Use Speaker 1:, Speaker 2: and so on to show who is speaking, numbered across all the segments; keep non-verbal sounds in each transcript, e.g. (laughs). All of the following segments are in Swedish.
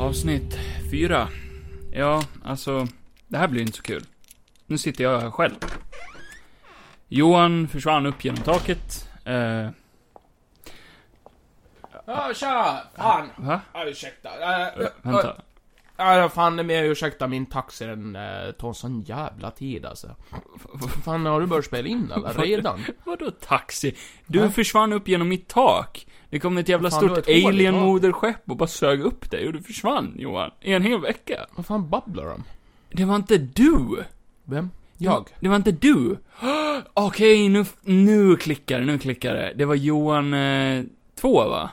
Speaker 1: Avsnitt fyra. Ja, alltså, det här blir inte så kul. Nu sitter jag här själv. Johan försvann upp genom taket. Eh,
Speaker 2: Ja, tja! Fan!
Speaker 1: va?
Speaker 2: Ja, ursäkta. Äh,
Speaker 1: Ö, vänta.
Speaker 2: Ja, fan, det är mer ursäkta min taxi, den äh, tar sån jävla tid alltså. Fan, har du börjat spela in (laughs) eller? Redan?
Speaker 1: Vadå taxi? Du
Speaker 2: Va?
Speaker 1: försvann upp genom mitt tak. Det kom ett jävla
Speaker 2: Fan, du har
Speaker 1: stort
Speaker 2: ett hål i
Speaker 1: alien-moderskepp och bara sög upp dig och du försvann, Johan. I en hel vecka.
Speaker 2: Vad fan babblar de?
Speaker 1: Det var inte du!
Speaker 2: Vem?
Speaker 1: Det var- Det var inte du! (gasps) Okej, nu, nu klickar det, nu klickar det. Det var Johan 2, va?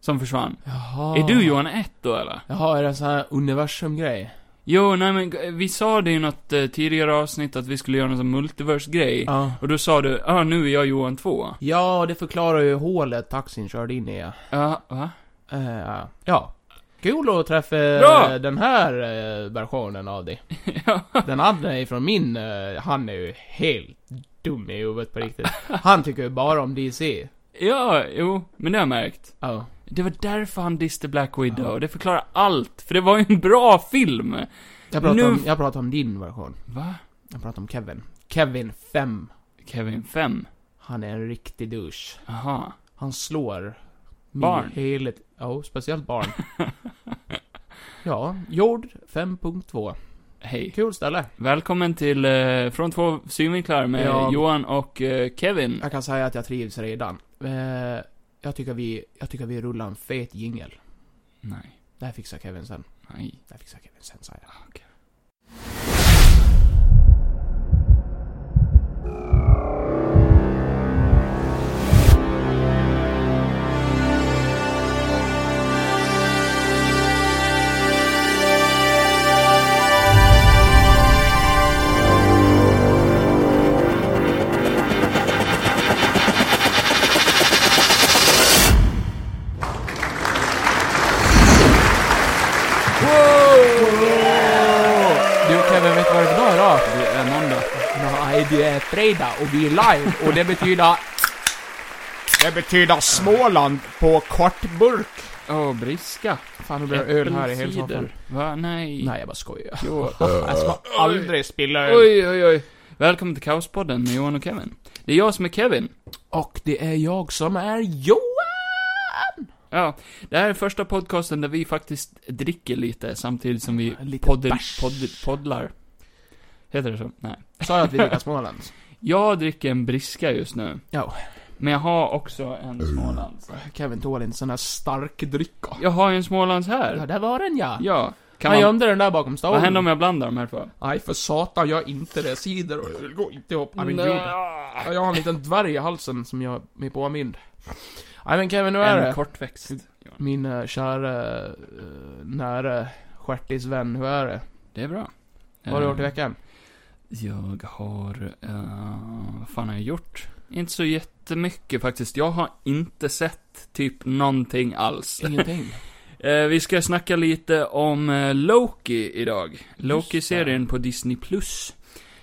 Speaker 1: Som försvann.
Speaker 2: Jaha.
Speaker 1: Är du Johan 1 då, eller?
Speaker 2: Jaha, är det en sån här universum-grej?
Speaker 1: Jo, nej men g- vi sa det i något eh, tidigare avsnitt att vi skulle göra någon sån multiverse-grej.
Speaker 2: Ja.
Speaker 1: Och då sa du, ah, nu är jag Johan 2.
Speaker 2: Ja, det förklarar ju hålet taxin körde in i.
Speaker 1: Ja, va?
Speaker 2: Eh, ja. Kul att träffa
Speaker 1: Bra!
Speaker 2: den här eh, versionen av dig.
Speaker 1: (laughs) Ja.
Speaker 2: Den andra ifrån min, eh, han är ju helt dum i huvudet på riktigt. Han tycker ju bara om DC.
Speaker 1: Ja, jo, men det har jag märkt.
Speaker 2: Ja.
Speaker 1: Det var därför han diste Black Widow, och det förklarar allt, för det var ju en bra film.
Speaker 2: Jag pratar,
Speaker 1: Nu-
Speaker 2: om, jag pratar om din version.
Speaker 1: Va?
Speaker 2: Jag pratar om Kevin. Kevin 5.
Speaker 1: Kevin 5?
Speaker 2: Han är en riktig douche.
Speaker 1: Aha.
Speaker 2: Han slår... min
Speaker 1: Barn.
Speaker 2: Hela, ja,
Speaker 1: (laughs)
Speaker 2: speciellt barn. ja, Jord 5.2.
Speaker 1: Hej.
Speaker 2: Kul ställe.
Speaker 1: Välkommen till eh, Från två synvinklar med
Speaker 2: Ja.
Speaker 1: Johan och eh, Kevin.
Speaker 2: Jag kan säga att jag trivs redan. Eh, jag, tycker vi, jag tycker vi rullar en fet jingel.
Speaker 1: Nej,
Speaker 2: Det här fixar Kevin sen.
Speaker 1: nej.
Speaker 2: Det här fixar Kevin sen, säger jag. Du Kevin, vet du vad det är för dag idag?
Speaker 1: Det är måndag.
Speaker 2: Nej, det är fredag och vi är live och det betyder... Det betyder Småland på kortburk.
Speaker 1: Åh, briska.
Speaker 2: Fan, nu blir det öl här i hela soffan.
Speaker 1: Äppelcider. Va? Nej.
Speaker 2: Nej, jag bara skojar. (laughs)
Speaker 1: Jo.
Speaker 2: Jag ska aldrig spilla öl.
Speaker 1: Oj, oj, oj. Välkommen till Kaospodden med Johan och Kevin. Det är jag som är Kevin.
Speaker 2: Och det är jag som är Johan!
Speaker 1: Ja, det här är första podcasten där vi faktiskt dricker lite samtidigt som vi
Speaker 2: Lite
Speaker 1: podder,
Speaker 2: bärs.
Speaker 1: podder, poddlar. Heter det så? Nej.
Speaker 2: Sa jag att vi dricker Småland?
Speaker 1: Jag dricker en briska just nu.
Speaker 2: Ja. Mm.
Speaker 1: Men jag har också en smålands.
Speaker 2: Kevin tål inte sån här stark dricka.
Speaker 1: Jag har ju en smålands
Speaker 2: Ja,
Speaker 1: här.
Speaker 2: där var den ja.
Speaker 1: Ja. Kan man,
Speaker 2: Han gömde den där bakom
Speaker 1: vad
Speaker 2: stolen.
Speaker 1: händer om jag blandar de här två?
Speaker 2: Nej, för satan, jag är inte det. Cider och öl går inte ihop. Nej, men
Speaker 1: Nej.
Speaker 2: gud. Ja, Jag har en liten dvärg i halsen som jag är påmind. Nej men Kevin, nu är
Speaker 1: En
Speaker 2: det.
Speaker 1: kortväxt. Johan.
Speaker 2: Min eh, kära, eh, nära stjärtisvän, hur är det?
Speaker 1: Det är bra.
Speaker 2: Vad har du
Speaker 1: Eh,
Speaker 2: gjort i veckan?
Speaker 1: Jag har... eh, vad fan har jag gjort? Inte så jättemycket faktiskt. Jag har inte sett typ någonting alls.
Speaker 2: (laughs) Ingenting.
Speaker 1: Eh, vi ska snacka lite om eh, Loki idag. Loki-serien på Disney+. Plus.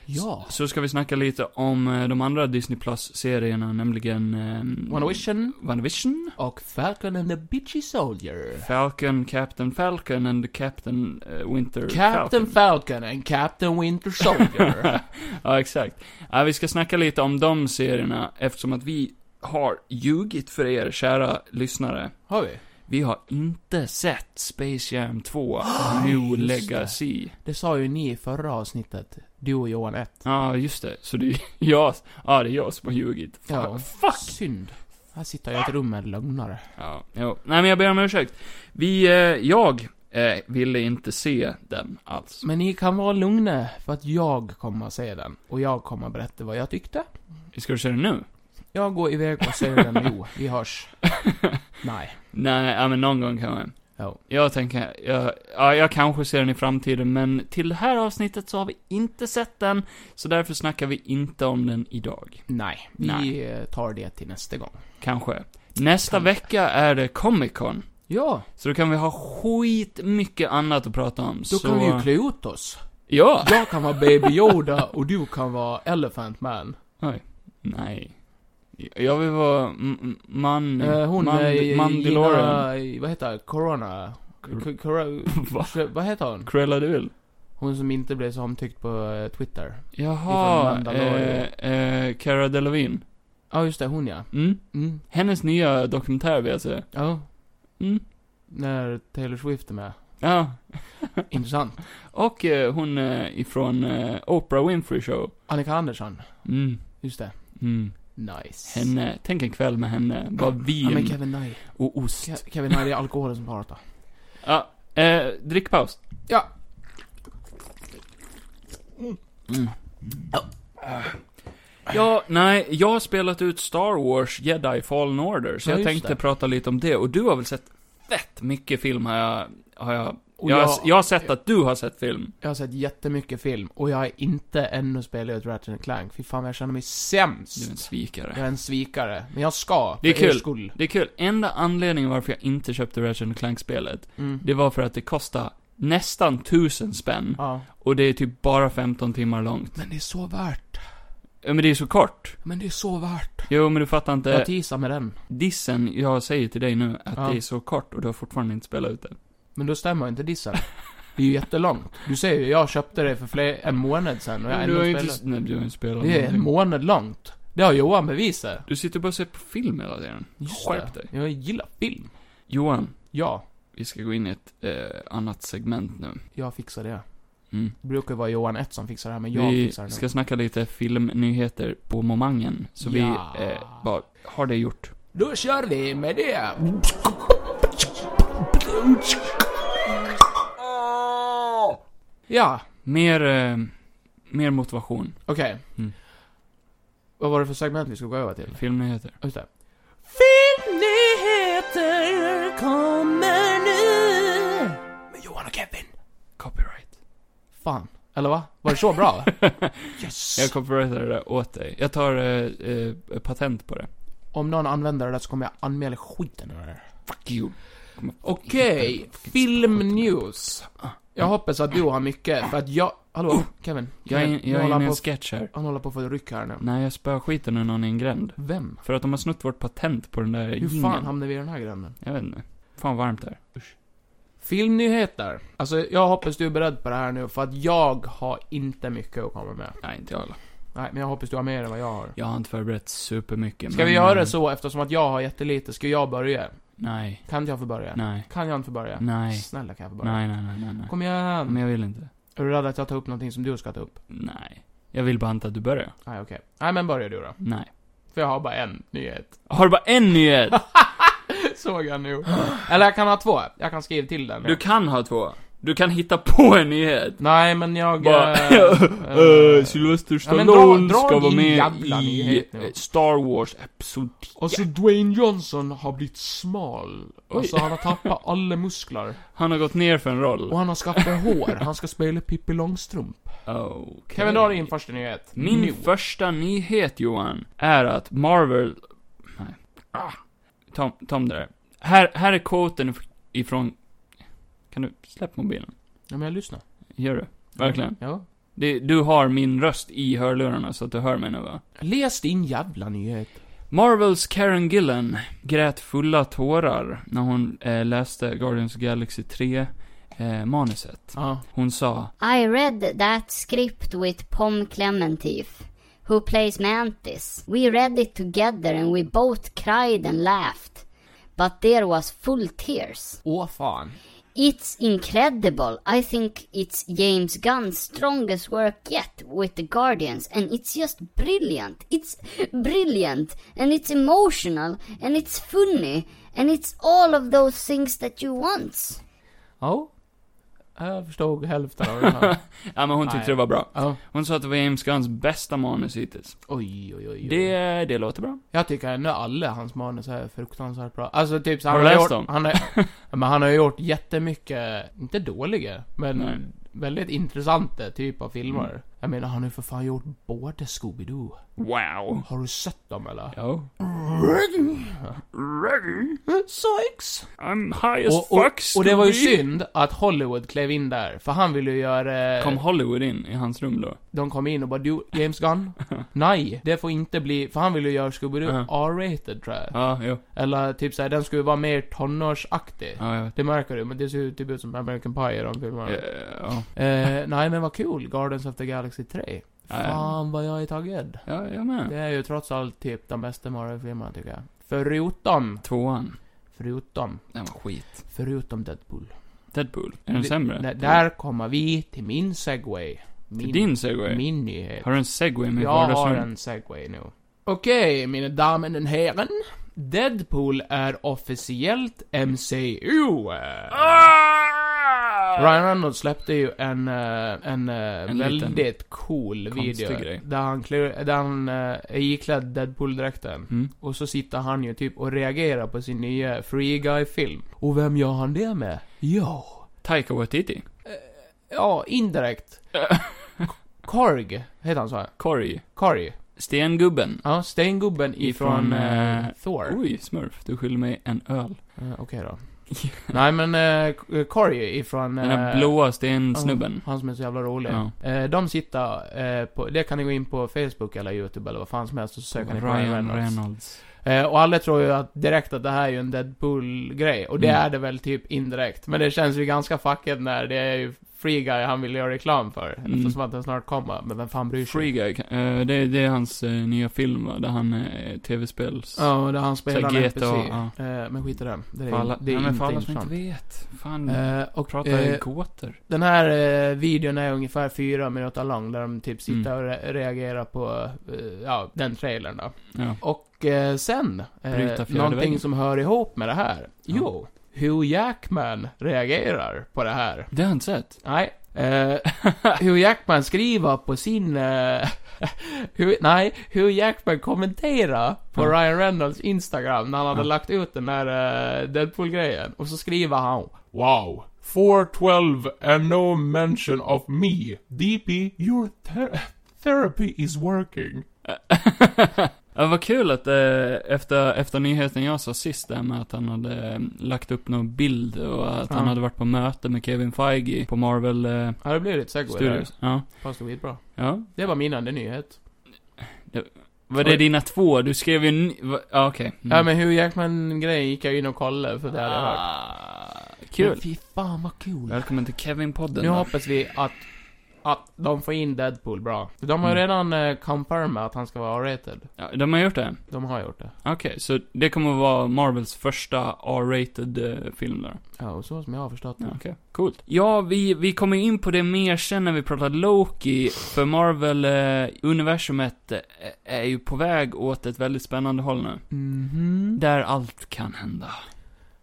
Speaker 2: ja.
Speaker 1: Så ska vi snacka lite om eh, de andra Disney Plus-serierna, nämligen... Eh,
Speaker 2: WandaVision
Speaker 1: WandaVision.
Speaker 2: och Falcon and the Bitchy Soldier.
Speaker 1: Falcon, Captain Falcon and Captain eh, Winter
Speaker 2: Captain
Speaker 1: Falcon.
Speaker 2: Falcon and Captain Winter (laughs) Soldier.
Speaker 1: (laughs) Ja, exakt. Ja, vi ska snacka lite om de serierna eftersom att vi har ljugit för er, kära lyssnare.
Speaker 2: har vi?
Speaker 1: Vi har inte sett Space Jam 2,
Speaker 2: (gasps)
Speaker 1: New
Speaker 2: just
Speaker 1: Legacy.
Speaker 2: Det sa ju ni i förra avsnittet. Du och Johan 1.
Speaker 1: Ja, just det. Så det är (laughs) jag, ja, det är jag som har ljugit. Fan,
Speaker 2: Ja.
Speaker 1: fuck!
Speaker 2: Synd. Här sitter jag i ett rum med en lögnare.
Speaker 1: Ja, jo. Nej, men jag ber om ursäkt. Vi, eh, jag, eh, ville inte se den alls.
Speaker 2: Men ni kan vara lugna, för att jag kommer att se den. Och jag kommer att berätta vad jag tyckte.
Speaker 1: Ska du se den nu?
Speaker 2: Jag går iväg och ser den nu.
Speaker 1: (laughs)
Speaker 2: Vi hörs. Nej.
Speaker 1: Nej, ja, men någon gång kan man.
Speaker 2: Ja.
Speaker 1: Jag tänker, jag, ja, jag kanske ser den i framtiden, men till det här avsnittet så har vi inte sett den, så därför snackar vi inte om den idag.
Speaker 2: Nej. Vi
Speaker 1: Nej.
Speaker 2: eh, tar det till nästa gång.
Speaker 1: Kanske. Nästa vecka är det Comic Con,
Speaker 2: Ja,
Speaker 1: så då kan vi ha skit mycket annat att prata om.
Speaker 2: då
Speaker 1: så... eh,
Speaker 2: kan vi ju klä ut oss.
Speaker 1: Ja!
Speaker 2: Jag kan vara Baby Yoda och du kan vara Elephant Man.
Speaker 1: Nej. Jag vill vara m- m- man,
Speaker 2: Eh,
Speaker 1: Mm.
Speaker 2: hon
Speaker 1: man,
Speaker 2: är i- eh,
Speaker 1: Mandalorian. (laughs)
Speaker 2: i- vad heter det? Corona. K- Cora-
Speaker 1: Va?
Speaker 2: Kre- Vad heter hon?
Speaker 1: Cruella Duel?
Speaker 2: Hon som inte blev så omtyckt på eh, Twitter.
Speaker 1: Jaha,
Speaker 2: Ifrån
Speaker 1: eh,
Speaker 2: Mandalorian.
Speaker 1: eh, Cara Delevingne.
Speaker 2: Ja, just det. Hon ja.
Speaker 1: Mm.
Speaker 2: Mm.
Speaker 1: Hennes nya dokumentär vill jag säga.
Speaker 2: Ja.
Speaker 1: Mm.
Speaker 2: När Taylor Swift är med.
Speaker 1: Ja.
Speaker 2: Intressant.
Speaker 1: Och eh, hon eh, ifrån eh, Oprah Winfrey Show.
Speaker 2: Annika Andersson.
Speaker 1: Mm.
Speaker 2: Just det.
Speaker 1: Mm.
Speaker 2: Nice.
Speaker 1: Henne, tänk en kväll med henne. Bara
Speaker 2: Ja, men
Speaker 1: vin
Speaker 2: Kevin, nej.
Speaker 1: och ost.
Speaker 2: Ke- Kevin, nej, det är alkoholen som pratar.
Speaker 1: Ja, eh, drickpaus.
Speaker 2: Ja.
Speaker 1: Mm. Ja, nej, jag har spelat ut Star Wars Jedi Fallen Order, så
Speaker 2: Ja,
Speaker 1: jag
Speaker 2: just
Speaker 1: tänkte
Speaker 2: det.
Speaker 1: prata lite om det. Och du har väl sett fett mycket film, har jag... Har jag,
Speaker 2: Och
Speaker 1: jag, har,
Speaker 2: jag-
Speaker 1: jag har sett att du har sett film.
Speaker 2: Jag har sett jättemycket film och jag har inte ännu spelat ut Ratchet Clank. Fy fan, jag känner mig sämst.
Speaker 1: Du är en svikare.
Speaker 2: Jag är en svikare. Men jag ska.
Speaker 1: Det är
Speaker 2: för er
Speaker 1: kul.
Speaker 2: Skull.
Speaker 1: Det är kul. Enda anledningen varför jag inte köpte Ratchet Clank-spelet,
Speaker 2: Mm.
Speaker 1: det var för att det kostade nästan tusen spänn.
Speaker 2: Ja.
Speaker 1: Och det är typ bara 15 timmar långt.
Speaker 2: Men det är så värt.
Speaker 1: Ja, Men det är så kort.
Speaker 2: Men det är så värt.
Speaker 1: Jo, men du fattar inte.
Speaker 2: Jag teasar med den.
Speaker 1: Dissen jag säger till dig nu, att
Speaker 2: Ja.
Speaker 1: det är så kort och du har fortfarande inte spelat ut det.
Speaker 2: Men då stämmer ju inte dissen. Det är ju jättelångt. Du säger ju, jag köpte det för fler, en månad sen och jag har
Speaker 1: du har ju
Speaker 2: ändå spelat.
Speaker 1: inte, nej, du har inte spelat
Speaker 2: Det är en
Speaker 1: någonting.
Speaker 2: månad långt. Det har Johan bevisat.
Speaker 1: Du sitter bara och ser på film hela tiden. Skärp dig.
Speaker 2: Jag gillar film.
Speaker 1: Johan,
Speaker 2: Ja,
Speaker 1: vi ska gå in i ett eh, annat segment nu.
Speaker 2: jag fixar det.
Speaker 1: Mm.
Speaker 2: Det brukar ju vara Johan 1 som fixar det här, men jag
Speaker 1: Vi
Speaker 2: fixar det nu.
Speaker 1: ska snacka lite filmnyheter på momangen, så
Speaker 2: Ja.
Speaker 1: vi eh, bara har det gjort.
Speaker 2: Då kör vi med det! Ja,
Speaker 1: Mer, eh, mer motivation.
Speaker 2: okej.
Speaker 1: Mm.
Speaker 2: Vad var det för segment vi skulle gå över till?
Speaker 1: Filmnyheter.
Speaker 2: Just det.
Speaker 3: Filmnyheter kommer nu.
Speaker 2: Med Johan och Kevin.
Speaker 1: Copyright.
Speaker 2: Fan. Eller va? Var det så (laughs) bra? yes!
Speaker 1: Jag copyrightade det åt dig. Jag tar eh, eh, patent på det.
Speaker 2: Om någon använder det där så kommer jag anmäla skiten ur det.
Speaker 1: Fuck you.
Speaker 2: Okej, filmnews. Jag hoppas att du har mycket, för att jag... Hallå, Kevin?
Speaker 1: Oh. Jag är,
Speaker 2: Kevin,
Speaker 1: jag är
Speaker 2: håller
Speaker 1: inne i
Speaker 2: på,
Speaker 1: en sketch här.
Speaker 2: han håller på att få ryck här nu.
Speaker 1: Nej, jag spöar skiten ur någon i en gränd.
Speaker 2: Vem?
Speaker 1: För att de har snott vårt patent på den där
Speaker 2: Hur fan hamnade vi i den här gränden?
Speaker 1: Jag vet inte. Fan varmt där.
Speaker 2: Filmnyheter. Alltså, jag hoppas du är beredd på det här nu, för att jag har inte mycket att komma med.
Speaker 1: Nej, inte jag heller.
Speaker 2: Nej, men jag hoppas du har mer än vad jag har.
Speaker 1: Jag har inte förberett supermycket.
Speaker 2: Ska vi
Speaker 1: men,
Speaker 2: göra
Speaker 1: eh,
Speaker 2: det så, eftersom att jag har jättelite, ska jag börja?
Speaker 1: Nej,
Speaker 2: Kan inte jag få börja?
Speaker 1: nej,
Speaker 2: Kan jag inte få börja?
Speaker 1: nej.
Speaker 2: Snälla kan jag få börja?
Speaker 1: Nej, nej, nej, nej. nej.
Speaker 2: Kom
Speaker 1: Men
Speaker 2: igen!
Speaker 1: jag vill inte.
Speaker 2: Är du rädd att jag tar upp någonting som du ska ta upp?
Speaker 1: Nej. Jag vill bara inte att du börjar.
Speaker 2: Nej, okej. Nej, men börja du då.
Speaker 1: Nej.
Speaker 2: För jag har bara en nyhet.
Speaker 1: Har du bara en nyhet?
Speaker 2: (laughs) Såg jag nu. Eller jag kan ha två. Jag kan skriva till den.
Speaker 1: Du kan ha två. Du kan hitta på en nyhet.
Speaker 2: Nej, men jag...
Speaker 1: Bara, (laughs)
Speaker 2: eh,
Speaker 1: eh,
Speaker 2: eh,
Speaker 1: Sylvester
Speaker 2: men
Speaker 1: Stallone
Speaker 2: dra- dra
Speaker 1: ska vara
Speaker 2: din
Speaker 1: med
Speaker 2: jävla
Speaker 1: i
Speaker 2: nyhet nu.
Speaker 1: eh, Star Wars Episod 10.
Speaker 2: och så Dwayne Johnson har blivit smal.
Speaker 1: Oj.
Speaker 2: Alltså han har tappat alla muskler.
Speaker 1: Han har gått ner för en roll.
Speaker 2: Och han har skaffat hår. Han ska spela Pippi Långstrump.
Speaker 1: Okay.
Speaker 2: Kevin, dra din första nyhet.
Speaker 1: Min
Speaker 2: nu.
Speaker 1: första nyhet, Johan, är att Marvel... Nej. Ah. Ta, ta om det där. Här, här är quoten if- ifrån... Kan du... Släpp mobilen.
Speaker 2: Ja, men jag lyssnar.
Speaker 1: Gör du? Verkligen.
Speaker 2: Ja.
Speaker 1: Det, du har min röst i hörlurarna, så att du hör mig nu, va?
Speaker 2: Läs din jävla nyhet.
Speaker 1: Marvels Karen Gillan grät fulla tårar när hon eh, läste Guardians of the Galaxy 3-manuset.
Speaker 2: Ja.
Speaker 1: hon sa...
Speaker 4: I read that script with Pom Clementif, who plays Mantis. We read it together and we both cried and laughed. But there was full tears.
Speaker 2: Åh fan.
Speaker 4: It's incredible. I think it's James Gunn's strongest work yet with the Guardians and it's just brilliant. It's brilliant and it's emotional and it's funny and it's all of those things that you want.
Speaker 2: Ja. Jag förstod hälften av den här.
Speaker 1: Ja, men hon tyckte
Speaker 2: Nej.
Speaker 1: det var bra.
Speaker 2: Ja.
Speaker 1: Hon sa att det var James Gunns bästa manus hittills.
Speaker 2: Oj, oj, oj. oj.
Speaker 1: Det, det låter bra.
Speaker 2: Jag tycker ändå alla hans manus är fruktansvärt bra. Alltså typ så han
Speaker 1: Har du läst (laughs)
Speaker 2: gjort,
Speaker 1: dem?
Speaker 2: Han har, men han har ju gjort jättemycket, inte dåliga, men
Speaker 1: Nej. Mm.
Speaker 2: väldigt intressanta typ av filmer. Jag menar, han har ju för fan gjort både Scooby-Doo.
Speaker 1: Wow.
Speaker 2: Har du sett dem eller?
Speaker 1: Ja.
Speaker 2: Sykes!
Speaker 1: I'm high as
Speaker 2: Och, och,
Speaker 1: fuck,
Speaker 2: och det var ju
Speaker 1: Scooby.
Speaker 2: synd att Hollywood klev in där, för han ville ju göra...
Speaker 1: Kom Hollywood in i hans rum då?
Speaker 2: De kom in och bara du, James Gunn?
Speaker 1: (laughs)
Speaker 2: Nej, det får inte bli, för han ville ju göra Scooby-Doo R-rated tror jag.
Speaker 1: Ja, jo.
Speaker 2: Eller typ såhär, den skulle vara mer tonårsaktig.
Speaker 1: Ja, jag vet.
Speaker 2: Det märker du, men det ser ju typ ut som American Pie i de filmerna.
Speaker 1: Eh, Ja,
Speaker 2: Eh, nej men vad kul, Guardians of the Galaxy 3. Fan vad jag är taggad.
Speaker 1: ja, jag med.
Speaker 2: Det är ju trots allt typ de bästa Marvel-filmerna tycker jag. Förutom,
Speaker 1: Tvåan.
Speaker 2: förutom,
Speaker 1: Den var skit.
Speaker 2: förutom Deadpool.
Speaker 1: Deadpool. Är den sämre?
Speaker 2: Där, där kommer vi till min segway. Min,
Speaker 1: Till din segway?
Speaker 2: Min nyhet.
Speaker 1: Har du en segway med
Speaker 2: Jag har
Speaker 1: vardagsrum?
Speaker 2: en segway nu. Okej, mina damer och herren. Deadpool är officiellt MCU.
Speaker 1: Ah!
Speaker 2: Ryan Reynolds släppte ju en, eh, en, eh,
Speaker 1: Eh, liten
Speaker 2: väldigt cool
Speaker 1: konstig
Speaker 2: video.
Speaker 1: grej.
Speaker 2: Där han, klär, där han eh, är iklädd Deadpool-dräkten.
Speaker 1: Mm.
Speaker 2: Och så sitter han ju typ och reagerar på sin nya Free Guy-film. Och vem gör han det med? Ja.
Speaker 1: Taika Waititi?
Speaker 2: Ja,
Speaker 1: (laughs)
Speaker 2: indirekt. Korg, heter han så? här?
Speaker 1: Corey?
Speaker 2: Korg.
Speaker 1: Stengubben?
Speaker 2: Ja, stengubben ifrån,
Speaker 1: Ifrån,
Speaker 2: eh,
Speaker 1: eh,
Speaker 2: Thor.
Speaker 1: Oj, smurf. Du skyller mig en öl.
Speaker 2: Eh, Okej
Speaker 1: (laughs)
Speaker 2: då. Nej men, uh, Corey ifrån...
Speaker 1: Den där
Speaker 2: eh,
Speaker 1: blåa stensnubben.
Speaker 2: Han som är så jävla rolig.
Speaker 1: Ja.
Speaker 2: Eh, de sitter eh, på, det kan ni gå in på Facebook eller YouTube eller vad fan som helst och så söker ni på Ryan
Speaker 1: Ryan
Speaker 2: Reynolds.
Speaker 1: Reynolds.
Speaker 2: Eh, och alla tror ju att direkt att det här är ju en Deadpool-grej. Och det
Speaker 1: Mm.
Speaker 2: är det väl typ indirekt. Men det känns ju ganska fuckat när det är ju Free Guy han vill göra reklam för.
Speaker 1: Mm.
Speaker 2: Eftersom att den snart kommer. Men vem fan bryr sig?
Speaker 1: Free Guy, eh, det, det är hans eh, nya film va, där han är tv-spels...
Speaker 2: Ja, där han spelar en
Speaker 1: Så
Speaker 2: NPC.
Speaker 1: GTA, ja.
Speaker 2: Eh, men skit i den. Det är,
Speaker 1: För alla,
Speaker 2: det är
Speaker 1: nej, men för
Speaker 2: inte
Speaker 1: alla som
Speaker 2: intressant.
Speaker 1: inte vet. Fan,
Speaker 2: Eh, och,
Speaker 1: pratar
Speaker 2: eh,
Speaker 1: i gåtor.
Speaker 2: den här eh, videon är ungefär fyra minuter lång, där de typ sitter
Speaker 1: Mm.
Speaker 2: och re- reagerar på, eh, ja, den trailern då.
Speaker 1: Ja.
Speaker 2: Och eh, sen,
Speaker 1: Bryta
Speaker 2: eh,
Speaker 1: fjärde
Speaker 2: någonting
Speaker 1: väggen.
Speaker 2: som hör ihop med det här.
Speaker 1: Ja.
Speaker 2: Jo, Hugh Jackman reagerar på det här.
Speaker 1: Det har jag inte sett.
Speaker 2: Nej. Eh, (laughs) Hugh Jackman skriver på sin... Eh, (laughs) Hugh, nej, Hugh Jackman kommenterar på
Speaker 1: Ja.
Speaker 2: Ryan Reynolds Instagram när han hade
Speaker 1: Ja.
Speaker 2: lagt ut den där eh, Deadpool-grejen. Och så skriver han Wow. 412 and no mention of me. DP, your ther- therapy is working.
Speaker 1: (laughs) Ja, vad kul att eh, efter, efter nyheten jag sa sist där med att han hade eh, lagt upp någon bild och att han
Speaker 2: Ja.
Speaker 1: hade varit på möte med Kevin Feige på Marvel eh,
Speaker 2: Ja, det blev lite segway där.
Speaker 1: Studios. Ja.
Speaker 2: Fast det var bra.
Speaker 1: ja.
Speaker 2: Det var min enda nyhet.
Speaker 1: Var det dina två? Du skrev ju en ny- va- Ja, okej. Mm.
Speaker 2: Ja, men Hugh Jackman-grejen gick jag in och kollade för det hade jag hört.
Speaker 1: Ah,
Speaker 2: Men
Speaker 1: Kul.
Speaker 2: Fy fan vad kul.
Speaker 1: Välkommen till Kevin-podden.
Speaker 2: Nu
Speaker 1: då.
Speaker 2: hoppas vi att, att de får in Deadpool bra. De har ju
Speaker 1: Mm.
Speaker 2: redan eh, confirmat att han ska vara R-rated.
Speaker 1: Ja, de har gjort det?
Speaker 2: De har gjort det.
Speaker 1: Okej, så det kommer att vara Marvels första R-rated eh, film där.
Speaker 2: Ja, och så som jag har förstått
Speaker 1: Ja,
Speaker 2: det.
Speaker 1: okej. Coolt. Ja, vi, vi kommer in på det mer sen när vi pratar Loki, för Marvel-universumet eh, är ju på väg åt ett väldigt spännande håll nu.
Speaker 2: Mhm.
Speaker 1: Där allt kan hända.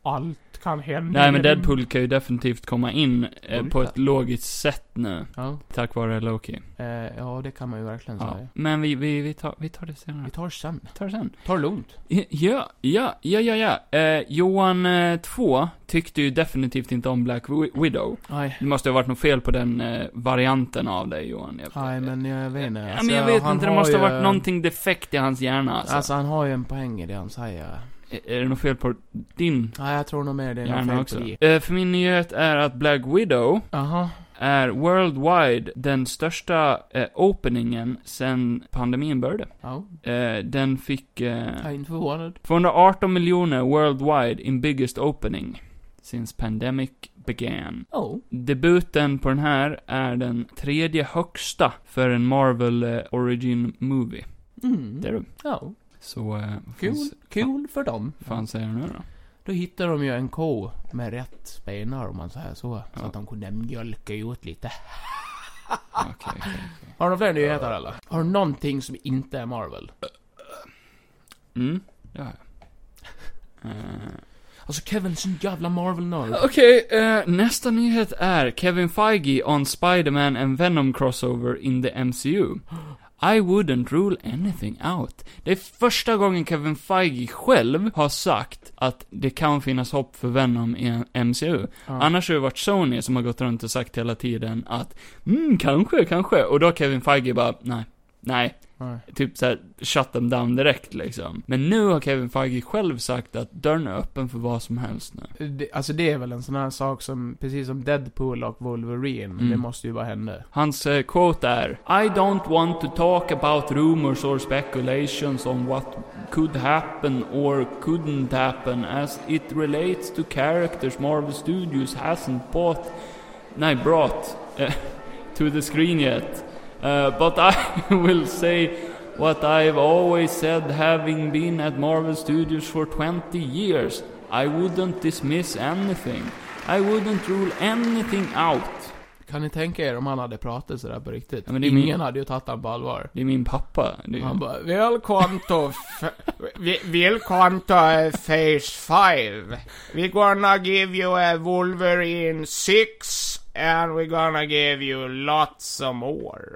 Speaker 2: Allt kan hända.
Speaker 1: Nej, men Deadpool kan ju definitivt komma in eh, på ett logiskt sätt nu,
Speaker 2: Ja,
Speaker 1: tack vare Loki.
Speaker 2: eh, ja, det kan man ju verkligen
Speaker 1: Ja.
Speaker 2: säga.
Speaker 1: Men vi, vi, vi, tar, vi tar det senare.
Speaker 2: Vi tar det sen.
Speaker 1: Mm. Vi tar det sen.
Speaker 2: Ta det lugnt.
Speaker 1: Ja, ja, ja, ja, ja. Eh, Johan 2 tyckte ju definitivt inte om Black Wi- Widow.
Speaker 2: Nej.
Speaker 1: Det måste ha varit något fel på den eh, varianten av dig Johan. Jag,
Speaker 2: Nej, men jag vet inte.
Speaker 1: Ja,
Speaker 2: Alltså,
Speaker 1: men jag vet
Speaker 2: han
Speaker 1: inte, det måste ha
Speaker 2: ju-
Speaker 1: varit någonting defekt i hans hjärna alltså.
Speaker 2: Alltså. han har ju en poäng i det han säger.
Speaker 1: Är- Är det något fel på din
Speaker 2: Nej, jag tror nog mer det är något
Speaker 1: hjärna
Speaker 2: fel
Speaker 1: också?
Speaker 2: på dig.
Speaker 1: Eh, för min nyhet är att Black Widow
Speaker 2: Jaha.
Speaker 1: är worldwide den största eh, openingen sen pandemin började.
Speaker 2: Ja,
Speaker 1: Eh, den fick
Speaker 2: jag
Speaker 1: eh,
Speaker 2: är inte förvånad.
Speaker 1: 218 miljoner worldwide in biggest opening since pandemic began.
Speaker 2: Oh.
Speaker 1: Debuten på den här är den tredje högsta för en Marvel eh, Origin Movie.
Speaker 2: Mm.
Speaker 1: Det är det.
Speaker 2: Ja.
Speaker 1: Så, eh, vad
Speaker 2: Kul.
Speaker 1: fan,
Speaker 2: Kul för dem.
Speaker 1: vad fan säger du nu då?
Speaker 2: Då hittade de ju en ko med rätt spenar om man säger så. Så
Speaker 1: Ja.
Speaker 2: att de kunde mjölka ut lite.
Speaker 1: Okej, okej, okej.
Speaker 2: Har du fler nyheter eller? Har du någonting som inte är Marvel?
Speaker 1: Mm, det har jag. Eh,
Speaker 2: Alltså Kevin är sån jävla Marvel-nörd.
Speaker 1: Okej, eh, nästa nyhet är Kevin Feige on Spider-Man and Venom crossover in the MCU. I wouldn't rule anything out. Det är första gången Kevin Feige själv har sagt att det kan finnas hopp för Venom i MCU.
Speaker 2: Ja.
Speaker 1: Annars har det varit Sony som har gått runt och sagt hela tiden att mm, kanske, kanske. Och då har Kevin Feige bara, nej, nej.
Speaker 2: Nej.
Speaker 1: Typ såhär, shut them down direkt liksom. Men nu har Kevin Feige själv sagt att dörren är öppen för vad som helst nu.
Speaker 2: Det, alltså det är väl en sån här sak som, precis som Deadpool och Wolverine,
Speaker 1: Mm.
Speaker 2: det måste ju bara hända.
Speaker 1: Hans eh, quote är I don't want to talk about rumors or speculations on what could happen or couldn't happen as it relates to characters Marvel Studios hasn't bought, nej, brought eh, (laughs) to the screen yet. Uh, but I (laughs) will say what I've always said having been at Marvel Studios for 20 years. I wouldn't dismiss anything. I wouldn't rule anything out.
Speaker 2: Kan ni tänka er om han hade pratat sådär på riktigt?
Speaker 1: Ja, men det är min-
Speaker 2: Ingen hade ju tagit honom på allvar.
Speaker 1: Det är min pappa. Det är...
Speaker 2: Han bara, Welcome to... (laughs) Welcome to eh, Phase 5. We're gonna give you a Wolverine 6 and we're gonna give you lots of more.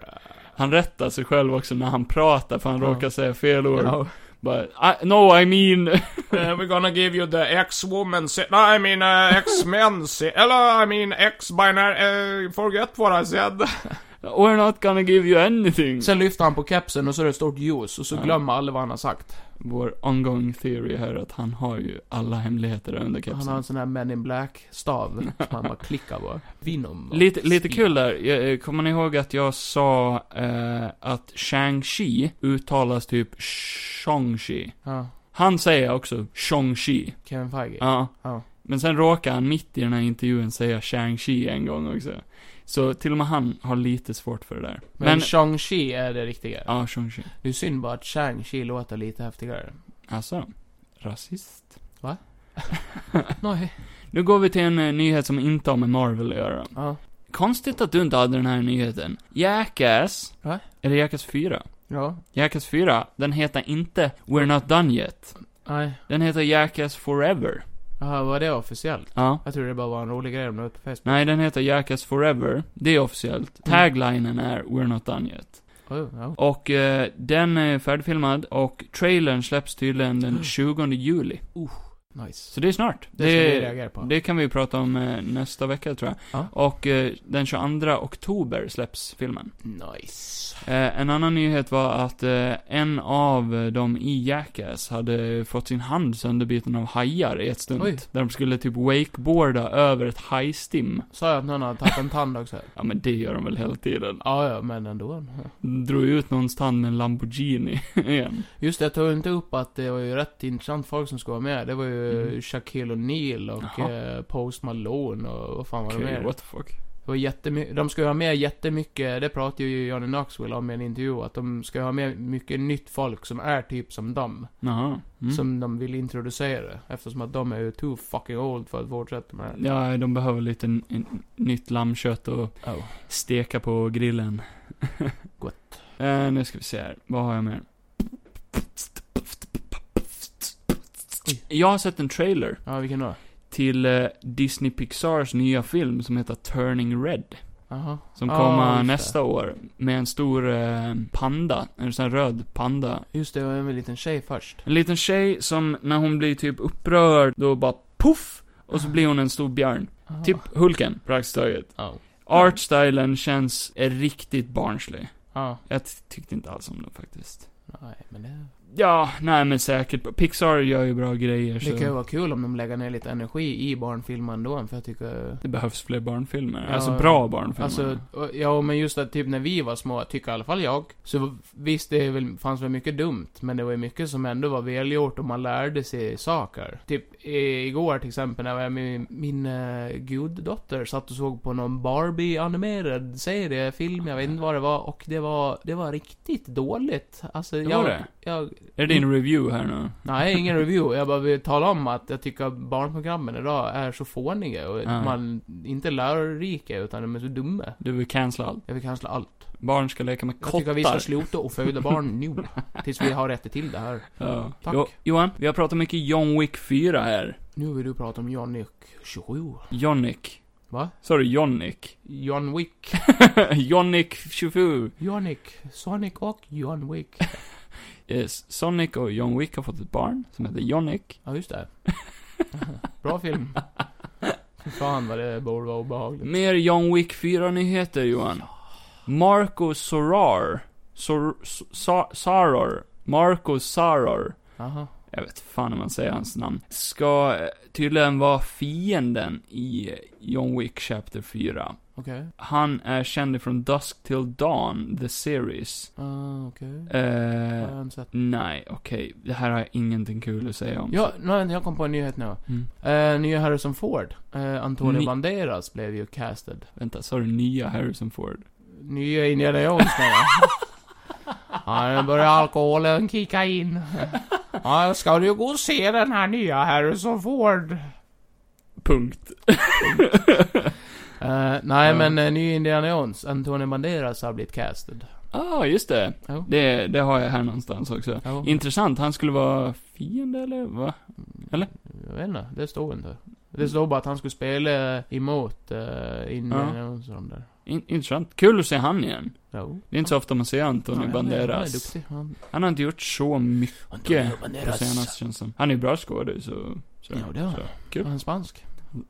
Speaker 1: Han rättar sig själv också när han pratar, för han
Speaker 2: Ja.
Speaker 1: råkar säga fel ord.
Speaker 2: Ja.
Speaker 1: But, I, no, I mean... (laughs)
Speaker 2: Uh, we're gonna give you the X-woman se- No, I mean uh, X-men se- Eller I mean X-binary... Uh, forget what I said.
Speaker 1: We're not gonna give you anything.
Speaker 2: (laughs) Sen lyfter han på kepsen och så är det ett stort ljus och så glömmer alla vad han har sagt.
Speaker 1: Vår ongoing theory här är att han har ju alla hemligheter där under
Speaker 2: Han
Speaker 1: kepsen.
Speaker 2: har alltså- en sån här Men in Black-stav (laughs) som han bara klickar på. Vinom.
Speaker 1: Lite, lite kul där, Jag- eh, kommer ni ihåg att jag sa eh, att Shang-Chi uttalas typ Shang-Chi?
Speaker 2: Ja,
Speaker 1: Han säger också Shang-Chi.
Speaker 2: Kevin Feige.
Speaker 1: Ja.
Speaker 2: Ja.
Speaker 1: Men sen råkar han mitt i den här intervjun säga Shang-Chi en gång också. Så till och med han har lite svårt för det där.
Speaker 2: Men, Shang-Chi är det riktiga.
Speaker 1: Ja, Shang-Chi.
Speaker 2: Det är synd bara att Shang-Chi låter lite häftigare. (laughs)
Speaker 1: Alltså, rasist.
Speaker 2: Nej.
Speaker 1: Nu går vi till en eh, nyhet som inte har med Marvel att göra.
Speaker 2: Ja.
Speaker 1: Konstigt att du inte hade den här nyheten. Jackass.
Speaker 2: Va?
Speaker 1: Eller Jackass 4.
Speaker 2: Ja.
Speaker 1: Jackass 4, den heter inte We're Not Done Yet.
Speaker 2: Nej.
Speaker 1: Den heter Jackass Forever.
Speaker 2: Jaha, var det officiellt?
Speaker 1: Ja.
Speaker 2: Jag trodde det bara var en rolig grej om det var på Facebook.
Speaker 1: Nej, den heter Jackass Forever. Det är officiellt.
Speaker 2: Mm.
Speaker 1: Taglinen är We're Not Done Yet.
Speaker 2: Oh, ja.
Speaker 1: Och eh, den är färdigfilmad och trailern släpps tydligen
Speaker 2: (gasps)
Speaker 1: den 20 juli.
Speaker 2: Nice.
Speaker 1: Så det är snart.
Speaker 2: Det, det ska vi reagera på.
Speaker 1: Det kan vi prata om eh, nästa vecka tror jag.
Speaker 2: Ja.
Speaker 1: Och eh, den 22 oktober släpps filmen.
Speaker 2: Nice.
Speaker 1: Eh, en annan nyhet var att eh, en av eh, dem i Jackass hade fått sin hand sönderbiten av hajar i ett stunt.
Speaker 2: Oj.
Speaker 1: Där de skulle typ wakeboarda över ett hajstim.
Speaker 2: Sa jag att någon hade tagit en tand (laughs) också?
Speaker 1: Ja men det gör de väl hela tiden.
Speaker 2: Ja, ja, men ändå.
Speaker 1: Drog ut någons tand med en Lamborghini (laughs) igen.
Speaker 2: Just det, jag tog inte upp att det var ju rätt intressant folk som skulle vara med. Det var ju
Speaker 1: Mm.
Speaker 2: Shaquille O'Neal och
Speaker 1: Jaha.
Speaker 2: eh, Post Malone och vad fan var det
Speaker 1: Okej,
Speaker 2: mer?
Speaker 1: what the fuck.
Speaker 2: Det var jättemy- de ska ju ha med jättemycket, det pratade ju Johnny Knoxville om i en intervju, att de ska ha med mycket nytt folk som är typ som dem.
Speaker 1: Jaha. Mm.
Speaker 2: Som de vill introducera. Eftersom att de är ju too fucking old för att fortsätta med det.
Speaker 1: Ja, de behöver lite n- n- nytt lammkött och
Speaker 2: Oh.
Speaker 1: steka på grillen. (laughs)
Speaker 2: Gott.
Speaker 1: Eh, nu ska vi se här. Vad har jag mer? Jag har sett en trailer
Speaker 2: Ja, vilken då?
Speaker 1: till eh, Disney Pixars nya film som heter Turning Red.
Speaker 2: Jaha.
Speaker 1: Som
Speaker 2: Ja,
Speaker 1: kommer
Speaker 2: just det.
Speaker 1: nästa år med en stor eh, panda. En sån här röd panda
Speaker 2: Just det, det var en liten tjej först.
Speaker 1: En liten tjej som när hon blir typ upprörd, då bara poff! Och så blir hon en stor björn.
Speaker 2: Jaha.
Speaker 1: Typ Hulken, praktiskt taget.
Speaker 2: Ja.
Speaker 1: Artstylen känns eh, riktigt barnslig.
Speaker 2: Ja.
Speaker 1: Jag ty- tyckte inte alls om den faktiskt.
Speaker 2: Nej, men det...
Speaker 1: Ja, nej men säkert. Pixar gör ju bra grejer
Speaker 2: Det kan ju
Speaker 1: så.
Speaker 2: vara kul om de lägger ner lite energi i barnfilmen då, för jag tycker...
Speaker 1: Det behövs fler barnfilmer.
Speaker 2: Ja,
Speaker 1: alltså
Speaker 2: ja.
Speaker 1: bra barnfilmer.
Speaker 2: Alltså, och- ja men just att typ när vi var små, tycker i alla fall jag, så v- visst det är väl, fanns väl mycket dumt, men det var ju mycket som ändå var välgjort och man lärde sig saker. Typ i, igår till exempel när jag med min uh, guddotter satt och såg på någon Barbie-animerad serie, film, jag vet inte vad det var, och det var, det var riktigt dåligt. Alltså
Speaker 1: Det
Speaker 2: jag... Mm.
Speaker 1: var det?
Speaker 2: Jag,
Speaker 1: Är det din review här nu?
Speaker 2: Nej, ingen review. Jag bara vill tala om att jag tycker att barnprogrammen idag är så fåniga och
Speaker 1: Ja.
Speaker 2: man, inte lärorika utan de är så dumma.
Speaker 1: Du vill cancella allt.
Speaker 2: Jag vill cancella allt.
Speaker 1: Barn ska leka med
Speaker 2: Jag tycker att vi ska
Speaker 1: kottar.
Speaker 2: sluta och
Speaker 1: (laughs)
Speaker 2: föda barn nu. Tills vi har rätt till det här.
Speaker 1: Ja.
Speaker 2: Tack.
Speaker 1: Jo, Johan, vi har pratat mycket John Wick 4 här.
Speaker 2: Nu vill du prata om Johnny 27.
Speaker 1: Jonnick.
Speaker 2: Va?
Speaker 1: Sa du (laughs) Jonnick?
Speaker 2: John Wick.
Speaker 1: Jonnick 27.
Speaker 2: Jonic. Sonic och John Wick.
Speaker 1: Eh, Sonic och John Wick har fått ett barn som heter Jonnick. (laughs)
Speaker 2: Ja, just det. Bra film. Fy Fan vad det borde vara obehagligt.
Speaker 1: Mer John Wick 4-nyheter, Johan. Marco Sorar. Sor, Sa- Saror. Marco Saror.
Speaker 2: Jaha.
Speaker 1: Jag vet fan om man säger hans namn. Ska eh, tydligen vara fienden i eh, John Wick Chapter 4.
Speaker 2: Okej.
Speaker 1: Han är känd från Dusk Till Dawn, The Series.
Speaker 2: Ah, okej. Har
Speaker 1: Eh,
Speaker 2: jag inte sett.
Speaker 1: nej, okej. Det här har jag ingenting kul att säga om.
Speaker 2: Ja, nej, jag kom på en nyhet nu.
Speaker 1: Mm.
Speaker 2: Eh, nya Harrison Ford. Eh, Antonio
Speaker 1: Ny-
Speaker 2: Banderas blev ju casted.
Speaker 1: Vänta, sa du nya Harrison Ford?
Speaker 2: Nya Indiana Jones nu va? (laughs) Ja, nu börjar alkoholen kicka in. Ja, ska du gå och se den här nya Harrison Ford?
Speaker 1: Punkt.
Speaker 2: Eh, nej,
Speaker 1: Ja.
Speaker 2: men eh, ny Indiana Jones. Antonio Banderas har blivit casted.
Speaker 1: Ah, just det.
Speaker 2: Ja.
Speaker 1: det. Det har jag här någonstans också.
Speaker 2: Ja.
Speaker 1: Intressant, han skulle vara fiende eller va?
Speaker 2: Jag vet inte, det står inte. Det står bara att han skulle spela eh, emot uh, Indiana
Speaker 1: Ja.
Speaker 2: Jones och de där.
Speaker 1: In, intressant. Kul att se han igen.
Speaker 2: Jo.
Speaker 1: Det är inte så ofta man ser Antonio
Speaker 2: Ja, Han är
Speaker 1: Banderas.
Speaker 2: duktig. Han,
Speaker 1: Han har inte gjort så mycket
Speaker 2: Antonio
Speaker 1: på
Speaker 2: Banderas.
Speaker 1: senast känns det som. Han är ju bra skådis så, så...
Speaker 2: Ja, det har han.
Speaker 1: så.
Speaker 2: Var han spansk?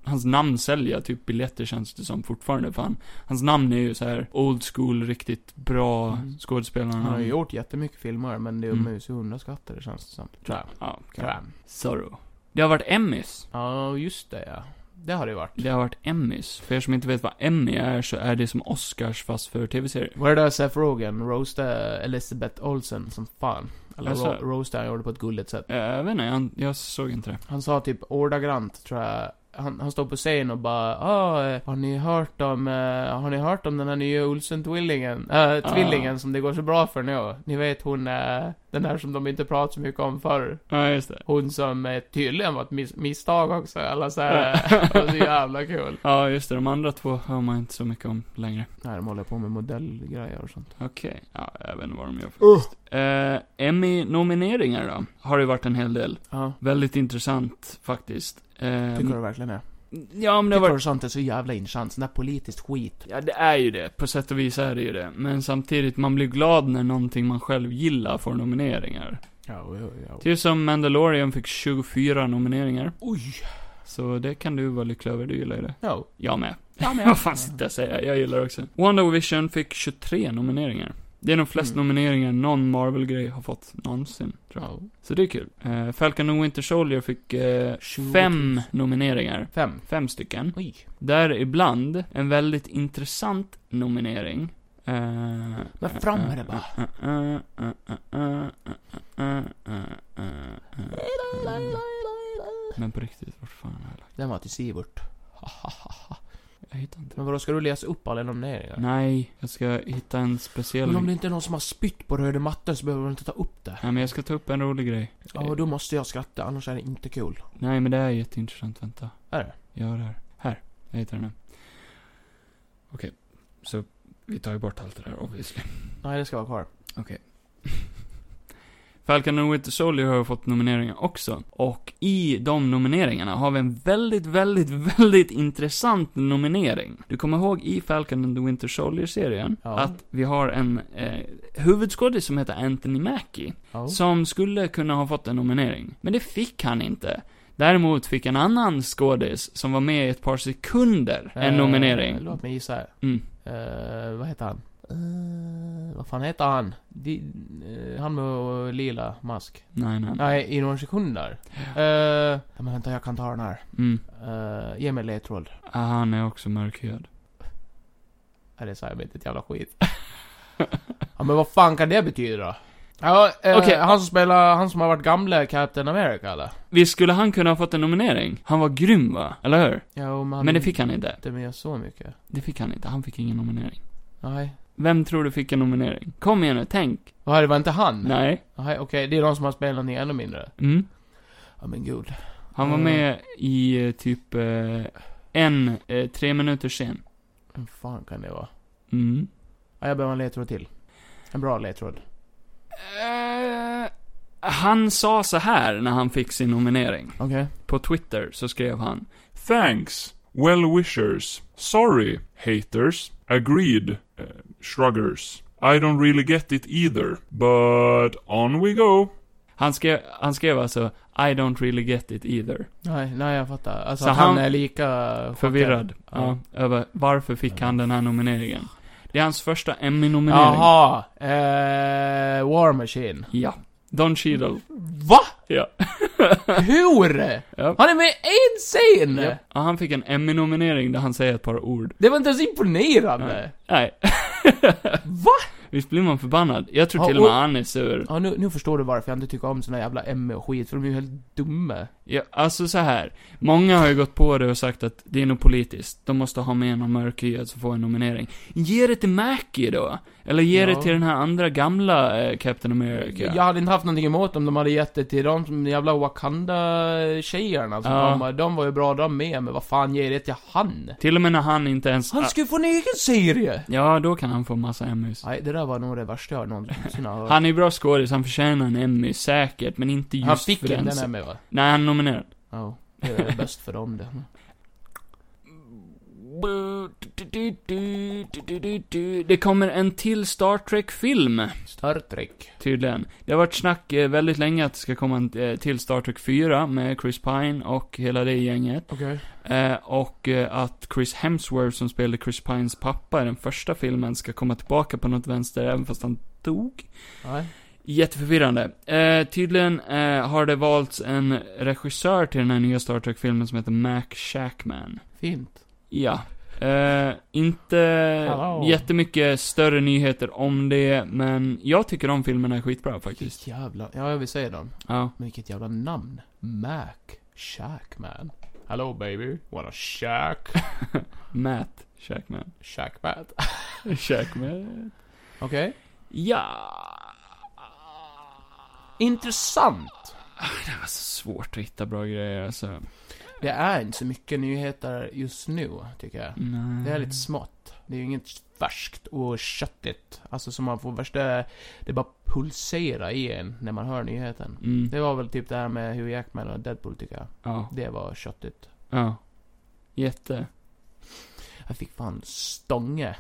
Speaker 1: Hans namn säljer typ biljetter känns det som fortfarande för han, Hans namn är ju så här old school, riktigt bra
Speaker 2: Mm.
Speaker 1: skådespelare.
Speaker 2: Han har ju gjort jättemycket filmer, men det är
Speaker 1: Mm.
Speaker 2: mm. mus i hundraskatter, det känns det som. Tror jag.
Speaker 1: Ja,
Speaker 2: Tror jag.
Speaker 1: Zorro. Det har varit Emmys.
Speaker 2: Ja, just det ja. Det har det varit.
Speaker 1: Det har varit Emmys. För er som inte vet vad Emmy är så är det som Oscars fast för tv-serier.
Speaker 2: Var det där Seth Rogen roastade Elizabeth Olsen som fan? Eller
Speaker 1: Alltså.
Speaker 2: ro- roastade han gjorde på ett gulligt sätt.
Speaker 1: Eh, Jag vet inte, jag, jag såg inte det.
Speaker 2: Han sa typ ordagrant, tror jag. Han, han står på scen och bara ah, eh, har ni hört om, eh, har ni hört om den här nya Olsen-tvillingen? Eh, tvillingen som det går så bra för nu. Ni vet hon, eh, den här som de inte pratat så mycket om förr.
Speaker 1: Ja, just det.
Speaker 2: Hon som eh, tydligen var ett mis- misstag också, eller så här. eh, det var så jävla kul.
Speaker 1: Ja, just det. De andra två hör man inte så mycket om längre.
Speaker 2: Nej, de håller på med modellgrejer och sånt.
Speaker 1: Okej. Ja, jag vet inte vad de gör faktiskt. Eh, Emmy-nomineringar då? Har det varit en hel del.
Speaker 2: Ja,
Speaker 1: Väldigt intressant, faktiskt. Eh,
Speaker 2: tycker du verkligen det?
Speaker 1: Ja, men det
Speaker 2: Tycker
Speaker 1: har varit...
Speaker 2: Typ du sånt är så jävla intressant? Sån där politiskt skit.
Speaker 1: Ja, det är ju det. På sätt och vis är det ju det. Men samtidigt, man blir glad när någonting man själv gillar får nomineringar.
Speaker 2: Ja, ja, ja.
Speaker 1: Typ som Mandalorian fick 24 nomineringar.
Speaker 2: Oj!
Speaker 1: Så det kan du vara lycklig över, du gillar ju det.
Speaker 2: Ja.
Speaker 1: Jag med.
Speaker 2: Ja,
Speaker 1: (laughs)
Speaker 2: men
Speaker 1: Vad fan sitter jag och säger? Jag gillar också. WandaVision fick 23 nomineringar. Det är de flest
Speaker 2: Mm.
Speaker 1: nomineringar någon Marvel-grej har fått någonsin, tror jag.
Speaker 2: Ja.
Speaker 1: Så det är kul. Eh, Falcon and Winter Soldier fick eh, 5 nomineringar.
Speaker 2: Fem.
Speaker 1: Fem stycken.
Speaker 2: Oj.
Speaker 1: Däribland en väldigt intressant nominering. Eh,
Speaker 2: Men fram med den bara.
Speaker 1: eh, eh, eh, eh, eh, eh, eh, eh, eh, eh. Men på riktigt, vart fan har jag lagt?
Speaker 2: Den var till Sivert.
Speaker 1: Jag hittar inte.
Speaker 2: Men vadå, ska du läsa upp alla nomineringar?
Speaker 1: Nej, jag ska hitta en speciell...
Speaker 2: Men om det inte är någon som har spytt på röda mattan så behöver du inte ta upp det.
Speaker 1: Nej men jag ska ta upp en rolig grej.
Speaker 2: Ja, då måste jag skratta, annars är det inte kul.
Speaker 1: Nej men det är jätteintressant, vänta.
Speaker 2: Är det?
Speaker 1: Jag har det här. Här, jag hittar den nu. Okej, så vi tar ju bort allt det där obviously.
Speaker 2: Nej, det ska vara kvar.
Speaker 1: Falcon and Winter Soldier har ju fått nomineringar också. Och i de nomineringarna har vi en väldigt, väldigt, (laughs) väldigt intressant nominering. Du kommer ihåg i Falcon and the Winter Soldier-serien
Speaker 2: Ja.
Speaker 1: att vi har en eh, huvudskådis som heter Anthony Mackie.
Speaker 2: Ja.
Speaker 1: Som skulle kunna ha fått en nominering. Men det fick han inte. Däremot fick en annan skådis, som var med i ett par sekunder, en
Speaker 2: Eh,
Speaker 1: nominering.
Speaker 2: Låt mig gissa. här.
Speaker 1: Mm.
Speaker 2: Eh, vad heter han? Eh, vad fan heter han? Di, eh, han med eh, lila mask.
Speaker 1: Nej, nej.
Speaker 2: Nej, i några sekunder. Uh, men vänta, jag kan ta den här.
Speaker 1: Mm.
Speaker 2: Eh, ge mig ledtråd.
Speaker 1: Ah, Han är också mörkhyad.
Speaker 2: Nej, det sa jag inte ett jävla skit. (laughs) ja, men vad fan kan det betyda då? Ja, eh,
Speaker 1: Okej.
Speaker 2: han som spelar, han som har varit gamla Captain America eller?
Speaker 1: Visst skulle han kunna ha fått en nominering? Han var grym va? Eller hur?
Speaker 2: Ja, men han
Speaker 1: Men det fick han inte.
Speaker 2: inte med så mycket.
Speaker 1: Det fick han inte. Han fick ingen nominering.
Speaker 2: Nej.
Speaker 1: Vem tror du fick en nominering? Kom igen nu, tänk.
Speaker 2: Vad det var inte han?
Speaker 1: Nej.
Speaker 2: Nej, okej, det är de som har spelat någonting ännu mindre.
Speaker 1: Mm.
Speaker 2: Ja, men gud.
Speaker 1: Han var med i eh, typ eh, en eh, tre minuter sen.
Speaker 2: Vad fan kan det vara?
Speaker 1: Mm.
Speaker 2: Ja, jag behöver en ledtråd till. En bra ledtråd.
Speaker 1: Eh, han sa så här när han fick sin nominering.
Speaker 2: Okej.
Speaker 1: På Twitter så skrev han.
Speaker 5: Thanks, well wishers. Sorry, haters. Agreed, uh, shruggers. I don't really get it either, but on we go.
Speaker 1: Han skrev, han skrev alltså I don't really get it either.
Speaker 2: Nej, nej jag fattar. Alltså
Speaker 1: Så
Speaker 2: att han,
Speaker 1: han-
Speaker 2: är lika chockad.
Speaker 1: Förvirrad.
Speaker 2: Ja.
Speaker 1: Ja, över varför fick han den här nomineringen. Det är hans första Emmy-nominering.
Speaker 2: Jaha. Eh, War Machine.
Speaker 1: Ja. Don Cheadle.
Speaker 2: Va?
Speaker 1: Ja.
Speaker 2: Hur?
Speaker 1: Ja.
Speaker 2: Han är med i scen!
Speaker 1: Mm. Ja, han fick en Emmy-nominering där han säger ett par ord.
Speaker 2: Det var inte ens imponerande.
Speaker 1: Nej,
Speaker 2: Va?
Speaker 1: (laughs) visst blir man förbannad? Jag tror
Speaker 2: Ja,
Speaker 1: till och med
Speaker 2: och-
Speaker 1: han är sur.
Speaker 2: Ja, nu, nu förstår du varför jag inte tycker om såna jävla Emmy och skit, för de är ju helt dumma.
Speaker 1: Ja, alltså så här. Många har ju gått på det och sagt att det är nog politiskt. De måste ha med någon mörkhyad som får en nominering. Ge det till Mackie då! Eller ge
Speaker 2: Ja.
Speaker 1: det till den här andra gamla eh, Captain America.
Speaker 2: Jag hade inte haft någonting emot om de hade gett det till de som- jävla Wakanda-tjejerna. som
Speaker 1: Ja.
Speaker 2: de, de var ju bra de med, men vad fan ger det till han?
Speaker 1: Till och med när han inte ens...
Speaker 2: Han ska ju få en egen serie!
Speaker 1: Ja, då kan han få massa Emmys.
Speaker 2: Nej, det där var nog det värsta jag någonsin har hört.
Speaker 1: (laughs) Han är ju bra skådis, han förtjänar en Emmy, säkert, men inte just
Speaker 2: han fick
Speaker 1: för
Speaker 2: inte
Speaker 1: den.
Speaker 2: den här
Speaker 1: Emmy.
Speaker 2: med va?
Speaker 1: Nej, han är nominerad.
Speaker 2: Ja, det är bäst för dem det.
Speaker 1: Det kommer en till Star Trek-film,
Speaker 2: Star Trek.
Speaker 1: tydligen. Det har varit snack eh, väldigt länge att det ska komma en eh, till Star Trek 4 med Chris Pine och hela det gänget.
Speaker 2: Okej.
Speaker 1: Eh, Och eh, att Chris Hemsworth, som spelade Chris Pines pappa i den första filmen, ska komma tillbaka på något vänster, även fast han dog.
Speaker 2: Nej.
Speaker 1: Jätteförvirrande. Eh, tydligen eh, har det valts en regissör till den här nya Star Trek-filmen som heter Mac Shackman.
Speaker 2: Fint.
Speaker 1: Ja. Eh, inte
Speaker 2: Hallå.
Speaker 1: jättemycket större nyheter om det, men jag tycker de filmerna är skitbra faktiskt.
Speaker 2: Vilket jävla... Ja, jag vill säga dem.
Speaker 1: Ja.
Speaker 2: Men vilket jävla namn. Mac. Shackman. Hello baby. What a shack.
Speaker 1: Matt Shackman.
Speaker 2: Shackbat.
Speaker 1: Shackman.
Speaker 2: Okej.
Speaker 1: Ja.
Speaker 2: Intressant.
Speaker 1: Det var så svårt att hitta bra grejer alltså.
Speaker 2: Det är inte så mycket nyheter just nu, tycker jag.
Speaker 1: Nej.
Speaker 2: Det är lite smått. Det är ju inget färskt och köttigt. Alltså som man får värsta... Det bara pulserar i en när man hör nyheten.
Speaker 1: Mm.
Speaker 2: Det var väl typ det här med Hugh Jackman och Deadpool tycker jag.
Speaker 1: Ja.
Speaker 2: Det var köttigt.
Speaker 1: Ja. Jätte.
Speaker 2: Jag fick fan stånge.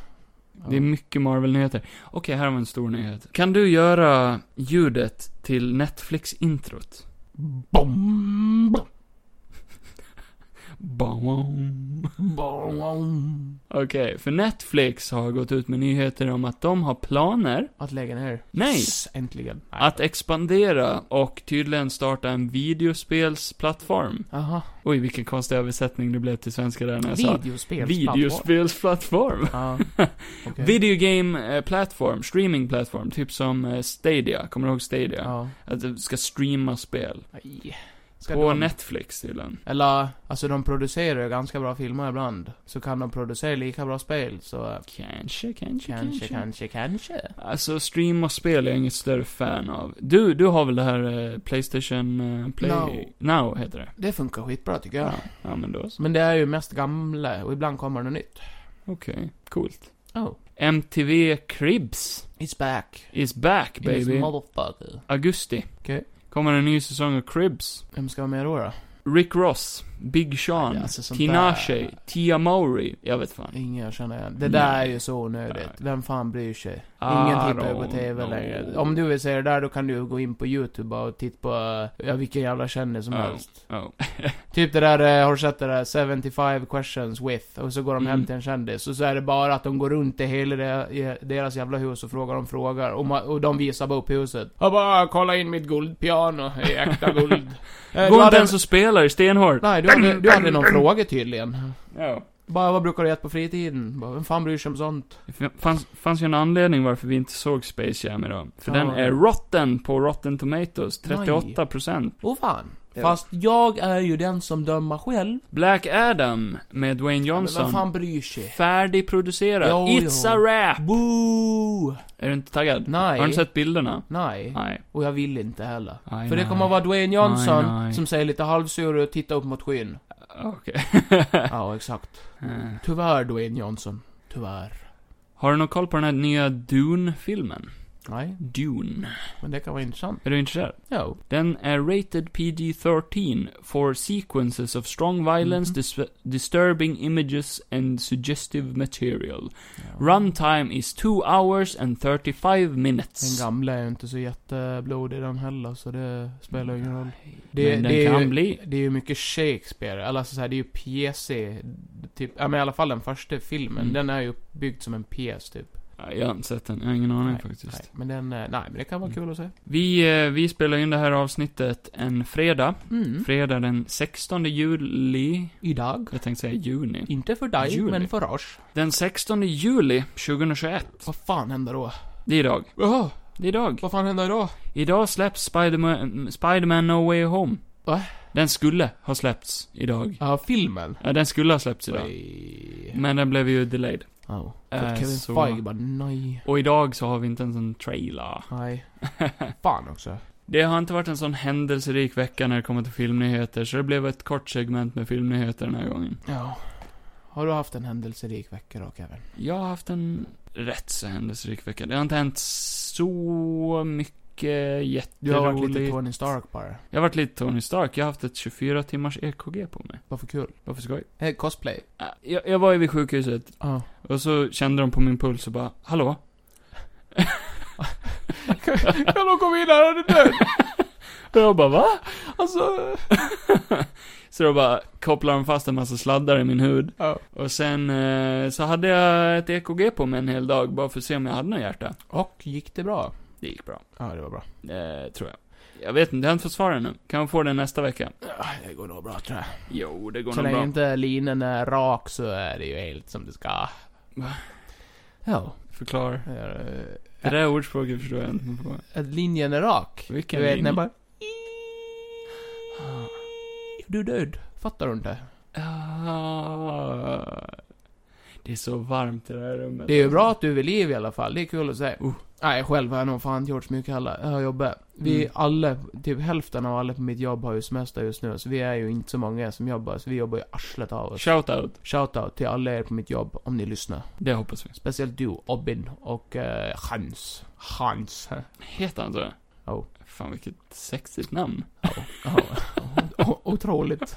Speaker 2: Ja.
Speaker 1: Det är mycket Marvel-nyheter. Okej, här har vi en stor nyhet. Kan du göra ljudet till Netflix-introt?
Speaker 2: Bom, bom,
Speaker 1: Bom.
Speaker 2: bom, bom.
Speaker 1: Okej, för Netflix har gått ut med nyheter om att de har planer
Speaker 2: Att lägga ner.
Speaker 1: Nej.
Speaker 2: S- Äntligen. Nej.
Speaker 1: att expandera och tydligen starta en videospelsplattform.
Speaker 2: Aha.
Speaker 1: Oj, vilken konstig översättning det blev till svenska där när jag sa
Speaker 2: Videospel.
Speaker 1: videospelsplattform. (laughs)
Speaker 2: Ja. Okej.
Speaker 1: Video game eh, platform, streaming platform, typ som eh, Stadia. Kommer du ihåg Stadia?
Speaker 2: Ja.
Speaker 1: Att du ska streama spel.
Speaker 2: Aj. Ska
Speaker 1: På
Speaker 2: de-
Speaker 1: Netflix tydligen.
Speaker 2: Eller, alltså de producerar ju ganska bra filmer ibland. Så kan de producera lika bra spel, så... eh,
Speaker 1: Kanske, kanske,
Speaker 2: Kanske, kanske, kanske.
Speaker 1: Alltså, stream och spel är jag inget större fan av. Du, du har väl det här eh, Playstation eh, Play...
Speaker 2: Now.
Speaker 1: Now heter det.
Speaker 2: Det funkar skitbra tycker jag.
Speaker 1: Ja, ja men då så.
Speaker 2: Men det är ju mest gamla, och ibland kommer det nytt.
Speaker 1: Okej, coolt.
Speaker 2: Oh.
Speaker 1: MTV Cribs
Speaker 2: It's back.
Speaker 1: is back
Speaker 2: It's
Speaker 1: baby.
Speaker 2: motherfucker.
Speaker 1: Augusti.
Speaker 2: Okej.
Speaker 1: Kommer en ny säsong av Cribs.
Speaker 2: Vem ska vara med då? då?
Speaker 1: Rick Ross, Big Sean,
Speaker 2: Ja, alltså sånt
Speaker 1: Tinashe,
Speaker 2: där.
Speaker 1: Tia Mowry. Jag vet fan.
Speaker 2: Ingen jag känner igen. Det
Speaker 1: Nej.
Speaker 2: där är ju så onödigt. Vem fan bryr sig? Ingen tittar ju på
Speaker 1: don't
Speaker 2: TV
Speaker 1: know.
Speaker 2: längre. Om du vill se det där, då kan du gå in på YouTube och titta på, eh, ja, vilken jävla kändis som
Speaker 1: Ja.
Speaker 2: helst.
Speaker 1: Ja.
Speaker 2: Typ det där, eh, har du sett det där 75 questions with? Och så går de hem
Speaker 1: Mm.
Speaker 2: till en kändis. Och så är det bara att de går runt i hela det- i deras jävla hus och frågar om frågor. Och, ma- och de visar bara upp huset. Jag bara, kolla in mitt guldpiano. Det är
Speaker 1: (laughs)
Speaker 2: äkta guld. Eh,
Speaker 1: Går inte
Speaker 2: hade-
Speaker 1: ens och spelar stenhårt.
Speaker 2: Nej, du hade, du hade någon fråga tydligen.
Speaker 1: Ja.
Speaker 2: Bara, vad brukar du äta på fritiden? Bara, vem fan bryr sig om sånt?
Speaker 1: Det fanns, fanns ju en anledning varför vi inte såg Space Jam idag. För
Speaker 2: Ja.
Speaker 1: den är rotten på Rotten Tomatoes, 38%.
Speaker 2: Åh fan.
Speaker 1: Ja.
Speaker 2: Fast jag är ju den som dömer själv.
Speaker 1: Black Adam med Dwayne
Speaker 2: Men
Speaker 1: Johnson.
Speaker 2: vem fan bryr sig?
Speaker 1: Färdigproducerad.
Speaker 2: Jo,
Speaker 1: It's
Speaker 2: jo.
Speaker 1: a wrap!
Speaker 2: Boo!
Speaker 1: Är du inte taggad?
Speaker 2: Nej.
Speaker 1: Har du sett bilderna?
Speaker 2: Nej.
Speaker 1: Nej.
Speaker 2: Och jag vill inte heller.
Speaker 1: Nej,
Speaker 2: För det
Speaker 1: nej.
Speaker 2: kommer vara Dwayne Johnson
Speaker 1: Nej, nej.
Speaker 2: som säger lite halvsur och tittar upp mot skyn.
Speaker 1: Okej. Äh. (laughs)
Speaker 2: (laughs) Ja, exakt.
Speaker 1: Eh.
Speaker 2: Tyvärr Dwayne Johnson. Tyvärr.
Speaker 1: Har du någon koll på den här nya Dune-filmen?
Speaker 2: Nej,
Speaker 1: Dune.
Speaker 2: men det kan vara intressant.
Speaker 1: Är du intresserad?
Speaker 2: Jo.
Speaker 1: Den är rated PG-13 for sequences of strong violence,
Speaker 2: Mhm.
Speaker 1: dis- disturbing images and suggestive material. Runtime is 2 hours and 35 minutes.
Speaker 2: Den gamla är ju inte så jätteblodig den heller, så det spelar ju ingen roll. Det,
Speaker 1: Men den
Speaker 2: det är
Speaker 1: kan
Speaker 2: ju,
Speaker 1: bli.
Speaker 2: Det är ju mycket Shakespeare, eller alltså så här, det är ju pjäser, typ, ja men i alla fall den första filmen,
Speaker 1: Mm.
Speaker 2: den är ju uppbyggd som en pjäs typ.
Speaker 1: Nej, Jag har inte sett den, jag har ingen aning
Speaker 2: Nej,
Speaker 1: faktiskt.
Speaker 2: Nej, men den, eh, nej men det kan vara
Speaker 1: Mm.
Speaker 2: kul att se.
Speaker 1: Vi, eh, vi spelar in det här avsnittet en fredag.
Speaker 2: Mm.
Speaker 1: Fredag den 16 juli.
Speaker 2: Idag.
Speaker 1: Jag tänkte säga juni.
Speaker 2: Inte för dig,
Speaker 1: Juli.
Speaker 2: men för oss.
Speaker 1: Den 16 juli 2021.
Speaker 2: Vad fan händer då?
Speaker 1: Det är idag.
Speaker 2: Jaha,
Speaker 1: Det är idag.
Speaker 2: vad fan händer då?
Speaker 1: Idag släpps Spiderman, Spider-Man No Way Home.
Speaker 2: Va?
Speaker 1: Den skulle ha släppts idag.
Speaker 2: Ja, filmen.
Speaker 1: Ja, den skulle ha släppts idag.
Speaker 2: Oj.
Speaker 1: Men den blev ju delayed.
Speaker 2: Ja.
Speaker 1: Eh,
Speaker 2: För Kevin
Speaker 1: så-
Speaker 2: Feige bara, nej.
Speaker 1: Och idag så har vi inte ens en trailer.
Speaker 2: (laughs) Nej. fan också.
Speaker 1: Det har inte varit en sån händelserik vecka när det kommer till filmnyheter, så det blev ett kort segment med filmnyheter den här gången.
Speaker 2: Ja. Har du haft en händelserik vecka då, Kevin?
Speaker 1: Jag har haft en rätt så händelserik vecka. Det har inte hänt så mycket
Speaker 2: Du har varit
Speaker 1: jätteroligt.
Speaker 2: lite Tony Stark bara.
Speaker 1: Jag har varit lite Tony Stark. Jag har haft ett 24 timmars EKG på mig.
Speaker 2: Varför kul?
Speaker 1: Varför skoj?
Speaker 2: Eh, cosplay.
Speaker 1: Äh, Jag, jag var ju vid sjukhuset
Speaker 2: (laughs) Ja.
Speaker 1: Och så kände de på min puls och bara, hallå?
Speaker 2: Kan de komma in här? Han är död!
Speaker 1: Och jag bara, va?
Speaker 2: Alltså...
Speaker 1: (laughs) Så då bara kopplade de fast en massa sladdar i min hud.
Speaker 2: (laughs) Ja.
Speaker 1: Och sen eh, så hade jag ett EKG på mig en hel dag bara för att se om jag hade något hjärta.
Speaker 2: Och gick det bra?
Speaker 1: Det gick bra.
Speaker 2: Ja, det var bra.
Speaker 1: Eh, tror jag. Jag vet inte, jag har inte fått svar ännu. Kan jag få det nästa vecka?
Speaker 2: Det går nog bra tror jag.
Speaker 1: Jo, det går
Speaker 2: Så
Speaker 1: nog
Speaker 2: länge
Speaker 1: bra.
Speaker 2: inte linen är rak så är det ju helt som det ska.
Speaker 1: Va?
Speaker 2: Ja.
Speaker 1: Förklara.
Speaker 2: eh,
Speaker 1: Det där ordspråket förstår jag inte. mig på.
Speaker 2: Att linjen är rak.
Speaker 1: Vilken
Speaker 2: du vet,
Speaker 1: linje?
Speaker 2: när bara... Ah. Du är död. Fattar du inte?
Speaker 1: Ah, det är så varmt i det här rummet.
Speaker 2: Det är ju bra att du är vid liv i alla fall, det är kul att se.
Speaker 1: Oh.
Speaker 2: Nej, själv har jag nog fan inte gjort så mycket heller. Jag har jobbat. Vi
Speaker 1: Mm.
Speaker 2: alla, typ hälften av alla på mitt jobb har ju semester just nu, så vi är ju inte så många som jobbar, så vi jobbar ju arslet av oss.
Speaker 1: Shoutout.
Speaker 2: Shoutout till alla er på mitt jobb, om ni lyssnar.
Speaker 1: Det hoppas vi.
Speaker 2: Speciellt du, Obin och eh, Hans.
Speaker 1: (laughs)
Speaker 2: Hans.
Speaker 1: Heter han så?
Speaker 2: Oh.
Speaker 1: Fan vilket sexigt namn.
Speaker 2: Ja. O- (laughs) Otroligt.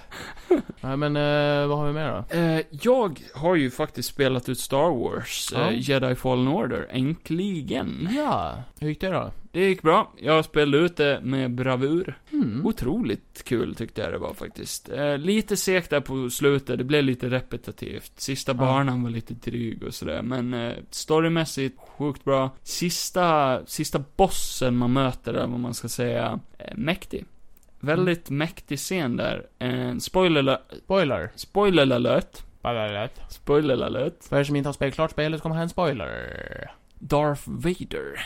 Speaker 2: Nej men, eh, vad har vi mer då?
Speaker 1: Eh, jag har ju faktiskt spelat ut Star Wars,
Speaker 2: Ja.
Speaker 1: eh, Jedi Fallen Order, äntligen.
Speaker 2: Ja, hur gick det då?
Speaker 1: Det gick bra. Jag spelade ut det med bravur.
Speaker 2: Mm.
Speaker 1: Otroligt kul tyckte jag det var faktiskt. Eh, lite segt där på slutet, det blev lite repetitivt. Sista
Speaker 2: Ja.
Speaker 1: banan var lite dryg och sådär, men eh, storymässigt sjukt bra. Sista, sista bossen man möter, eller vad man ska säga, eh, mäktig. Väldigt
Speaker 2: Mm.
Speaker 1: mäktig scen där. Eh, spoiler,
Speaker 2: Spoiler.
Speaker 1: spoiler alert.
Speaker 2: Spoiler.
Speaker 1: Spoiler alert.
Speaker 2: För er som inte har spelat klart spelet så kommer här en spoiler.
Speaker 1: Darth Vader.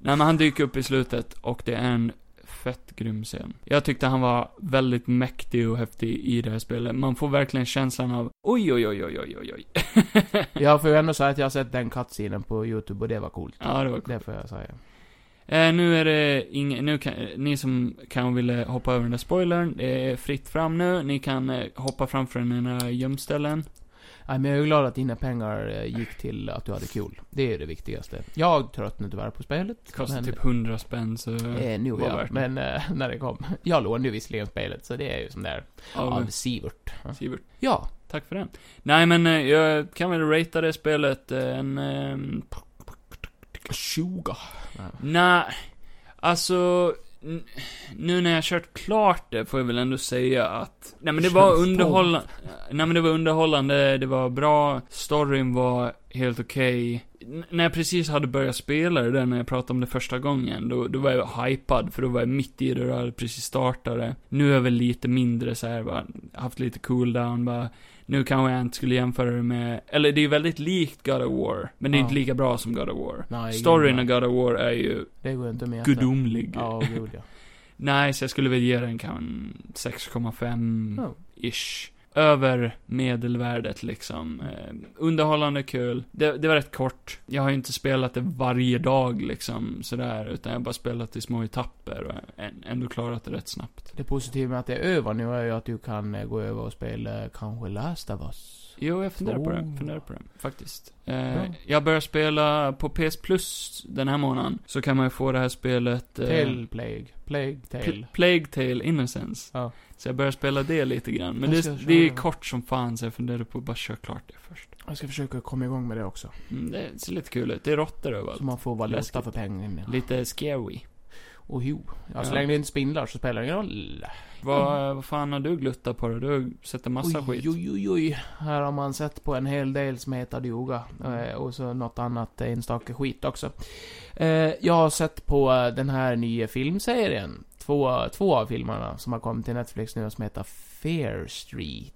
Speaker 1: Nej men han dyker upp i slutet och det är en fett grym scen. Jag tyckte han var väldigt mäktig och häftig i det här spelet. Man får verkligen känslan av oj, oj, oj, oj, oj, oj, oj.
Speaker 2: Jag får ju ändå säga att jag har sett den cutscenen på YouTube och det var coolt.
Speaker 1: Ja, det var coolt.
Speaker 2: Det får jag säga.
Speaker 1: Eh, nu är det ingen, nu kan, ni som kan och ville hoppa över den där spoilern, det är fritt fram nu. Ni kan eh, hoppa framför den här gömställen.
Speaker 2: Nej, men jag är ju glad att dina pengar eh, gick till att du hade kul. Det är ju det viktigaste. Jag tröttnade tyvärr på spelet.
Speaker 1: Det kostar
Speaker 2: men,
Speaker 1: typ 100 spänn så...
Speaker 2: Eh, nu
Speaker 1: var Mm.
Speaker 2: ja,
Speaker 1: värt det.
Speaker 2: men eh, (laughs) när det kom. Jag lånade ju visserligen spelet, så det är ju som där av
Speaker 1: av
Speaker 2: Sivert.
Speaker 1: Sivert.
Speaker 2: Ja.
Speaker 1: Tack för den. Nej men eh, jag kan väl ratea det spelet eh, en... Eh,
Speaker 2: 20.
Speaker 1: nej, alltså... n- Nu när jag kört klart det får jag väl ändå säga att... Nej men det var
Speaker 2: Känns
Speaker 1: underhållande... Nej men det var underhållande, det var bra, storyn var helt okej. N- När jag precis hade börjat spela det där, när jag pratade om det första gången, då, då var jag hypad, för då var jag mitt i det, och hade precis startat det. Nu är jag väl lite mindre så här, bara, haft lite cooldown, bara... Nu kanske jag inte skulle jämföra det med, eller det är ju väldigt likt God of War, men det är
Speaker 2: Ja.
Speaker 1: inte lika bra som God of War.
Speaker 2: Nej,
Speaker 1: Storyn
Speaker 2: gud,
Speaker 1: i
Speaker 2: nej.
Speaker 1: God of War är ju
Speaker 2: Det går ju inte med.
Speaker 1: gudomlig.
Speaker 2: Ja, gud
Speaker 1: Mm.
Speaker 2: ja.
Speaker 1: Nej, så jag skulle väl ge den kanske en 6,5-ish. över medelvärdet liksom. Eh, underhållande kul. Det, det var rätt kort. Jag har ju inte spelat det varje dag liksom sådär, utan jag har bara spelat i små etapper och än- ändå klarat det rätt snabbt.
Speaker 2: Det positiva med att det är över nu är ju att du kan eh, gå över och spela eh, kanske Last of Us.
Speaker 1: Jo, jag funderar på det.
Speaker 2: Oh.
Speaker 1: Funderar på det, faktiskt.
Speaker 2: Bra.
Speaker 1: Eh, jag börjar spela på PS Plus den här månaden, så kan man ju få det här spelet... eh,
Speaker 2: Tale Plague. Plague
Speaker 1: Pl-
Speaker 2: Tale.
Speaker 1: Plague Tale Innocence.
Speaker 2: Ja.
Speaker 1: Så jag börjar spela det lite grann. Men
Speaker 2: Jag ska
Speaker 1: det,
Speaker 2: köra
Speaker 1: det är
Speaker 2: det.
Speaker 1: kort som fan, så jag funderar på att bara köra klart det först.
Speaker 2: Jag ska försöka komma igång med det också.
Speaker 1: Mm, det ser lite kul ut. Det är råttor överallt.
Speaker 2: Så man får valuta
Speaker 1: Läskigt.
Speaker 2: för pengarna.
Speaker 1: Lite scary.
Speaker 2: Och jo. Ja, så
Speaker 1: Ja.
Speaker 2: länge det inte spindlar så spelar det ingen roll.
Speaker 1: Vad, vad fan har du gluttat på då? Du har sett en massa skit.
Speaker 2: Mm. oj, oj, oj, oj. Här har man sett på en hel del som heter Dioga. eh, Och så något annat enstaka skit också. Eh, Jag har sett på eh, den här nya filmserien. Två, två av filmerna som har kommit till Netflix nu som heter Fair Street.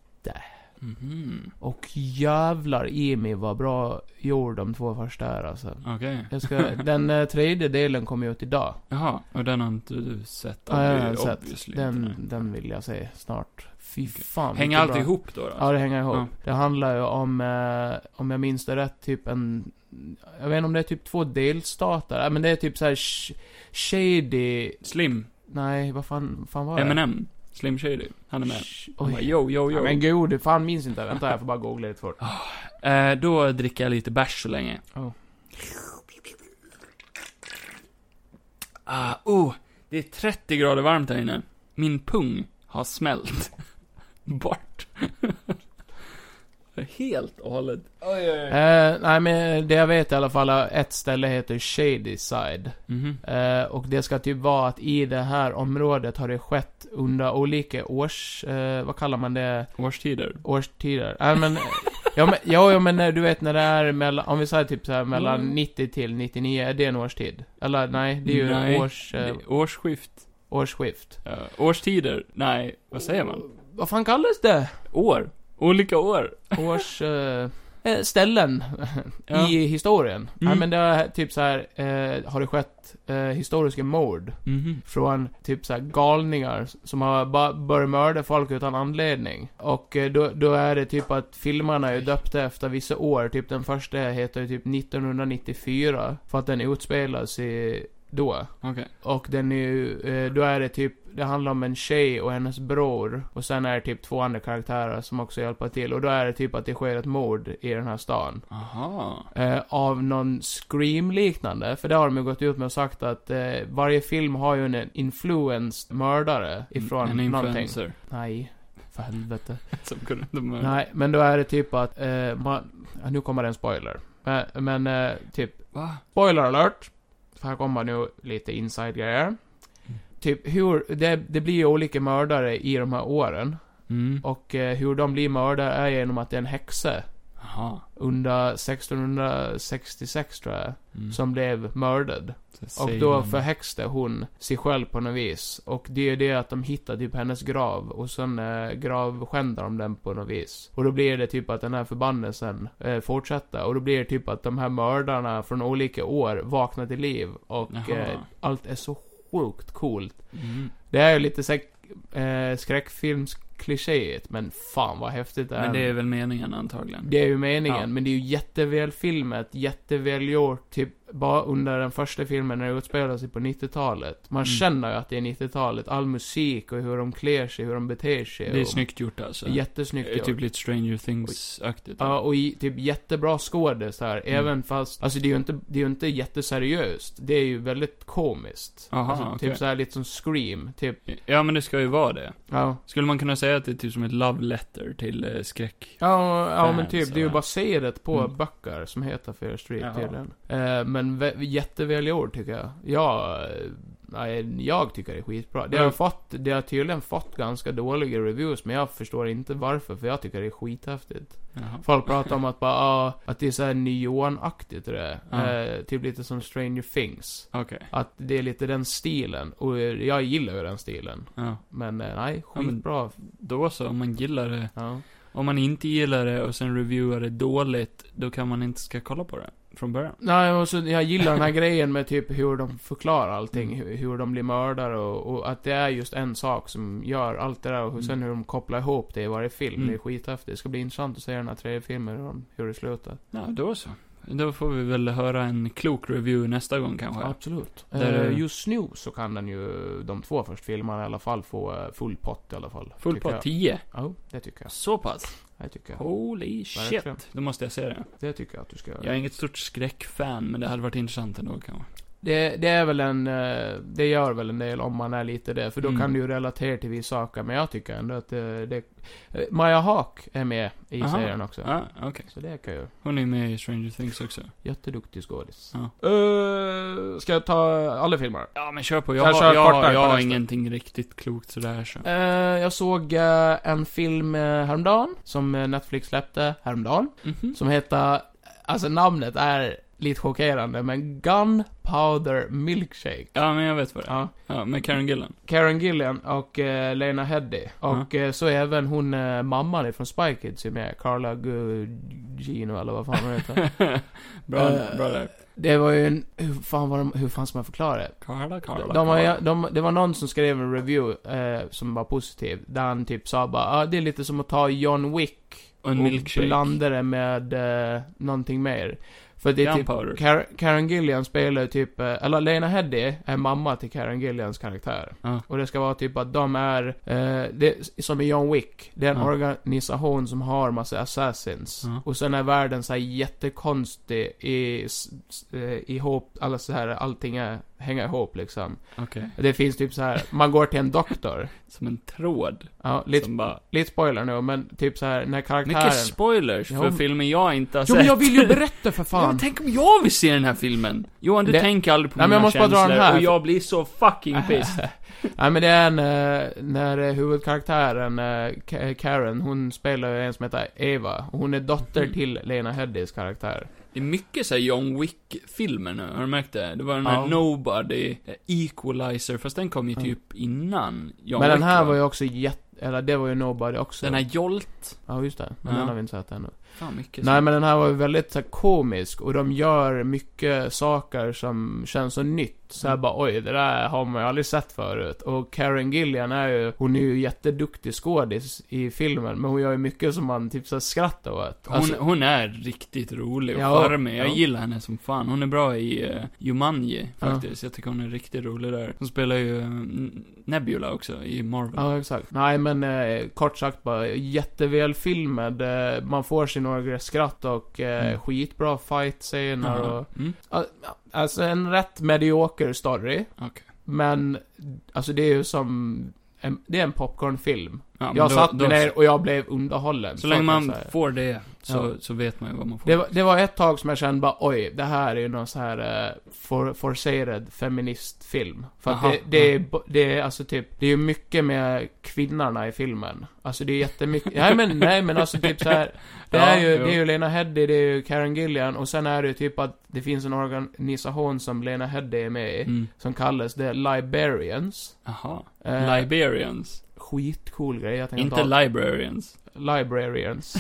Speaker 1: Mhm.
Speaker 2: Och jävlar i mig vad bra gjord de två första är alltså.
Speaker 1: Okej.
Speaker 2: Jag ska,
Speaker 1: (laughs)
Speaker 2: den eh, tredje delen kom ut idag.
Speaker 1: Jaha, och den har inte du sett?
Speaker 2: Ja, jag har
Speaker 1: Obvi-
Speaker 2: sett.
Speaker 1: obviously inte,
Speaker 2: Den,
Speaker 1: nej.
Speaker 2: den vill jag se snart. Fy fan.
Speaker 1: Hänger
Speaker 2: vilken
Speaker 1: allt
Speaker 2: bra-
Speaker 1: ihop då? då?
Speaker 2: Ja, det hänger ihop.
Speaker 1: Ja.
Speaker 2: Det handlar ju om, eh, om jag minns det rätt, typ en... Jag vet inte om det är typ två delstater. Ja, men det är typ så här sh- shady...
Speaker 1: Slim,
Speaker 2: Nej, vad fan, fan var det?
Speaker 1: M&M Slim Shady. Han är med.
Speaker 2: Sh-
Speaker 1: Han bara,
Speaker 2: Oj.
Speaker 1: yo, yo,
Speaker 2: Ja,
Speaker 1: yo.
Speaker 2: men gode, fan minns inte. Vänta, jag får bara googla lite fort.
Speaker 1: Eh, då dricker jag lite bärs så länge.
Speaker 2: Oh.
Speaker 1: Ah, oh, det är 30 grader varmt här inne. Min pung har smält. (laughs) Bort. (laughs) Helt och hållet. Oj, oj, oj.
Speaker 2: Eh, nej, men det jag vet i alla fall är ett ställe heter Shady Side.
Speaker 1: Mhm.
Speaker 2: Eh, och det ska typ vara att i det här området har det skett under olika års... Eh, vad kallar man det?
Speaker 1: Årstider.
Speaker 2: årstider. Nej men, ja men, ja, ja, men eh, du vet när det är mellan, om vi säger typ så här mellan
Speaker 1: Mm.
Speaker 2: 90 till 99, är det en årstid? Eller nej, det är ju
Speaker 1: Nej,
Speaker 2: en års, eh,
Speaker 1: Det- Årsskift.
Speaker 2: årsskift.
Speaker 1: Ja, årstider. Nej, vad säger man?
Speaker 2: Vad fan kallas det?
Speaker 1: År. Olika år.
Speaker 2: Års...
Speaker 1: (laughs)
Speaker 2: Eh, eh, ställen
Speaker 1: Ja.
Speaker 2: i historien. Nej
Speaker 1: Mm.
Speaker 2: men det är typ så här eh, har det skett eh, historiska mord
Speaker 1: Mhm.
Speaker 2: från typ så här galningar som har bara börjat mörda folk utan anledning. Och eh, då, då är det typ att filmerna är döpta efter vissa år. Typ den första heter ju typ 1994 för att den utspelas i då.
Speaker 1: Okej.
Speaker 2: Och den är ju, eh, då är det typ, det handlar om en tjej och hennes bror. Och sen är det typ två andra karaktärer som också hjälper till. Och då är det typ att det sker ett mord i den här stan.
Speaker 1: Aha.
Speaker 2: Eh, av någon Scream-liknande, för det har de ju gått ut med och sagt att eh, varje film har ju en influenced mördare ifrån
Speaker 1: En
Speaker 2: någonting.
Speaker 1: influencer.
Speaker 2: Nej, för helvete. (laughs)
Speaker 1: Som kunde inte möta.
Speaker 2: Nej, men då är det typ att, eh, man, ja, nu kommer det en spoiler. Men, men eh, typ,
Speaker 1: Va?
Speaker 2: spoiler alert! För här kommer nu lite inside-grejer. Typ hur, det, det blir ju olika mördare i de här åren.
Speaker 1: Mm.
Speaker 2: Och eh, hur de blir mördare är genom att det är en häxa
Speaker 1: Jaha.
Speaker 2: under 1666 tror jag.
Speaker 1: Mm.
Speaker 2: som blev mördad.
Speaker 1: Så
Speaker 2: Och
Speaker 1: säger
Speaker 2: då
Speaker 1: man-
Speaker 2: förhäxte hon sig själv på något vis. Och det är ju det att de hittar typ hennes grav och sen eh, gravskändar de den på något vis. Och då blir det typ att den här förbannelsen eh, fortsätter. Och då blir det typ att de här mördarna från olika år vaknar till liv. Och
Speaker 1: Jaha.
Speaker 2: eh, allt är så sjukt coolt.
Speaker 1: Mm.
Speaker 2: Det är ju lite så här, eh, skräckfilmsklichéigt men fan vad häftigt det är.
Speaker 1: Men det är väl meningen antagligen.
Speaker 2: Det är ju meningen,
Speaker 1: Ja.
Speaker 2: men det är ju jätteväl filmat, jätteväl gjort, typ bara under den första filmen när det utspelar sig på 90-talet. Man
Speaker 1: Mm.
Speaker 2: känner ju att det är 90-talet, all musik och hur de klär sig, hur de beter sig.
Speaker 1: Det är
Speaker 2: och
Speaker 1: snyggt gjort alltså.
Speaker 2: Jättesnyggt
Speaker 1: Det är Typ
Speaker 2: gjort.
Speaker 1: lite Stranger Things-aktigt.
Speaker 2: Ja, och i, typ jättebra skådis här,
Speaker 1: Mm.
Speaker 2: även fast, alltså det är ju inte, det är ju inte jätteseriöst. Det är ju väldigt komiskt.
Speaker 1: Aha,
Speaker 2: alltså,
Speaker 1: okej.
Speaker 2: Typ såhär lite som Scream, typ,
Speaker 1: Ja, men det ska ju vara det.
Speaker 2: ja.
Speaker 1: Skulle man kunna säga att det är typ som ett love letter till eh, skräck?
Speaker 2: Ja, ja men
Speaker 1: Fans
Speaker 2: typ,
Speaker 1: och
Speaker 2: det är ju
Speaker 1: det.
Speaker 2: baserat på
Speaker 1: Mm.
Speaker 2: böcker som heter Fear Street
Speaker 1: Jaha.
Speaker 2: tydligen. Eh, men vä- jätteväl gjord tycker jag. Jag, eh, nej, jag tycker det är skitbra. Det har,
Speaker 1: Mm.
Speaker 2: fått, det har tydligen fått ganska dåliga reviews, men jag förstår inte varför, för jag tycker det är skithäftigt.
Speaker 1: Jaha.
Speaker 2: Folk pratar om att bara, ah, att det är såhär neonaktigt och det.
Speaker 1: Ja.
Speaker 2: Eh, typ lite som Stranger Things.
Speaker 1: Okej.
Speaker 2: Att det är lite den stilen, och eh, jag gillar ju den stilen.
Speaker 1: Ja.
Speaker 2: Men eh, nej,
Speaker 1: Ja, men-
Speaker 2: skitbra.
Speaker 1: Då så, om man gillar det.
Speaker 2: Ja.
Speaker 1: Om man inte gillar det och sen reviewar det dåligt, då kan man inte ska kolla på det.
Speaker 6: från början.
Speaker 2: Nej, och så jag gillar den här grejen med typ hur de förklarar allting, hur, hur de blir mördare och, och att det är just en sak som gör allt det där och hur, sen hur de kopplar ihop det i varje film.
Speaker 6: Mm.
Speaker 2: Det är skithäftigt. Det ska bli intressant att se den här tredje filmen hur, de, hur det slutar.
Speaker 1: Ja, då så. Då får vi väl höra en klok review nästa gång kanske.
Speaker 2: Absolut.
Speaker 1: Där-
Speaker 2: Eh, just nu så kan den ju, de två första filmerna i alla fall få eh, full pott i alla fall.
Speaker 1: Full Oh.
Speaker 2: tycker
Speaker 1: på
Speaker 2: jag.
Speaker 1: 10.
Speaker 2: Ja, det tycker jag.
Speaker 1: Så pass?
Speaker 2: Det tycker jag.
Speaker 1: Holy
Speaker 2: Verkligen.
Speaker 1: shit. Då måste jag se det.
Speaker 2: Det tycker jag att du ska göra.
Speaker 1: Jag är inget stort skräckfan, men det hade varit intressant ändå kanske.
Speaker 2: Det, det är väl en, eh, det gör väl en del om man är lite det, för då
Speaker 1: Mm.
Speaker 2: kan du ju relatera till vissa saker, men jag tycker ändå att det, det eh, Maja Hawk är med i
Speaker 1: Aha.
Speaker 2: serien också.
Speaker 1: Ja, okej.
Speaker 2: Så det kan ju,
Speaker 1: Hon är med i Stranger Things också.
Speaker 2: jätteduktig skådis.
Speaker 1: Ja.
Speaker 2: Eh, ska jag ta alla filmer?
Speaker 1: Ja, men kör på. Jag,
Speaker 2: Jag
Speaker 1: jag,
Speaker 2: kör
Speaker 1: jag,
Speaker 2: kortare på
Speaker 1: jag har
Speaker 2: nästa.
Speaker 1: ingenting riktigt klokt sådär så.
Speaker 2: Eh, jag såg eh, en film eh, häromdagen, som eh, Netflix släppte häromdagen,
Speaker 1: Mhm.
Speaker 2: som heter, alltså namnet är lite chockerande, men Gunpowder Milkshake.
Speaker 1: Ja, men jag vet vad det är.
Speaker 2: Ja.
Speaker 1: Ja, med Karen Gillan.
Speaker 2: Karen Gillian och eh, Lena Headey. Och eh, så är även hon eh, mamman från Spy Kids är med. Carla Gugino eller vad fan hon (laughs) heter.
Speaker 1: (laughs) bra,
Speaker 2: Eh,
Speaker 1: bra där.
Speaker 2: det var ju en... Hur fan, var de, hur fan ska man förklara det?
Speaker 1: Carla, Carla.
Speaker 2: De var,
Speaker 1: Carla.
Speaker 2: ju- de, det var någon som skrev en review eh, som var positiv. Där han typ sa bara ah, det är lite som att ta John Wick
Speaker 1: Och en milkshake.
Speaker 2: blanda det med eh, någonting mer. För det är typ
Speaker 1: Gunpowder.
Speaker 2: Kar- Karen Gillian spelar typ, eh, eller Lena Headey är mamma till Karen Gillians karaktär.
Speaker 1: Ja.
Speaker 2: Och det ska vara typ att de är, eh, det, som i John Wick, det är en
Speaker 1: Ja.
Speaker 2: organisation som har massa assassins.
Speaker 1: Ja.
Speaker 2: Och sen är världen så här jättekonstig i, s- s- eh, ihop, alla så här, allting är, hänger ihop liksom.
Speaker 1: Okej.
Speaker 2: Det finns typ så här, man går till en doktor.
Speaker 1: Som en tråd.
Speaker 2: Ja, lite,
Speaker 1: Som bara...
Speaker 2: lite spoiler nu, men typ så här när karaktären...
Speaker 1: Mycket spoilers
Speaker 2: Ja,
Speaker 1: för
Speaker 2: men-
Speaker 1: filmer jag inte har
Speaker 2: Jo
Speaker 1: sett.
Speaker 2: men jag vill ju berätta
Speaker 1: (laughs)
Speaker 2: för
Speaker 1: Ja,
Speaker 2: fan!
Speaker 1: men tänk om jag vill se den här filmen! Johan, du
Speaker 2: Det-
Speaker 1: tänker aldrig på
Speaker 2: Nej, men
Speaker 1: mina
Speaker 2: jag måste bara dra
Speaker 1: känslor
Speaker 2: den här.
Speaker 1: och jag blir så
Speaker 2: (laughs)
Speaker 1: fucking pissed.
Speaker 2: Nej men det är en, eh, när eh, huvudkaraktären eh, Ka- Karen, hon spelar ju en som heter Eva. Och Hon är dotter
Speaker 1: Mhm.
Speaker 2: till Lena Heddeys karaktär.
Speaker 1: Det är mycket såhär John Wick-filmer nu, har du märkt det? Det var den här
Speaker 2: Ja.
Speaker 1: Nobody, eh, Equalizer, fast den kom ju
Speaker 2: Ja.
Speaker 1: typ innan John
Speaker 2: men
Speaker 1: Wick.
Speaker 2: den här
Speaker 1: va?
Speaker 2: var ju också jätte, eller det var ju Nobody också.
Speaker 1: Den här Jolt.
Speaker 2: Ja just det, men
Speaker 1: Ja.
Speaker 2: den har vi inte sett ännu.
Speaker 1: Fan mycket
Speaker 2: Nej
Speaker 1: sånt.
Speaker 2: men den här var ju väldigt så här, komisk och de gör mycket saker som känns så nytt. Så
Speaker 1: Mm.
Speaker 2: här bara oj, det där har man ju aldrig sett förut. Och Karen Gillian är ju, hon är ju jätteduktig skådis i filmen. Men hon gör ju mycket som man typ så här, skrattar åt.
Speaker 1: Hon,
Speaker 2: Alltså-
Speaker 1: hon är riktigt rolig och
Speaker 2: Ja,
Speaker 1: charmig. Jag
Speaker 2: ja.
Speaker 1: gillar henne som fan. Hon är bra i uh, Jumanji,
Speaker 2: Ja.
Speaker 1: faktiskt. Jag tycker hon är riktigt rolig där. Hon spelar ju eh, N- Nebula också i Marvel.
Speaker 2: Ja, exakt. Nej, men eh, kort sagt bara jättevälfilmad. Eh, man får sig några skratt och eh,
Speaker 1: Mm.
Speaker 2: skitbra fight-scener och...
Speaker 1: Mm.
Speaker 2: Al- Alltså en rätt medioker story.
Speaker 1: Okej.
Speaker 2: Men, alltså det är ju som... En, det är en popcornfilm.
Speaker 1: Ja, men
Speaker 2: jag
Speaker 1: då-
Speaker 2: satt mig
Speaker 1: då-
Speaker 2: ner och jag blev underhållen.
Speaker 1: Så länge
Speaker 2: kan jag
Speaker 1: man
Speaker 2: säga.
Speaker 1: får det, så,
Speaker 2: Ja.
Speaker 1: så vet man ju vad man får.
Speaker 2: Det var, det var ett tag som jag kände bara oj, det här är ju någon så här eh, for, forcerad feministfilm. För att
Speaker 1: Aha,
Speaker 2: det, det, är, bo- det är alltså typ, det är ju mycket med kvinnorna i filmen. Alltså det är jättemycket, nej men nej men alltså typ så här. Det
Speaker 1: Ja,
Speaker 2: är ju,
Speaker 1: jo.
Speaker 2: det är ju Lena Headey, det är ju Karen Gillian och sen är det ju typ att det finns en organisation som Lena Headey är med i.
Speaker 1: Mm.
Speaker 2: Som kallas The Liberians.
Speaker 1: Aha.
Speaker 2: Eh,
Speaker 1: Liberians.
Speaker 2: skitcool grej, jag tänker
Speaker 1: Inte
Speaker 2: ta
Speaker 1: librarians. (laughs)
Speaker 2: Librarians.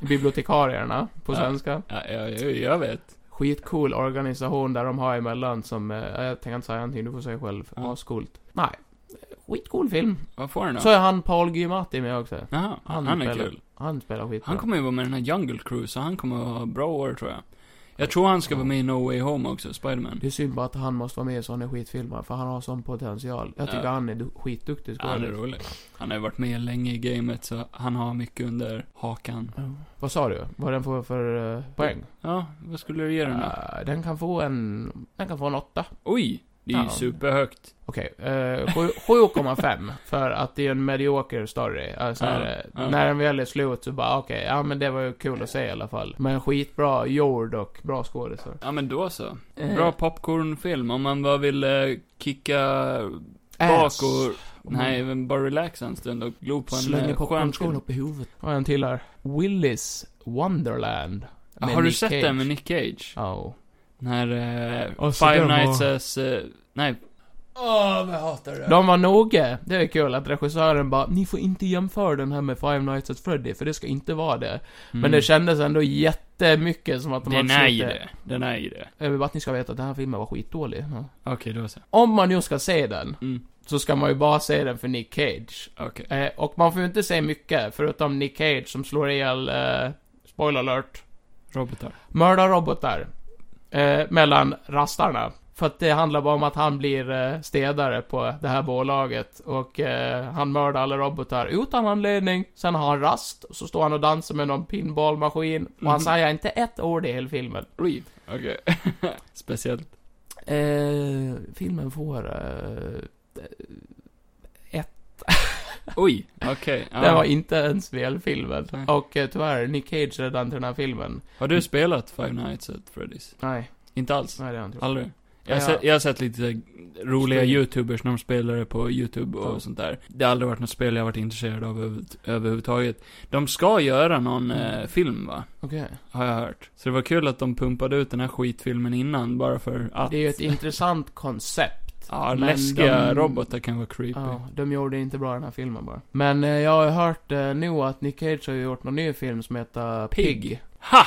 Speaker 2: Bibliotekarierna, på
Speaker 1: Ja.
Speaker 2: svenska.
Speaker 1: Ja, ja, ja, jag vet.
Speaker 2: skitcool organisation där de har emellan som, eh, jag tänker inte säga någonting, du får säga själv.
Speaker 1: Ja.
Speaker 2: Ascoolt. Nej. Skitcool film.
Speaker 1: Vad får den då?
Speaker 2: Så är han Paul Giamatti med också.
Speaker 1: Jaha, han,
Speaker 2: Han
Speaker 1: är
Speaker 2: spelar-
Speaker 1: kul.
Speaker 2: Han spelar skitbra.
Speaker 1: Han kommer ju vara med i den här Jungle Cruise, så han kommer att ha bra år tror jag. Jag tror han ska vara med i No Way Home också, Spiderman.
Speaker 2: Det är synd bara att han måste vara med i såna skitfilmer, för han har sån potential. Jag tycker
Speaker 1: Ja.
Speaker 2: han är du- skitduktig
Speaker 1: Ja, Han är
Speaker 2: skådis.
Speaker 1: rolig. Han har ju varit med länge i gamet, så han har mycket under hakan.
Speaker 2: Ja. Vad sa du? Vad den får för eh, poäng?
Speaker 1: Ja, vad skulle du ge den då?
Speaker 2: Eh, den kan få en... Den kan få en åtta.
Speaker 1: Oj! Det är ju
Speaker 2: ja.
Speaker 1: superhögt.
Speaker 2: Okej, eh, sju- 7,5 för att det är en medioker story. Alltså,
Speaker 1: Ja,
Speaker 2: här, eh,
Speaker 1: ja.
Speaker 2: När den väl är slut så bara okej, ja men det var ju kul att se i alla fall. Men skitbra gjord och bra skådisar.
Speaker 1: Ja, men då så.
Speaker 2: Eh,
Speaker 1: Bra popcornfilm om man bara vill eh, kicka
Speaker 2: ass.
Speaker 1: bak
Speaker 2: Om
Speaker 1: och...
Speaker 2: man
Speaker 1: Nej, men bara relaxa en stund och glo på en
Speaker 2: Slänger
Speaker 1: eh, skön
Speaker 2: popcornskålen
Speaker 1: film.
Speaker 2: upp Mm. i huvudet. Och en till här. Willis Wonderland.
Speaker 1: Ja,
Speaker 2: med
Speaker 1: Har du
Speaker 2: Nick
Speaker 1: sett
Speaker 2: Cage. Oh.
Speaker 1: den med Nick Cage?
Speaker 2: Ja.
Speaker 1: Den här... eh,
Speaker 2: Och så
Speaker 1: Five
Speaker 2: de har-
Speaker 1: Nights as... eh, nej,
Speaker 2: De var noga. Det är kul att regissören bara, ni får inte jämföra den här med Five Nights at Freddy, för det ska inte vara det. Men det kändes ändå jätte jättemycket som att de
Speaker 1: Den
Speaker 2: hade
Speaker 1: är
Speaker 2: sett
Speaker 1: ju Mm. det. Den är ju det.
Speaker 2: Jag vill bara att ni ska veta att den här filmen var skitdålig. Ja.
Speaker 1: Okej, då så.
Speaker 2: Om man nu ska se den,
Speaker 1: Mm.
Speaker 2: så ska man ju bara se den för Nick Cage.
Speaker 1: Okej.
Speaker 2: Eh, och man får ju inte se mycket, förutom Nick Cage som slår ihjäl, eh, spoiler alert,
Speaker 1: Robotar.
Speaker 2: mördar robotar. Eh, mellan rastarna. För att det handlar bara om att han blir eh, städare på det här bolaget. Och eh, han mördar alla robotar utan anledning. Sen har han rast, och så står han och dansar med någon pinballmaskin. Och han säger inte ett ord i hela filmen.
Speaker 1: Reeve. Okej. (laughs) Speciellt.
Speaker 2: Eh, filmen får... Eh,
Speaker 1: Oj, okej. ja.
Speaker 2: (laughs) Det var inte ens välfilmen.
Speaker 1: Nej.
Speaker 2: Och eh, tyvärr, Nick Cage redan till den här filmen.
Speaker 1: Har du spelat Five Nights at Freddy's?
Speaker 2: Nej,
Speaker 1: Inte alls?
Speaker 2: nej det har jag inte gjort.
Speaker 1: Aldrig? Jag har,
Speaker 2: Ja.
Speaker 1: sett, jag har sett lite roliga
Speaker 2: Spel.
Speaker 1: youtubers när de spelar på youtube och
Speaker 2: Ja.
Speaker 1: sånt där. Det har aldrig varit något spel jag har varit intresserad av över, överhuvudtaget. De ska göra någon
Speaker 2: Mm.
Speaker 1: eh, film va?
Speaker 2: Okej.
Speaker 1: Har jag hört. Så det var kul att de pumpade ut den här skitfilmen innan bara för att.
Speaker 2: Det är ju ett intressant koncept.
Speaker 1: Ja,
Speaker 2: men
Speaker 1: läskiga
Speaker 2: de-
Speaker 1: robotar kan vara creepy.
Speaker 2: Ja, de gjorde inte bra den här filmen bara. Men eh, jag har ju hört eh, nu att Nick Cage har ju gjort någon ny film som heter Pig.
Speaker 1: Pig. Ha!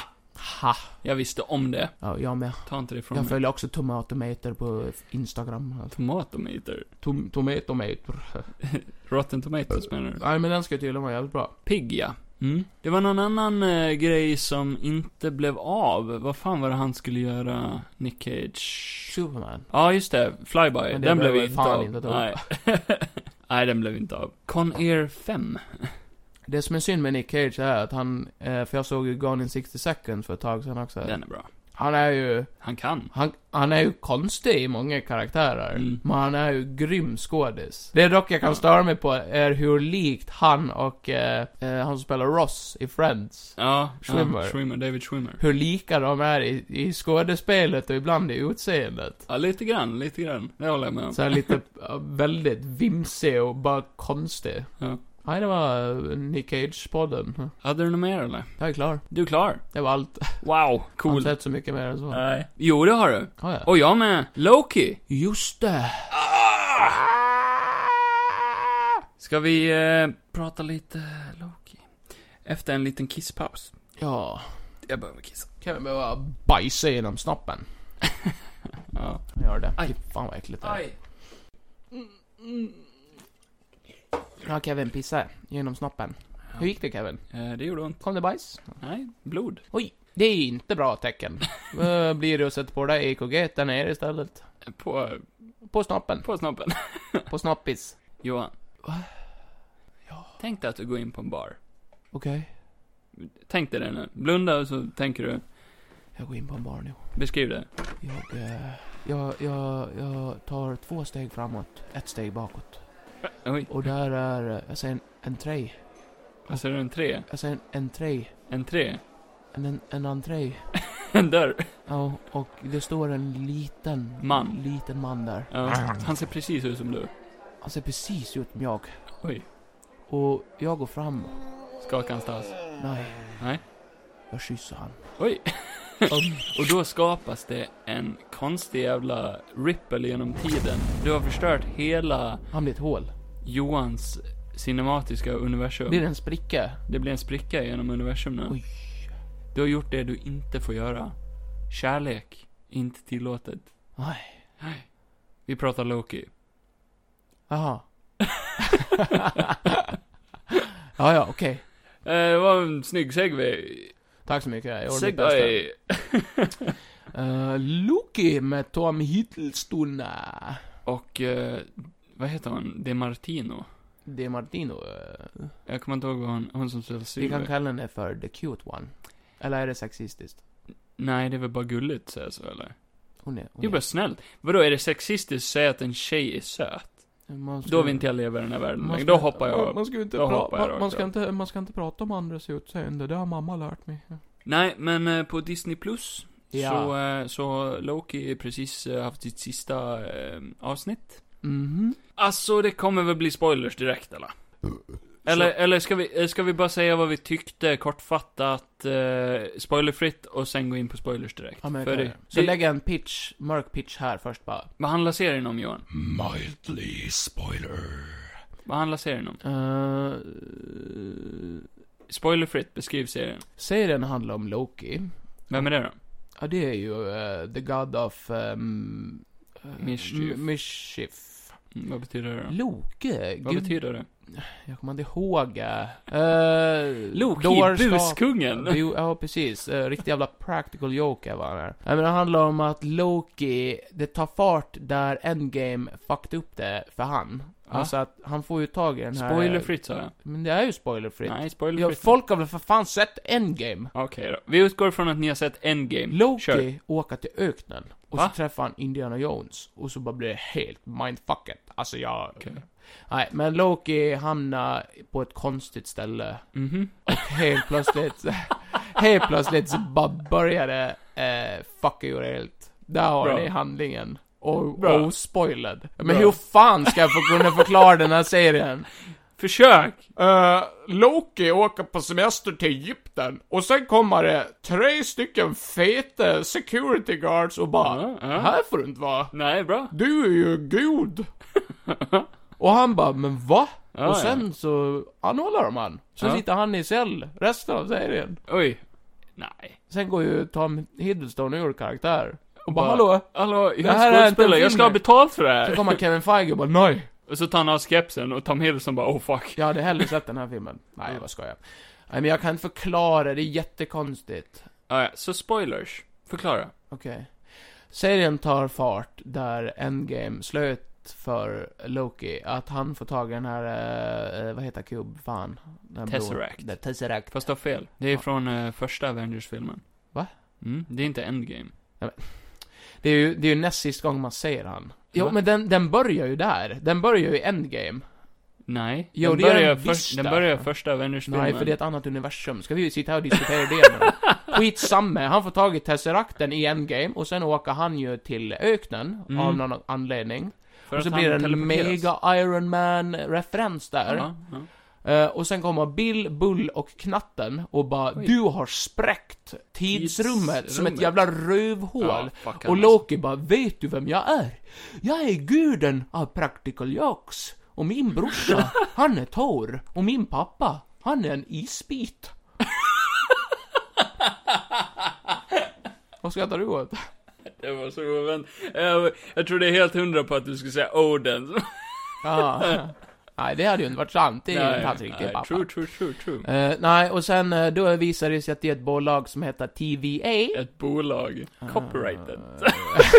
Speaker 2: Ha! Mm.
Speaker 1: Jag visste om det.
Speaker 2: Ja, jag med.
Speaker 1: Ta inte det från
Speaker 2: Jag
Speaker 1: mig.
Speaker 2: följer också Tomatometer på Instagram. Alltså.
Speaker 1: Tomatometer.
Speaker 2: Tom- Tomatometer.
Speaker 1: Rotten Tomatoes menar du?
Speaker 2: Nej, men den ska tydligen vara jävligt bra.
Speaker 1: Pigg, ja. Mm. Det var någon annan eh, grej som inte blev av. Vad fan var det han skulle göra, Nick Cage?
Speaker 2: Superman.
Speaker 1: Ja, just det. Flyby.
Speaker 2: det
Speaker 1: Den
Speaker 2: blev
Speaker 1: blev,
Speaker 2: väl
Speaker 1: inte
Speaker 2: fan
Speaker 1: av.
Speaker 2: inte av.
Speaker 1: Nej. (laughs) Nej, den blev inte av. Con Air 5.
Speaker 2: Det som är synd med Nick Cage är att han, eh, för jag såg ju Gone in 60 seconds för ett tag sedan också.
Speaker 1: Den är bra.
Speaker 2: Han är ju,
Speaker 1: Han kan.
Speaker 2: han, han är ju konstig i många karaktärer.
Speaker 1: Mm.
Speaker 2: Men han är ju grym skådis. Det dock jag kan störa mig på är hur likt han och eh, eh, han som spelar Ross i Friends.
Speaker 1: Ja,
Speaker 2: Schwimmer.
Speaker 1: Ja, Schwimmer. David Schwimmer.
Speaker 2: Hur lika de är i, i skådespelet och ibland i utseendet.
Speaker 1: Ja, lite grann, lite grann. Det håller jag med om.
Speaker 2: Så här lite, eh, väldigt vimsig och bara konstig.
Speaker 1: Ja.
Speaker 2: Nej, det var eh, Nick Cage-podden.
Speaker 1: Hade du något mer eller?
Speaker 2: Jag är klar.
Speaker 1: Du är klar?
Speaker 2: Det var allt.
Speaker 1: Wow,
Speaker 2: Jag har inte
Speaker 1: cool.
Speaker 2: sett så mycket mer än så.
Speaker 1: Nej. Jo, det har du.
Speaker 2: Har jag?
Speaker 1: Och jag med. Loki.
Speaker 2: Just det!
Speaker 1: Ah! Ska vi eh, prata lite Loki? Efter en liten kisspaus.
Speaker 2: Ja,
Speaker 1: Jag behöver kissa.
Speaker 2: kan vi behöva bajsa genom (laughs) snoppen?
Speaker 1: Ja.
Speaker 2: Jag gör det.
Speaker 1: Aj.
Speaker 2: Fy fan vad äckligt det är. Ja, Kevin pissa genom snoppen. Hur gick det Kevin?
Speaker 1: Eh, det gjorde ont.
Speaker 2: Kom det bajs?
Speaker 1: Nej, blod.
Speaker 2: Oj, det är inte bra (laughs) tecken. Eh, Blir det att sätta på det EKG där nere istället?
Speaker 1: På,
Speaker 2: På snoppen.
Speaker 1: på snoppen. (laughs)
Speaker 2: På snoppis.
Speaker 1: Johan. Tänk dig att du går in på en bar.
Speaker 2: Okej.
Speaker 1: Tänk dig det nu. Blunda och så tänker du.
Speaker 2: Jag går in på en bar nu.
Speaker 1: Beskriv det.
Speaker 2: Jag, eh, jag, jag, jag tar två steg framåt, ett steg bakåt.
Speaker 1: Oj,
Speaker 2: Och där är, eh, jag säger en, en trej.
Speaker 1: vad ser du? En tre?
Speaker 2: Jag säger en, en trej.
Speaker 1: En tre? (laughs)
Speaker 2: En, en, en entré.
Speaker 1: En dörr?
Speaker 2: Ja, och det står en liten
Speaker 1: Man.
Speaker 2: liten man där.
Speaker 1: Ja. Han ser precis ut som du.
Speaker 2: Han ser precis ut som jag.
Speaker 1: Oj.
Speaker 2: Och jag går fram.
Speaker 1: Skakar hans tass.
Speaker 2: Nej.
Speaker 1: Nej.
Speaker 2: Jag kysser han.
Speaker 1: Oj. (laughs) Och då skapas det en konstig jävla ripple genom tiden. Du har förstört hela
Speaker 2: Han blir ett hål.
Speaker 1: Johans cinematiska universum.
Speaker 2: Blir det en spricka?
Speaker 1: Det blir en spricka genom universum nu.
Speaker 2: Oj.
Speaker 1: Du har gjort det du inte får göra. Kärlek, inte tillåtet.
Speaker 2: Nej.
Speaker 1: Vi pratar Loki.
Speaker 2: Jaha. (laughs) ja, ja, okej.
Speaker 1: Eh, det var en snygg segway.
Speaker 2: Tack så mycket. Jag gjorde mitt bästa.
Speaker 1: Segway.
Speaker 2: Eh, Loki med Tom Hiddleston.
Speaker 1: Och, eh, vad heter hon? De Martino.
Speaker 2: Det är Martino. eh.
Speaker 1: Jag kommer inte ihåg vad hon, hon som spelar
Speaker 2: vi
Speaker 1: Sylvie.
Speaker 2: kan kalla henne för The Cute One. Eller är det sexistiskt?
Speaker 1: Nej, det är väl bara gulligt säga så eller?
Speaker 2: Hon är... Hon
Speaker 1: Det är bara snällt. Vadå, är det sexistiskt att säga att en tjej är söt?
Speaker 2: är. Man
Speaker 1: Då
Speaker 2: skulle-
Speaker 1: vill inte jag leva i den här världen
Speaker 2: Man
Speaker 1: längre.
Speaker 2: ska
Speaker 1: Då
Speaker 2: inte-
Speaker 1: hoppar jag
Speaker 2: man,
Speaker 1: upp.
Speaker 2: man ska ju inte
Speaker 1: Då
Speaker 2: pra-
Speaker 1: hoppar jag
Speaker 2: man,
Speaker 1: rakt
Speaker 2: man, ska
Speaker 1: upp.
Speaker 2: inte, man ska inte prata om andras utseende, det har mamma lärt mig.
Speaker 1: Nej, men eh, på Disney Plus
Speaker 2: Ja.
Speaker 1: så, eh, så Loki precis eh, haft sitt sista eh, avsnitt.
Speaker 2: Mhm.
Speaker 1: Alltså, det kommer väl bli spoilers direkt eller? Eller, eller ska, vi, eh, ska vi bara säga vad vi tyckte kortfattat, eh, spoilerfritt och sen gå in på spoilers direkt?
Speaker 2: Ja, men jag
Speaker 1: För
Speaker 2: kan
Speaker 1: det,
Speaker 2: det. Så
Speaker 1: det,
Speaker 2: lägg en pitch, mörk pitch här först bara.
Speaker 1: Vad handlar serien om Johan?
Speaker 7: Mildly spoiler.
Speaker 1: Vad handlar serien om? Eh,
Speaker 2: Uh,
Speaker 1: Spoilerfritt, beskriv serien.
Speaker 2: serien handlar om Loki,
Speaker 1: Vem är det då?
Speaker 2: Ja, det är ju eh, The God of... Um,
Speaker 1: Mischief.
Speaker 2: Mischief.
Speaker 1: Mm, vad betyder det då?
Speaker 2: Loke?
Speaker 1: Vad
Speaker 2: Gud,
Speaker 1: betyder det?
Speaker 2: jag kommer inte ihåg. Uh,
Speaker 1: Loki, buskungen!
Speaker 2: Jo, ja, precis. Eh, riktig jävla practical joke var han här. Nej, men det handlar om att Loki, det tar fart där Endgame fucked upp det för han.
Speaker 1: Va?
Speaker 2: Alltså att han får ju tag i den här...
Speaker 1: Spoilerfritt sa jag.
Speaker 2: Men det är ju spoilerfritt.
Speaker 1: Nej,
Speaker 2: ja,
Speaker 1: spoilerfritt.
Speaker 2: folk har väl för fan sett Endgame?
Speaker 1: Okej då. Vi utgår från att ni har sett Endgame.
Speaker 2: Loki
Speaker 1: Kör.
Speaker 2: åker till öknen och
Speaker 1: Mm, Va?
Speaker 2: så träffar han Indiana Jones och så bara blir det helt mindfucket. Alltså jag...
Speaker 1: Okej.
Speaker 2: Nej, men Loki hamnar på ett konstigt ställe.
Speaker 1: Mhm.
Speaker 2: Helt plötsligt... helt plötsligt så bara började eh, fucka ur helt. Där har
Speaker 1: Bra.
Speaker 2: ni handlingen. Och
Speaker 1: Bra.
Speaker 2: ospoilad. Men
Speaker 1: Bra.
Speaker 2: hur fan ska jag få kunna förklara den här serien?
Speaker 1: Försök!
Speaker 2: Eh, Loki åker på semester till Egypten och sen kommer det tre stycken feta security guards och bara
Speaker 1: Ja, ja.
Speaker 2: Här får du inte vara.
Speaker 1: Nej, bra.
Speaker 2: Du är ju gud. (laughs) och han bara, men va?
Speaker 1: Ja, ja.
Speaker 2: och sen så anhåller de han. Så
Speaker 1: Ja.
Speaker 2: sitter han i cell resten av serien.
Speaker 1: Oj. Nej.
Speaker 2: Sen går ju Tom Hiddleston ur karaktär. Och bara,
Speaker 1: Bara-
Speaker 2: hallå?
Speaker 1: Hallå, jag
Speaker 2: Det här är
Speaker 1: är
Speaker 2: inte en
Speaker 1: skådespelare, jag
Speaker 2: film
Speaker 1: ska ha
Speaker 2: här.
Speaker 1: betalt för det här!
Speaker 2: Så kommer Kevin Feige och bara, nej.
Speaker 1: Och så tar han av skepsen och Tom Hiddleston bara oh fuck.
Speaker 2: Jag hade hellre sett den här filmen. Nej, vad ska jag? Nej, men jag kan inte förklara, det är jättekonstigt.
Speaker 1: Ah, ja. Så spoilers. Förklara.
Speaker 2: Okej. Serien tar fart där Endgame slöt för Loki. Att han får tag i den här, eh, eh, vad heter kub, fan? Den här blå-
Speaker 1: Tesseract.
Speaker 2: Den, Tesseract.
Speaker 1: Fast du har fel. Det är från eh, första Avengers-filmen.
Speaker 2: Va?
Speaker 1: Mm, det är inte Endgame.
Speaker 2: Det är ju, det är ju näst sista gång man ser han. Jo,
Speaker 1: Va?
Speaker 2: men den, den börjar ju där. Den börjar ju i Endgame.
Speaker 1: Nej.
Speaker 2: Jo,
Speaker 1: den
Speaker 2: det gör
Speaker 1: börjar
Speaker 2: den
Speaker 1: först-
Speaker 2: visst
Speaker 1: Den
Speaker 2: där.
Speaker 1: börjar första Avengers-filmen.
Speaker 2: Nej, för det är ett annat universum. Ska vi sitta här och diskutera det
Speaker 1: (laughs)
Speaker 2: nu? Skitsamma, han får tag i Tesseracten i Endgame och sen åker han ju till öknen
Speaker 1: Mm.
Speaker 2: av någon anledning.
Speaker 1: För
Speaker 2: och så
Speaker 1: att han
Speaker 2: blir det en
Speaker 1: teleporteras.
Speaker 2: mega Iron Man-referens där.
Speaker 1: Ja, ja.
Speaker 2: Eh, och sen kommer Bill, Bull och Knatten och bara
Speaker 1: Oj.
Speaker 2: Du har spräckt tidsrummet, som ett
Speaker 1: Tidsrummet.
Speaker 2: jävla rövhål.
Speaker 1: Ja, fuck alltså.
Speaker 2: och
Speaker 1: han,
Speaker 2: Loki bara Vet du vem jag är? Jag är guden av practical jokes. Och min
Speaker 1: (laughs)
Speaker 2: brorsa, han är Thor. Och min pappa, han är en
Speaker 1: (laughs)
Speaker 2: isbit. Vad skrattar
Speaker 1: (laughs)
Speaker 2: du åt?
Speaker 1: Det var så ovän. Jag, jag tror det är helt hundra på att du skulle säga Oden.
Speaker 2: Ja. Nej, det hade ju inte varit sant. Det är ju inte hans riktiga pappa.
Speaker 1: True, true, true, true.
Speaker 2: Eh, nej, och sen eh, då visade det sig att det är ett bolag som heter TVA.
Speaker 1: Ett bolag.
Speaker 2: Ah.
Speaker 1: Copyrighted. (laughs)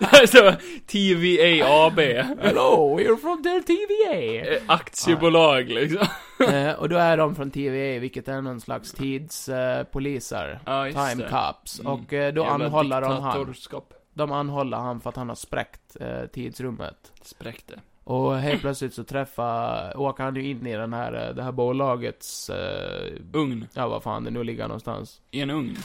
Speaker 1: Alltså, så, TVA AB.
Speaker 2: Hello, we're from their TVA!
Speaker 1: Eh, Aktiebolag
Speaker 2: Ah.
Speaker 1: liksom.
Speaker 2: Eh, och då är de från TVA, vilket är någon slags tidspoliser.
Speaker 1: Ja, just
Speaker 2: time
Speaker 1: det.
Speaker 2: cops.
Speaker 1: Mm.
Speaker 2: Och eh, då
Speaker 1: Jävla
Speaker 2: anhåller de han.
Speaker 1: diktatorskap.
Speaker 2: De anhåller han för att han har spräckt eh, tidsrummet.
Speaker 1: Spräckte.
Speaker 2: Och helt plötsligt så träffar, åker han ju in i den här, eh, det här bolagets, eh,
Speaker 1: Ugn.
Speaker 2: ja vad fan det nu ligger någonstans.
Speaker 1: I en ugn.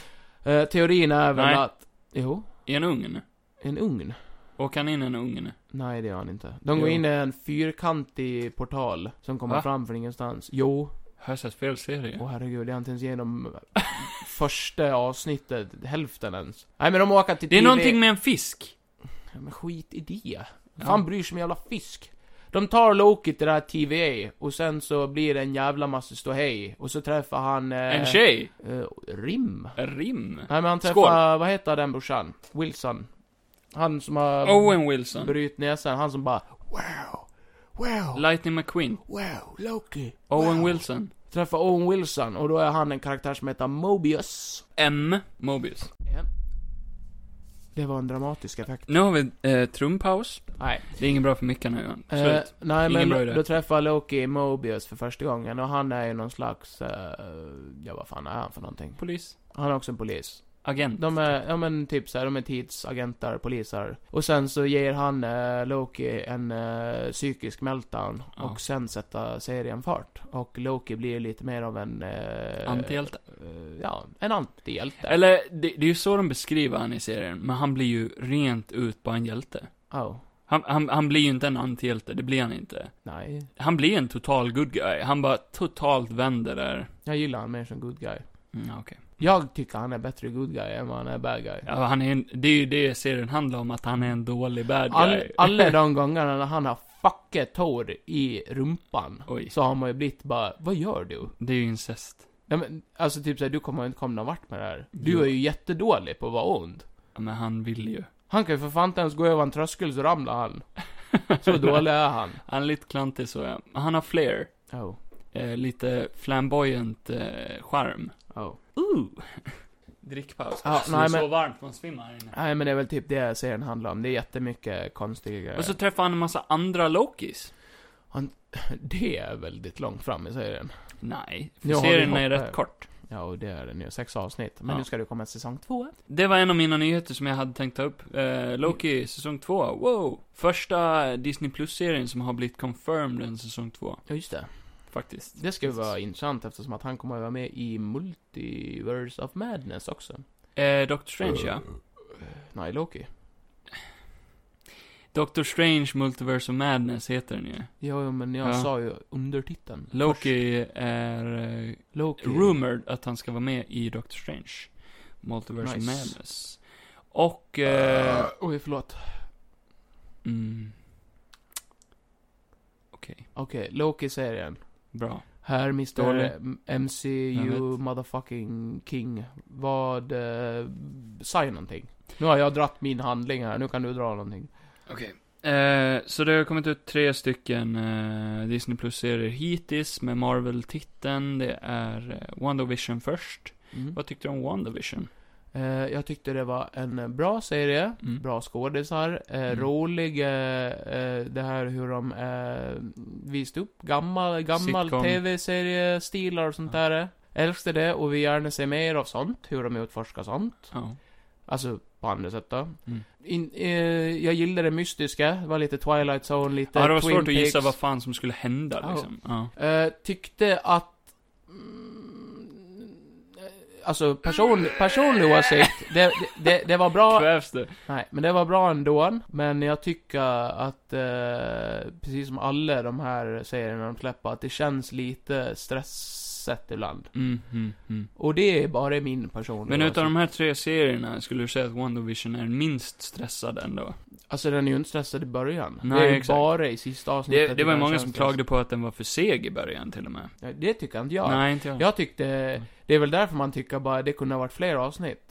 Speaker 2: Eh, teorin är väl
Speaker 1: Nej.
Speaker 2: att, jo,
Speaker 1: I en ugn.
Speaker 2: en ugn.
Speaker 1: Åker han in i en ugn?
Speaker 2: Nej, det gör han inte. De går
Speaker 1: Jo.
Speaker 2: in i en fyrkantig portal som kommer
Speaker 1: Va?
Speaker 2: fram från ingenstans. Jo,
Speaker 1: Har jag sett fel serie?
Speaker 2: åh herregud, jag har inte ens igenom (laughs) första avsnittet, hälften ens. Nej men de åker till
Speaker 1: Det är
Speaker 2: TV.
Speaker 1: någonting med en fisk.
Speaker 2: Ja, men skit i det. Fan bryr sig om jävla fisk? De tar Loki till det här TVA och sen så blir det en jävla massa ståhej och så träffar han... Eh,
Speaker 1: En tjej.
Speaker 2: Eh, rim?
Speaker 1: En rim.
Speaker 2: Nej men han träffar, vad heter den brorsan? Wilson? Han som har
Speaker 1: Owen Wilson.
Speaker 2: brutit näsan, han som bara Wow! Wow!
Speaker 1: Lightning McQueen.
Speaker 2: Wow, Loki!
Speaker 1: Owen Wilson.
Speaker 2: Träffar Owen Wilson och då är han en karaktär som heter Mobius.
Speaker 1: M. Mobius.
Speaker 2: Det var en dramatisk effekt.
Speaker 1: Nu har vi eh, trumpaus.
Speaker 2: Nej.
Speaker 1: Det är inget bra för mickarna Johan.
Speaker 2: Eh,
Speaker 1: Slut.
Speaker 2: nej
Speaker 1: Ingen bra idé.
Speaker 2: men då träffar Loki Mobius för första gången och han är ju någon slags, eh, ja vad fan är han för någonting?
Speaker 1: Polis.
Speaker 2: Han är också en polis.
Speaker 1: Agent.
Speaker 2: De är, ja men typ såhär, de är tidsagenter, poliser. Och sen så ger han eh, Loki en eh, psykisk meltdown
Speaker 1: Ja.
Speaker 2: och sen sätter serien fart. Och Loki blir lite mer av en... Eh,
Speaker 1: Antihjälte.
Speaker 2: eh, ja, en antihjälte.
Speaker 1: Eller, det, det är ju så de beskriver han i serien, men han blir ju rent ut bara en hjälte.
Speaker 2: Oh,
Speaker 1: Han, han, han blir ju inte en antihjälte, det blir han inte.
Speaker 2: nej.
Speaker 1: Han blir en total good guy. Han bara totalt vänder där.
Speaker 2: Jag gillar han mer som good guy.
Speaker 1: Mm, ja, okej.
Speaker 2: Jag tycker han är bättre good guy än vad han är bad guy.
Speaker 1: Ja, han är en, det är ju det serien handlar om, att han är en dålig bad guy. (laughs)
Speaker 2: All, alla de gångerna när han har fuckat hår i rumpan
Speaker 1: Oj.
Speaker 2: så har man ju blivit bara, vad gör du?
Speaker 1: Det är ju incest.
Speaker 2: Nej, men, alltså typ såhär, du kommer inte komma någon vart med det här. Du är ju jättedålig på att vara ond.
Speaker 1: Ja, men han vill ju.
Speaker 2: Han kan ju för fan inte ens gå över en tröskel så ramlar han.
Speaker 1: (laughs)
Speaker 2: Så dålig är han.
Speaker 1: Han är lite klantig så, ja. Han har flair.
Speaker 2: Oh,
Speaker 1: Eh, lite flamboyant eh, charm.
Speaker 2: oh.
Speaker 1: Ooh! Drickpaus.
Speaker 2: Ja,
Speaker 1: Alltså,
Speaker 2: nej,
Speaker 1: det är så
Speaker 2: men-
Speaker 1: varmt, man svimmar här inne.
Speaker 2: Nej men det är väl typ det serien handlar om. Det är jättemycket konstiga grejer.
Speaker 1: Och så träffar han en massa andra Lokis.
Speaker 2: Det är väldigt långt fram i serien.
Speaker 1: Nej, för
Speaker 2: Nu har vi
Speaker 1: serien är
Speaker 2: hoppat.
Speaker 1: rätt kort.
Speaker 2: Ja, och det är den ju. Sex avsnitt. Men
Speaker 1: Ja.
Speaker 2: nu ska det komma säsong två.
Speaker 1: Det var en av mina nyheter som jag hade tänkt ta upp. Eh, Loki, säsong 2. Wow! Första Disney Plus-serien som har blivit confirmed en säsong 2,
Speaker 2: Ja, just det.
Speaker 1: faktiskt.
Speaker 2: Det ska ju vara intressant eftersom att han kommer att vara med i Multiverse of Madness också.
Speaker 1: Eh, Doctor Strange, ja.
Speaker 2: Nej, Loki.
Speaker 1: Doctor Strange Multiverse of Madness heter den ju.
Speaker 2: Ja, ja, men jag
Speaker 1: Ja.
Speaker 2: sa ju undertiteln.
Speaker 1: Loki är eh,
Speaker 2: Loki.
Speaker 1: rumored att han ska vara med i Doctor Strange Multiverse of
Speaker 2: Nice.
Speaker 1: Madness. Och... Eh,
Speaker 2: Oj, förlåt.
Speaker 1: mm. Okej,
Speaker 2: Okej, Loki-serien.
Speaker 1: bra.
Speaker 2: Här
Speaker 1: Dålig.
Speaker 2: Mr.
Speaker 1: Jag
Speaker 2: MCU motherfucking King. Vad... Eh, säg någonting. Nu har jag dratt min handling här, nu kan du dra någonting.
Speaker 1: Okej. Eh, så det har kommit ut tre stycken eh, Disney Plus-serier hittills med Marvel-titeln. Det är eh, WandaVision först.
Speaker 2: Mm.
Speaker 1: Vad tyckte du om WandaVision?
Speaker 2: Eh, jag tyckte det var en bra serie,
Speaker 1: Mm.
Speaker 2: bra skådisar, eh,
Speaker 1: Mm.
Speaker 2: rolig, eh, eh, det här hur de eh, visade upp gammal, gammal
Speaker 1: Sitcom.
Speaker 2: tv-seriestilar och sånt där. Älskade det och vill gärna se mer av sånt, hur de utforskar sånt.
Speaker 1: Ja.
Speaker 2: Alltså, på andra sätt då.
Speaker 1: Mm.
Speaker 2: In, eh, jag gillade det mystiska, det var lite Twilight Zone, lite
Speaker 1: Ja, det var
Speaker 2: Twin
Speaker 1: svårt att gissa
Speaker 2: Peaks.
Speaker 1: vad fan som skulle hända
Speaker 2: Ja.
Speaker 1: liksom. Ja.
Speaker 2: Eh, tyckte att... Mm, eh, Alltså person, personlig åsikt, det, det, det var bra
Speaker 1: Kvävs det?
Speaker 2: Nej, men det var bra ändå. Men jag tycker att, eh, precis som alla de här serierna de släpper, att det känns lite stressat ibland.
Speaker 1: Mm, mm, mm.
Speaker 2: Och det är bara min person.
Speaker 1: Men utav de här tre serierna skulle du säga att WandaVision är minst stressad ändå?
Speaker 2: Alltså den är ju inte stressad i början.
Speaker 1: Nej,
Speaker 2: det är ju
Speaker 1: exakt.
Speaker 2: bara i sista avsnittet.
Speaker 1: Det, det var ju
Speaker 2: den
Speaker 1: många
Speaker 2: känns
Speaker 1: som
Speaker 2: stressad.
Speaker 1: klagade på att den var för seg i början till och med.
Speaker 2: Nej, Det tycker inte jag.
Speaker 1: Nej, inte jag. Ja,
Speaker 2: Jag tyckte, det är väl därför man tycker bara det kunde ha varit fler avsnitt.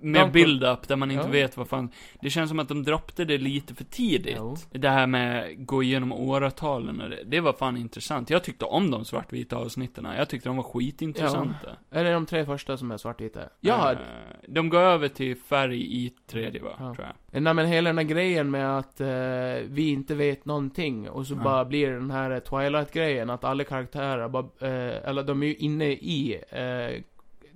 Speaker 1: med
Speaker 2: De-
Speaker 1: build-up där man inte
Speaker 2: Ja.
Speaker 1: vet vad fan... Det känns som att de droppade det lite för tidigt.
Speaker 2: Jo.
Speaker 1: Det här med gå igenom åratalen och det, det var fan intressant. Jag tyckte om de svartvita avsnitten. Jag tyckte de var skitintressanta.
Speaker 2: Eller de tre första som är svartvita. Jag hade,
Speaker 1: Eh, De går över till färg i tredje va,
Speaker 2: Ja.
Speaker 1: tror jag.
Speaker 2: Nej men hela den här grejen med att eh, vi inte vet någonting och så
Speaker 1: Ja.
Speaker 2: bara blir det den här eh, Twilight-grejen att alla karaktärer bara, eh, eller de är ju inne i, eh,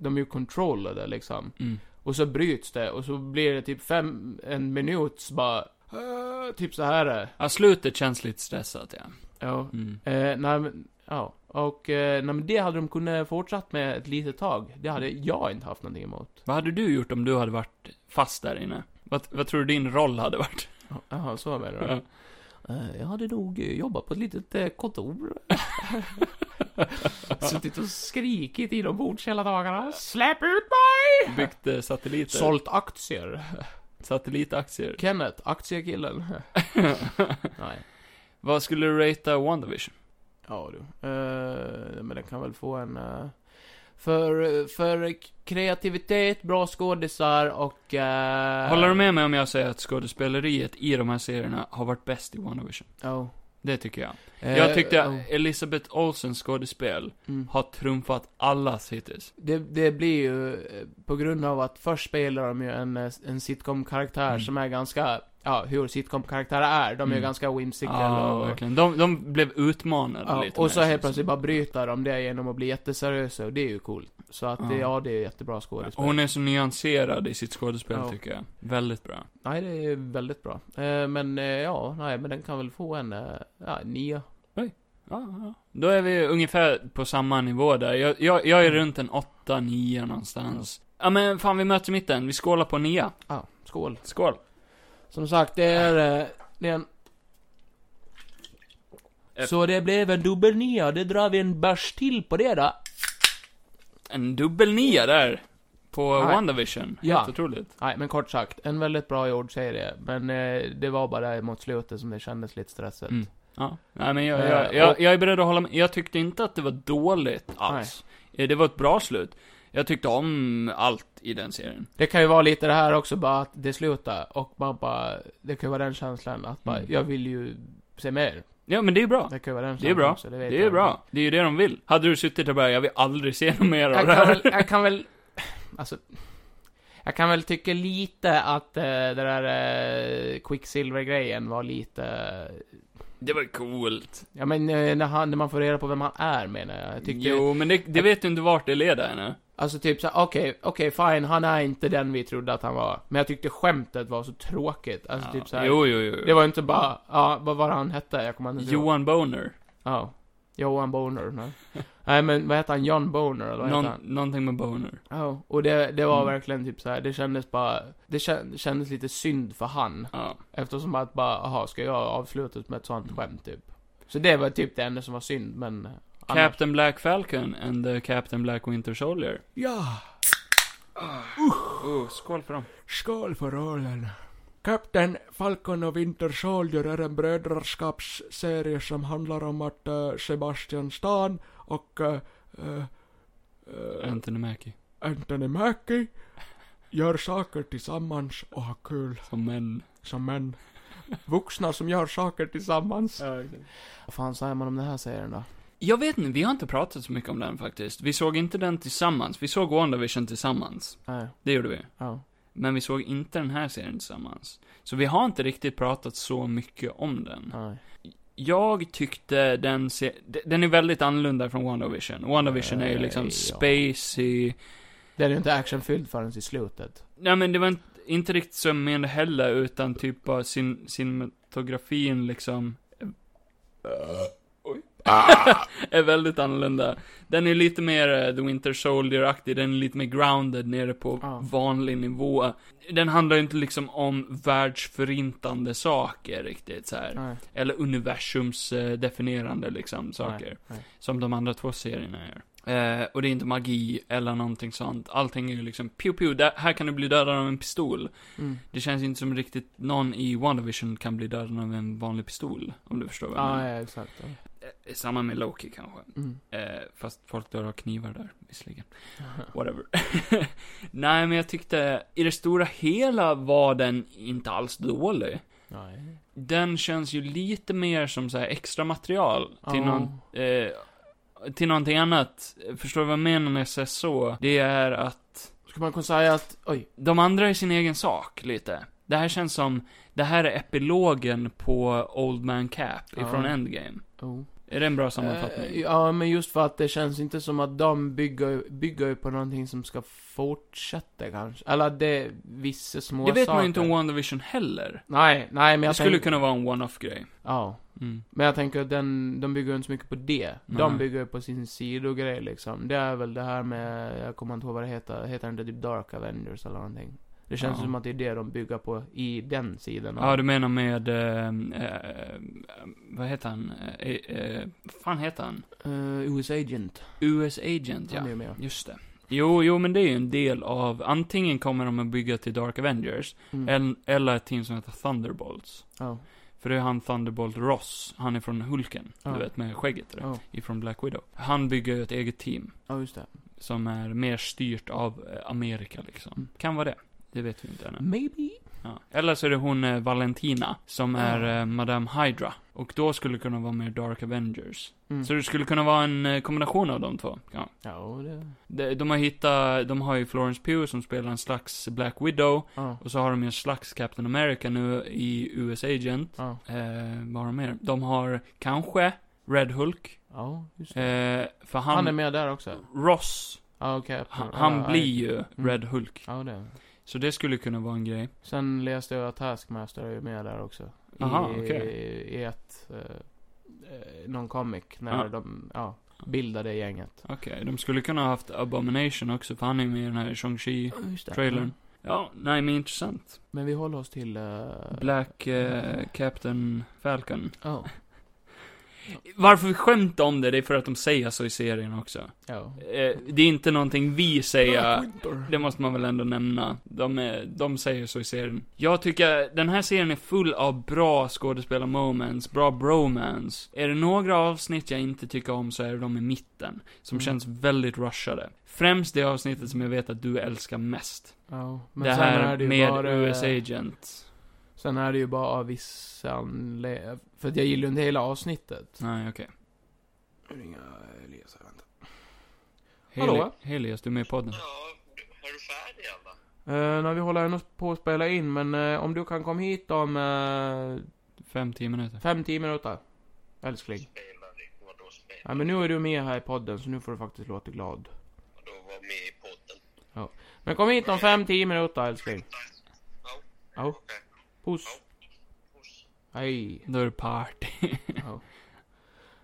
Speaker 2: de är ju controllade liksom.
Speaker 1: Mm.
Speaker 2: Och så bryts det och så blir det typ fem, en minuts bara, eh, typ så här. eh.
Speaker 1: Ja, slutet känns lite stressat ja.
Speaker 2: Ja.
Speaker 1: Mm.
Speaker 2: Eh, nej men, ja. Och, eh, nej men det hade de kunnat fortsatt med ett litet tag. Det hade jag inte haft någonting emot.
Speaker 1: Vad hade du gjort om du hade varit fast där inne? Vad, vad tror du din roll hade
Speaker 2: (laughs)
Speaker 1: varit?
Speaker 2: Jaha, så menar du? Eh, Jag hade nog eh, jobbat på ett litet eh,
Speaker 1: (laughs)
Speaker 2: kontor. Suttit och skrikit inombords hela dagarna. Släpp ut mig!
Speaker 1: Byggt eh, satelliter?
Speaker 2: Sålt aktier.
Speaker 1: Satellitaktier?
Speaker 2: Kenneth,
Speaker 1: (laughs)
Speaker 2: aktiekillen. Nej.
Speaker 1: Vad skulle du ratea WandaVision?
Speaker 2: Ja du. Eh, men den kan väl få en... eh, för, för kreativitet, bra skådisar och... eh,
Speaker 1: Håller du med mig om jag säger att skådespeleriet i de här serierna har varit bäst i WandaVision?
Speaker 2: Ja.
Speaker 1: Det tycker jag.
Speaker 2: Eh,
Speaker 1: jag tyckte
Speaker 2: ja.
Speaker 1: Elisabeth Olsens skådespel
Speaker 2: Mm.
Speaker 1: har trumfat allas hittills.
Speaker 2: Det, det blir ju eh, på grund av att först spelar de ju en, eh, en sitcom-karaktär
Speaker 1: Mm.
Speaker 2: som är ganska, ja, hur sitcom-karaktärer är. De är ju
Speaker 1: Mm.
Speaker 2: ganska whimsical
Speaker 1: Ja,
Speaker 2: och...
Speaker 1: verkligen. De, de blev utmanade
Speaker 2: Ja,
Speaker 1: lite mer,
Speaker 2: och så
Speaker 1: känns
Speaker 2: helt
Speaker 1: det
Speaker 2: plötsligt
Speaker 1: som.
Speaker 2: bara bryter de det genom att bli jätteseriösa och det är ju coolt. Så att det,
Speaker 1: Ja.
Speaker 2: ja, det är jättebra skådespel.
Speaker 1: Hon är så nyanserad i sitt skådespel
Speaker 2: Ja.
Speaker 1: tycker jag. Väldigt bra.
Speaker 2: Nej, det är väldigt bra. Eh, men eh, ja, nej, men den kan väl få en, eh, ja, nia.
Speaker 1: Då är vi ungefär på samma nivå där. Jag, jag, jag är runt en 8-9 någonstans. Ja men fan vi möts i mitten, vi skålar på 9.
Speaker 2: Ah, skål.
Speaker 1: Skål.
Speaker 2: Som sagt, det är, eh, det är en... Så det blev en dubbel nia, det drar vi en bärs till på det då.
Speaker 1: En dubbel 9 där. På
Speaker 2: Nej.
Speaker 1: WandaVision. Helt
Speaker 2: Ja.
Speaker 1: otroligt.
Speaker 2: Nej, men kort sagt, en väldigt bra gjord serie. Men eh, det var bara där mot slutet som det kändes lite stressigt.
Speaker 1: Mm. Ja. Nej men jag,
Speaker 2: Eh,
Speaker 1: jag, jag,
Speaker 2: och-
Speaker 1: jag är beredd att hålla med. Jag tyckte inte att det var dåligt alls. Eh, Det var ett bra slut. Jag tyckte om allt i den serien.
Speaker 2: Det kan ju vara lite det här också, bara att det slutar och man bara, det kan ju vara den känslan att bara, jag vill ju se mer.
Speaker 1: Ja, men det är bra.
Speaker 2: Det kan ju vara den
Speaker 1: Mm. Det är
Speaker 2: känslan
Speaker 1: bra.
Speaker 2: också, vet
Speaker 1: Det är
Speaker 2: jag.
Speaker 1: bra. Det är ju det de vill. Hade du suttit där och bara, jag vill aldrig se något mer av
Speaker 2: Jag
Speaker 1: det
Speaker 2: kan
Speaker 1: här. (laughs)
Speaker 2: väl, jag kan väl, alltså, jag kan väl tycka lite att eh, det där eh, Quicksilver-grejen var lite,
Speaker 1: Det var coolt.
Speaker 2: ja men eh, när, han, när man får reda på vem han är menar jag. jag tyckte,
Speaker 1: Jo, men det, det vet du inte vart det leder ännu.
Speaker 2: Alltså typ såhär, okej, okej fine, han är inte den vi trodde att han var. Men jag tyckte skämtet var så tråkigt. Alltså typ såhär,
Speaker 1: Jo, jo, jo.
Speaker 2: det var inte bara, ja, vad var det han hette? Jag kommer inte ihåg.
Speaker 1: Johan Boner.
Speaker 2: Ja. Johan Boner. Nej. nej men vad heter han? John Boner eller vad
Speaker 1: Någon,
Speaker 2: heter han?
Speaker 1: någonting med Boner.
Speaker 2: Ja. Och det, det var
Speaker 1: Mm.
Speaker 2: verkligen typ såhär, det kändes bara, det kän- kändes lite synd för han.
Speaker 1: Ja.
Speaker 2: Eftersom att bara, aha, ska jag avsluta med ett sånt skämt typ? Så det var typ det enda som var synd, men... annars-
Speaker 1: Captain Black Falcon and the Captain Black Winter Soldier.
Speaker 2: Ja!
Speaker 1: Oh, skål för dem.
Speaker 2: Skål för ölen. Captain Falcon och Winter Soldier är en brödraskapsserie som handlar om att eh, Sebastian Stan och eh, eh, eh,
Speaker 1: Anthony Mackie.
Speaker 2: Anthony Mackie gör saker tillsammans och har kul
Speaker 1: Som män.
Speaker 2: som män. Vuxna som gör saker tillsammans. Vad fan säger man om den här serien då?
Speaker 1: Jag vet inte, vi har inte pratat så mycket om den faktiskt. Vi såg inte den tillsammans. Vi såg WandaVision tillsammans.
Speaker 2: Nej,
Speaker 1: Det gjorde vi.
Speaker 2: ja.
Speaker 1: Men vi såg inte den här serien tillsammans. Så vi har inte riktigt pratat så mycket om den.
Speaker 2: Nej.
Speaker 1: Jag tyckte den se- d- Den är väldigt annorlunda från WandaVision. WandaVision är ju liksom
Speaker 2: Ja.
Speaker 1: spacey.
Speaker 2: Den är ju inte actionfylld förrän i slutet.
Speaker 1: Nej men det var inte, inte riktigt sömmen heller, utan typ bara sin, cinematografin liksom. eh, Oj. (laughs) är väldigt annorlunda. Den är lite mer eh, The Winter Soldier-aktig, den är lite mer grounded nere på
Speaker 2: Ja.
Speaker 1: vanlig nivå. Den handlar ju inte liksom om världsförintande saker riktigt så här.
Speaker 2: Nej.
Speaker 1: Eller universums eh, definierande liksom saker.
Speaker 2: nej.
Speaker 1: Som de andra två serierna gör. Eh, och det är inte magi eller någonting sånt. Allting är ju liksom pew pew, där, här kan du bli dödad av en pistol.
Speaker 2: Mm.
Speaker 1: Det känns inte som riktigt någon i WandaVision kan bli dödad av en vanlig pistol. Om du förstår vad jag
Speaker 2: Ja,
Speaker 1: menar.
Speaker 2: ja, exakt. Ja.
Speaker 1: Eh, Samma med Loki kanske. (laughs)
Speaker 2: Mm.
Speaker 1: Eh, fast folk dör av knivar där, visserligen. Whatever. (laughs) Nej, men jag tyckte i det stora hela var den inte alls dålig.
Speaker 2: Nej.
Speaker 1: Den känns ju lite mer som så här extra material till,
Speaker 2: Ja.
Speaker 1: någon, eh, till någonting annat. Förstår du vad jag menar när jag säger så? Det är att
Speaker 2: Ska man kunna säga att, oj,
Speaker 1: de andra är sin egen sak lite. Det här känns som, det här är epilogen på Old Man Cap
Speaker 2: Ja.
Speaker 1: ifrån Endgame.
Speaker 2: oh.
Speaker 1: Är det en bra sammanfattning?
Speaker 2: Eh, Ja, men just för att det känns inte som att de bygger, bygger ju på någonting som ska fortsätta kanske. Eller att det är vissa små
Speaker 1: det vet
Speaker 2: saker.
Speaker 1: man ju inte om WandaVision heller.
Speaker 2: Nej, nej men
Speaker 1: Det
Speaker 2: jag
Speaker 1: skulle
Speaker 2: tänker-
Speaker 1: kunna vara en one-off-grej.
Speaker 2: Ja.
Speaker 1: Mm.
Speaker 2: Men jag tänker att den, de bygger ju inte så mycket på det.
Speaker 1: Nej.
Speaker 2: De bygger ju på sin sidogrej liksom. Det är väl det här med, jag kommer inte ihåg vad det heter, heter det inte typ Dark Avengers eller någonting? Det känns
Speaker 1: Ja.
Speaker 2: som att det är det de bygger på i den sidan. av-
Speaker 1: Ja, du menar med... Eh, eh, vad heter han? Eh, eh, vad fan heter han?
Speaker 2: Eh, US Agent.
Speaker 1: US Agent, ja.
Speaker 2: Han är ju med.
Speaker 1: Just det. Jo, jo, men det är ju en del av, antingen kommer de att bygga till Dark Avengers,
Speaker 2: Mm.
Speaker 1: eller, eller ett team som heter Thunderbolts.
Speaker 2: Ja.
Speaker 1: För det är han Thunderbolt Ross, han är från Hulken,
Speaker 2: Ja.
Speaker 1: du vet med skägget där,
Speaker 2: Ja.
Speaker 1: ifrån Black Widow. Han bygger ju ett eget team,
Speaker 2: ja, just det.
Speaker 1: som är mer styrt av eh, Amerika liksom.
Speaker 2: Mm.
Speaker 1: Kan vara det. Det vet vi inte ännu.
Speaker 2: Maybe.
Speaker 1: Ja. Eller så är det hon eh, Valentina, som
Speaker 2: Ja.
Speaker 1: är eh, Madame Hydra. Och då skulle det kunna vara mer Dark Avengers.
Speaker 2: Mm.
Speaker 1: Så det skulle kunna vara en eh, kombination av de två. Ja.
Speaker 2: Ja, det...
Speaker 1: De, de har hittat, de har ju Florence Pugh som spelar en slags Black Widow.
Speaker 2: Ja.
Speaker 1: Och så har de ju en slags Captain America nu i US Agent.
Speaker 2: Ja.
Speaker 1: Eh, vad har de mer? De har kanske Red Hulk.
Speaker 2: Ja, just det.
Speaker 1: Eh, för han,
Speaker 2: Han, är med där också?
Speaker 1: Ross,
Speaker 2: Ja, okej.
Speaker 1: han,
Speaker 2: Ja,
Speaker 1: han
Speaker 2: ja, Mm.
Speaker 1: blir ju Red Hulk.
Speaker 2: Ja, det.
Speaker 1: Så det skulle kunna vara en grej.
Speaker 2: Sen läste jag att Taskmaster är ju med där också. I,
Speaker 1: Aha, okej.
Speaker 2: I ett... eh, eh, någon comic, när
Speaker 1: Ja.
Speaker 2: de, ja, bildade gänget.
Speaker 1: Okej, de skulle kunna ha haft Abomination också, för han är ju med i den här Shang-Chi. Trailern. Ja, nej men intressant.
Speaker 2: Mm. Men vi håller oss till... eh,
Speaker 1: Black eh, Captain Falcon.
Speaker 2: Ja.
Speaker 1: Varför vi skämtar om det, det är för att de säger så i serien också.
Speaker 2: Ja.
Speaker 1: Eh, det är inte någonting vi säger.
Speaker 5: Winter.
Speaker 1: uh, Det måste man väl ändå nämna. De, är, de säger så i serien. Jag tycker den här serien är full av bra skådespelarmoments, bra bromance. Är det några avsnitt jag inte tycker om så är det de i mitten, som
Speaker 2: Mm.
Speaker 1: känns väldigt rushade. Främst det avsnittet som jag vet att du älskar mest.
Speaker 2: ja. Men
Speaker 1: det
Speaker 2: sen
Speaker 1: här
Speaker 2: är det ju
Speaker 1: med
Speaker 2: bara, eh,
Speaker 1: US Agent.
Speaker 2: Sen är det ju bara av vissa anle- För att jag gillar ju inte hela avsnittet.
Speaker 1: Nej, okej.
Speaker 2: Ringa Elias här, vänta.
Speaker 1: Heli-
Speaker 2: Hallå?
Speaker 1: Helias, du är med i podden.
Speaker 8: Ja, är du färdig eller?
Speaker 2: Eh, när vi håller ändå på att spela in, men eh, om du kan komma hit om eh,
Speaker 1: Fem, tio minuter.
Speaker 2: fem, tio minuter. Älskling.
Speaker 8: Spelar i, vadå spel?
Speaker 2: Ja, men nu är du med här i podden, så nu får du faktiskt låta glad.
Speaker 8: Vadå var med i podden?
Speaker 2: Men kom hit om fem, tio minuter, älskling.
Speaker 8: Ja,
Speaker 2: Ja,
Speaker 8: okej.
Speaker 2: puss.
Speaker 8: Puss.
Speaker 2: Hej.
Speaker 1: Då är det party. (laughs)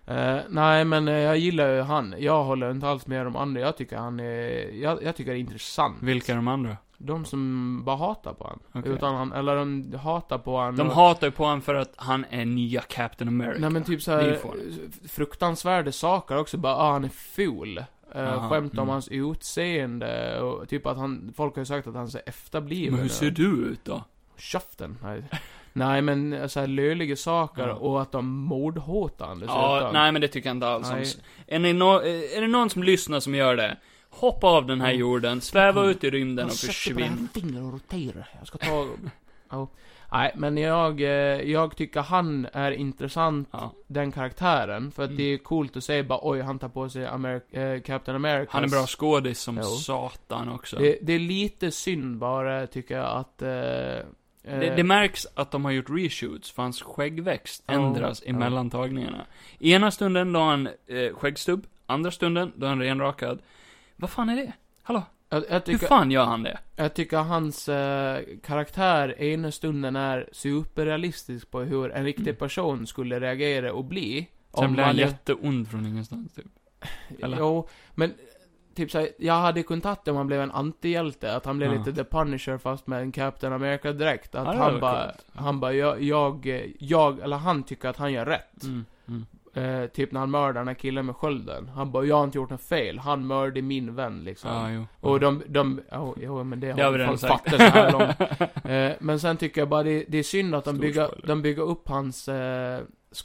Speaker 2: Eh, nej, men eh, jag gillar ju han. Jag håller inte alls med de andra. Jag tycker han är... Jag, jag tycker det är intressant.
Speaker 1: Vilka är de andra?
Speaker 2: De som bara hatar på han.
Speaker 1: Okej.
Speaker 2: Utan han, eller de hatar på han.
Speaker 1: De
Speaker 2: och-
Speaker 1: hatar ju på honom för att han är nya Captain America.
Speaker 2: Mm. Nej men typ
Speaker 1: Det är ju
Speaker 2: såhär,
Speaker 1: fånigt.
Speaker 2: fruktansvärda saker också. Bara, ah, han är ful.
Speaker 1: Aha,
Speaker 2: Uh, skämt om
Speaker 1: mm.
Speaker 2: hans utseende och typ att han, folk har ju sagt att han ser efterbliven
Speaker 1: Men hur
Speaker 2: ut.
Speaker 1: ser du ut då?
Speaker 2: Käften. Nej. nej men såhär löjliga saker
Speaker 1: Ja.
Speaker 2: och att de mordhotar han
Speaker 1: Ja,
Speaker 2: dessutom.
Speaker 1: nej men det tycker jag inte alls om.
Speaker 2: Nej.
Speaker 1: Är, ni nå- är det någon som lyssnar som gör det? Hoppa av den här
Speaker 2: Mm.
Speaker 1: jorden, sväva ut i rymden och försvinn.
Speaker 2: fingrar och roterar. Jag ska ta... (laughs) ja. Nej, men jag, eh, jag tycker han är intressant,
Speaker 1: Ja.
Speaker 2: den karaktären. För att
Speaker 1: Mm.
Speaker 2: det är coolt att säga bara oj, han tar på sig Ameri- eh, Captain America.
Speaker 1: Han är bra skådis som
Speaker 2: Jo.
Speaker 1: satan också. Det,
Speaker 2: Det, det är lite synd bara, tycker jag, att... Eh, det,
Speaker 1: det, märks att de har gjort reshoots, för hans skäggväxt
Speaker 2: eh, Ja,
Speaker 1: ändras
Speaker 2: ja.
Speaker 1: emellan tagningarna. Ena stunden då har han eh, skäggstubb, andra stunden då är han renrakad. Vad fan är det? Hallå?
Speaker 2: jag, jag,
Speaker 1: Hur
Speaker 2: tycker,
Speaker 1: fan gör han det?
Speaker 2: jag tycker hans eh, karaktär ena stunden är superrealistisk på hur en riktig
Speaker 1: Mm.
Speaker 2: person skulle reagera och bli.
Speaker 1: Sen blir han
Speaker 2: man-
Speaker 1: jätteond från ingenstans, typ. Eller?
Speaker 2: Jo, men typ såhär, jag hade kunnat tagit det om han blev en antihjälte, att han blev
Speaker 1: Ja.
Speaker 2: lite The Punisher fast med en Captain America-dräkt. Att
Speaker 1: Ja, det var
Speaker 2: han bara,
Speaker 1: coolt.
Speaker 2: han bara, jag, jag, eh, jag, eller han tycker att han gör rätt.
Speaker 1: Mm, mm.
Speaker 2: Eh, typ när han mördar den här killen med skölden. Han bara, jag har inte gjort något fel, han mördade min vän liksom.
Speaker 1: Ja, jo.
Speaker 2: Och de, de, oh, jo men det har,
Speaker 1: Det har vi redan
Speaker 2: folk
Speaker 1: sagt.
Speaker 2: fattat så
Speaker 1: (laughs)
Speaker 2: här långt. Eh, men sen tycker jag bara det, det är synd att de
Speaker 1: Stor
Speaker 2: bygger,
Speaker 1: spoiler.
Speaker 2: de bygger upp hans eh,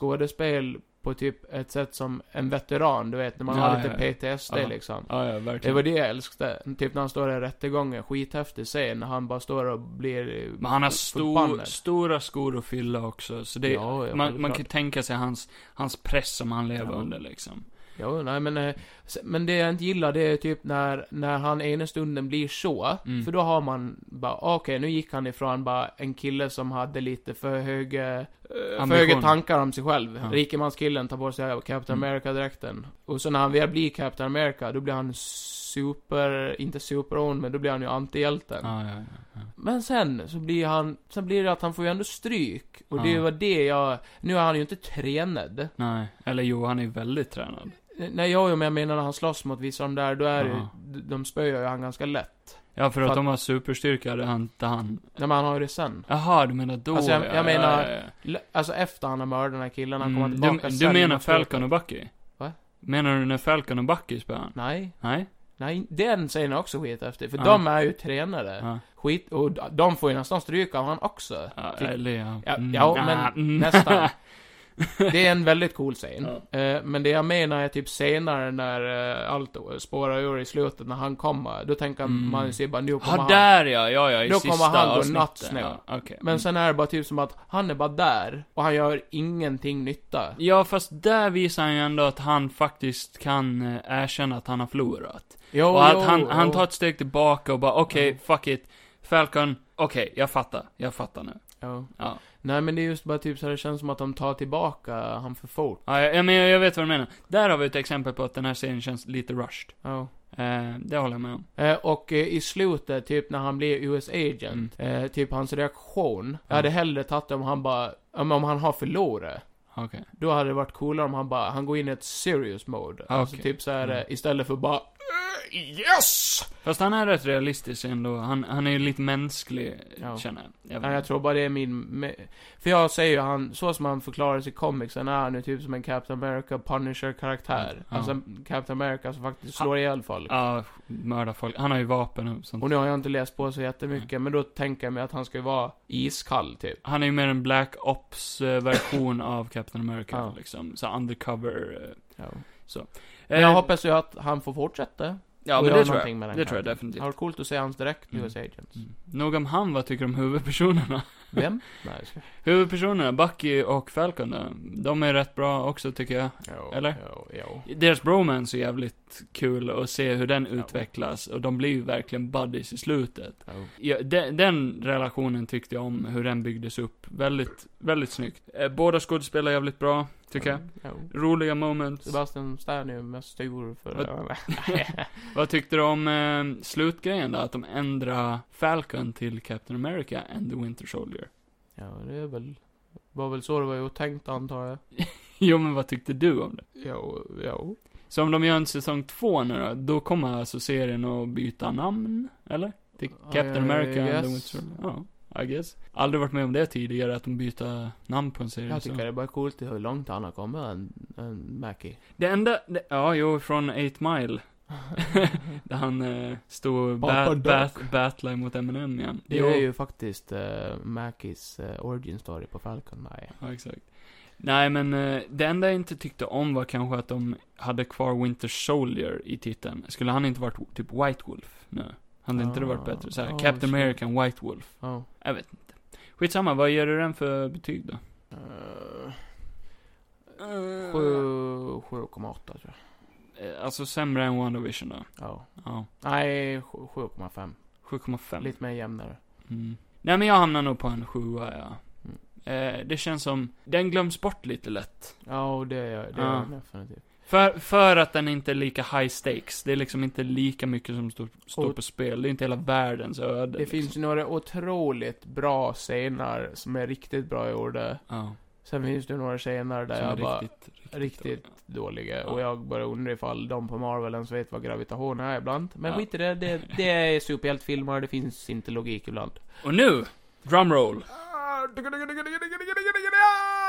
Speaker 2: skådespel på typ ett sätt som en veteran, du vet, när man
Speaker 1: Ja,
Speaker 2: har
Speaker 1: ja,
Speaker 2: lite PTSD
Speaker 1: Ja.
Speaker 2: liksom.
Speaker 1: Ja, ja,
Speaker 2: Det
Speaker 1: verkligen.
Speaker 2: var det jag älskade. Typ när han står i rättegången, skithäftig scen, när han bara står och blir... eh,
Speaker 1: Men han har stor,
Speaker 2: förbannad.
Speaker 1: stora skor att fylla också, så det,
Speaker 2: Ja, ja,
Speaker 1: man, man
Speaker 2: självklart.
Speaker 1: kan tänka sig hans, hans press som han lever
Speaker 2: Ja.
Speaker 1: under liksom.
Speaker 2: Jo, nej men, eh, s- men det jag inte gillar det är typ när, när han ena stunden blir så,
Speaker 1: Mm.
Speaker 2: för då har man bara, "Ah, okej nu gick han ifrån bara en kille som hade lite för höga, eh, för
Speaker 1: Ambitioner.
Speaker 2: höga tankar om sig själv.
Speaker 1: Ja.
Speaker 2: Rikemanskillen tar på sig Captain
Speaker 1: Mm.
Speaker 2: America-dräkten. Och så när han väl blir Captain America, då blir han super, inte superon, men då blir han ju antihjälten.
Speaker 1: Ja, ja, ja.
Speaker 2: Men sen så blir han, sen blir det att han får ju ändå stryk. Och det
Speaker 1: Ja.
Speaker 2: var det jag, nu är han ju inte tränad.
Speaker 1: Nej, eller jo, han är väldigt tränad.
Speaker 2: Nej, jag, men jag menar när han slåss mot vissa av de där, då är det ju,
Speaker 1: Jaha.
Speaker 2: d- de spöar ju han ganska lätt.
Speaker 1: Ja, för att
Speaker 2: Fatt-
Speaker 1: de har superstyrka, det har inte han.
Speaker 2: Nej, men han har ju det sen.
Speaker 1: Jaha, du menar då?
Speaker 2: Alltså, jag-
Speaker 1: ja,
Speaker 2: jag menar-
Speaker 1: ja, ja,
Speaker 2: L- Alltså efter han har mördat den här killen, han kommer
Speaker 1: Mm,
Speaker 2: tillbaka
Speaker 1: du,
Speaker 2: sen.
Speaker 1: du
Speaker 2: i
Speaker 1: menar
Speaker 2: något
Speaker 1: Falcon
Speaker 2: skede.
Speaker 1: och Bucky?
Speaker 2: Va?
Speaker 1: Menar du när Falcon och Bucky spöar han?
Speaker 2: Nej,
Speaker 1: Nej?
Speaker 2: nej, den scenen är också skit efter. För
Speaker 1: Ja.
Speaker 2: de är ju tränare.
Speaker 1: Ja.
Speaker 2: Skit, och d- de får ju nästan stryk av han också.
Speaker 1: Ja,
Speaker 2: Typ.
Speaker 1: eller ja.
Speaker 2: Ja,
Speaker 1: Mm,
Speaker 2: ja
Speaker 1: ah,
Speaker 2: men
Speaker 1: mm. (laughs)
Speaker 2: nästan. Det är en väldigt cool scen. Eh, men det jag menar är typ senare när eh, allt spårar ur i slutet, när han kommer, då tänker
Speaker 1: Mm.
Speaker 2: man ju sig bara nu kommer
Speaker 1: Ja,
Speaker 2: han.
Speaker 1: där ja, ja, ja, i
Speaker 2: Då
Speaker 1: sista
Speaker 2: kommer han gå
Speaker 1: avsnittet.
Speaker 2: nattsnö.
Speaker 1: Ja, okej. Mm.
Speaker 2: Men sen är det bara typ som att han är bara där, och han gör ingenting nytta.
Speaker 1: Ja, fast där visar han ju ändå att han faktiskt kan eh, erkänna att han har förlorat.
Speaker 2: Jo,
Speaker 1: och att
Speaker 2: jo,
Speaker 1: han, han
Speaker 2: jo.
Speaker 1: tar ett steg tillbaka och bara, okej,
Speaker 2: Ja.
Speaker 1: fuck it. Falcon, okej, jag fattar. Jag fattar nu.
Speaker 2: Jo.
Speaker 1: Ja.
Speaker 2: Nej men det är just bara typ så här, det känns som att de tar tillbaka han för fort.
Speaker 1: Ja, jag, jag, men jag, jag vet vad du menar. Där har vi ett exempel på att den här serien känns lite rushed.
Speaker 2: Ja.
Speaker 1: Eh, det håller jag med om.
Speaker 2: Eh, och eh, i slutet, typ när han blir US agent, eh, typ hans reaktion. Jag hade hellre tagit det om han bara, om, om han har förlorat.
Speaker 1: Okej.
Speaker 2: Då hade det varit coolare om han bara, han går in i ett serious mode. Alltså
Speaker 1: okej.
Speaker 2: typ så här, eh, istället för bara
Speaker 5: yes!
Speaker 1: Fast han är rätt realistisk ändå. Han, han är ju lite mänsklig,
Speaker 2: Ja.
Speaker 1: känner jag.
Speaker 2: Ja, jag tror bara det är min... me- För jag säger ju han, så som han förklarar sig i comicsen är han ju typ som en Captain America Punisher-karaktär.
Speaker 1: Mm. Ja.
Speaker 2: Alltså en Captain America som faktiskt slår ihjäl folk.
Speaker 1: Ja, mörda folk. Han har ju vapen och sånt.
Speaker 2: Och nu har jag inte läst på så jättemycket,
Speaker 1: Mm.
Speaker 2: men då tänker jag mig att han ska ju vara iskall typ.
Speaker 1: Han är ju mer en Black
Speaker 2: (coughs)
Speaker 1: Ops-version av Captain America,
Speaker 2: Ja.
Speaker 1: liksom. Så undercover. eh.
Speaker 2: Ja.
Speaker 1: Eh,
Speaker 2: Men jag hoppas ju att han får fortsätta.
Speaker 1: Ja,
Speaker 2: och
Speaker 1: men
Speaker 2: göra
Speaker 1: det tror
Speaker 2: någonting
Speaker 1: jag.
Speaker 2: med den
Speaker 1: Det tror jag
Speaker 2: karaktären.
Speaker 1: definitivt.
Speaker 2: Har varit coolt att se hans direkt,
Speaker 1: Mm.
Speaker 2: US Agents.
Speaker 1: Mm. Nog om han, vad tycker du om huvudpersonerna? (laughs)
Speaker 2: Vem? Nej, jag ska...
Speaker 1: Huvudpersonerna, Bucky och Falcon då, de är rätt bra också tycker jag.
Speaker 2: jo,
Speaker 1: Eller?
Speaker 2: Jo, jo.
Speaker 1: Deras bromance är jävligt kul att se hur den
Speaker 2: Ja.
Speaker 1: utvecklas, och de blir ju verkligen buddies i slutet.
Speaker 2: jo.
Speaker 1: Ja, den, den relationen tyckte jag om, hur den byggdes upp. Väldigt, väldigt snyggt. Eh, Båda skådespelar jävligt bra, tycker jag.
Speaker 2: Jo.
Speaker 1: Roliga moments.
Speaker 2: Sebastian Stan är ju mest stor för...
Speaker 1: Vad tyckte du om eh, slutgrejen då? Att de ändrar Falcon till Captain America and the Winter Soldier. (laughs)
Speaker 2: ja, det är väl... Var väl så det var ju tänkt antar jag.
Speaker 1: Jo, men vad tyckte du om det?
Speaker 2: Jo, jo.
Speaker 1: Så om de gör en säsong två nu då, då kommer alltså serien att byta namn, eller? Till
Speaker 2: Ja,
Speaker 1: Captain
Speaker 2: ja, ja,
Speaker 1: America
Speaker 2: I
Speaker 1: and the Winter
Speaker 2: guess.
Speaker 1: Soldier. Ja, I guess. Aldrig varit med om det tidigare, att de byter namn på en serie.
Speaker 2: Jag
Speaker 1: Mm, så.
Speaker 2: tycker det är bara coolt hur långt han har kommit, en,
Speaker 1: (laughs)
Speaker 2: en Mackie.
Speaker 1: Det enda, det, ja jo, från 8 Mile.
Speaker 2: (laughs)
Speaker 1: Där han eh, stod och
Speaker 2: Papa
Speaker 1: bat, bat,
Speaker 2: Doc.
Speaker 1: battlade mot Eminem igen.
Speaker 2: Det
Speaker 1: Jo,
Speaker 2: är ju faktiskt uh, Mackies eh, origin story på Falcon, nej.
Speaker 1: Ja, exakt. Nej, men eh, det enda jag inte tyckte om var kanske att de hade kvar Winter Soldier i titeln. Skulle han inte varit typ White Wolf nu? Hade inte det varit
Speaker 2: Ah,
Speaker 1: bättre? Så här,
Speaker 2: ja,
Speaker 1: Captain
Speaker 2: så.
Speaker 1: America and White Wolf.
Speaker 2: Ja.
Speaker 1: Jag vet inte. Skitsamma, vad ger du den för betyg då?
Speaker 2: Eh, sju- 7,8 tror jag.
Speaker 1: Eh, Alltså sämre än WandaVision då?
Speaker 2: Ja.
Speaker 1: Ja.
Speaker 2: Nej, sju- 7,5.
Speaker 1: 7,5.
Speaker 2: Lite mer jämnare.
Speaker 1: Mm. Nej men jag hamnar nog på en sjua, ja.
Speaker 2: Mm.
Speaker 1: Eh, det känns som, den glöms bort lite lätt.
Speaker 2: Ja, och det är det
Speaker 1: Ja.
Speaker 2: är definitivt.
Speaker 1: För, för att den inte är lika high stakes. Det är liksom inte lika mycket som står, står
Speaker 2: Och-
Speaker 1: på spel. Det är inte hela världens öde.
Speaker 2: Det
Speaker 1: liksom.
Speaker 2: finns ju några otroligt bra scener som är riktigt bra gjorda.
Speaker 1: Ja.
Speaker 2: Sen finns det några scener där
Speaker 1: Som är
Speaker 2: jag bara...
Speaker 1: riktigt, riktigt,
Speaker 2: Typ, Riktigt
Speaker 1: dåliga.
Speaker 2: dåliga.
Speaker 1: Ja.
Speaker 2: Och jag bara undrar ifall de på Marvel ens vet vad gravitation är ibland. Men
Speaker 1: Ja.
Speaker 2: skit i det, det, det är superhjältefilmer, det finns inte logik ibland.
Speaker 1: Och nu, drumroll.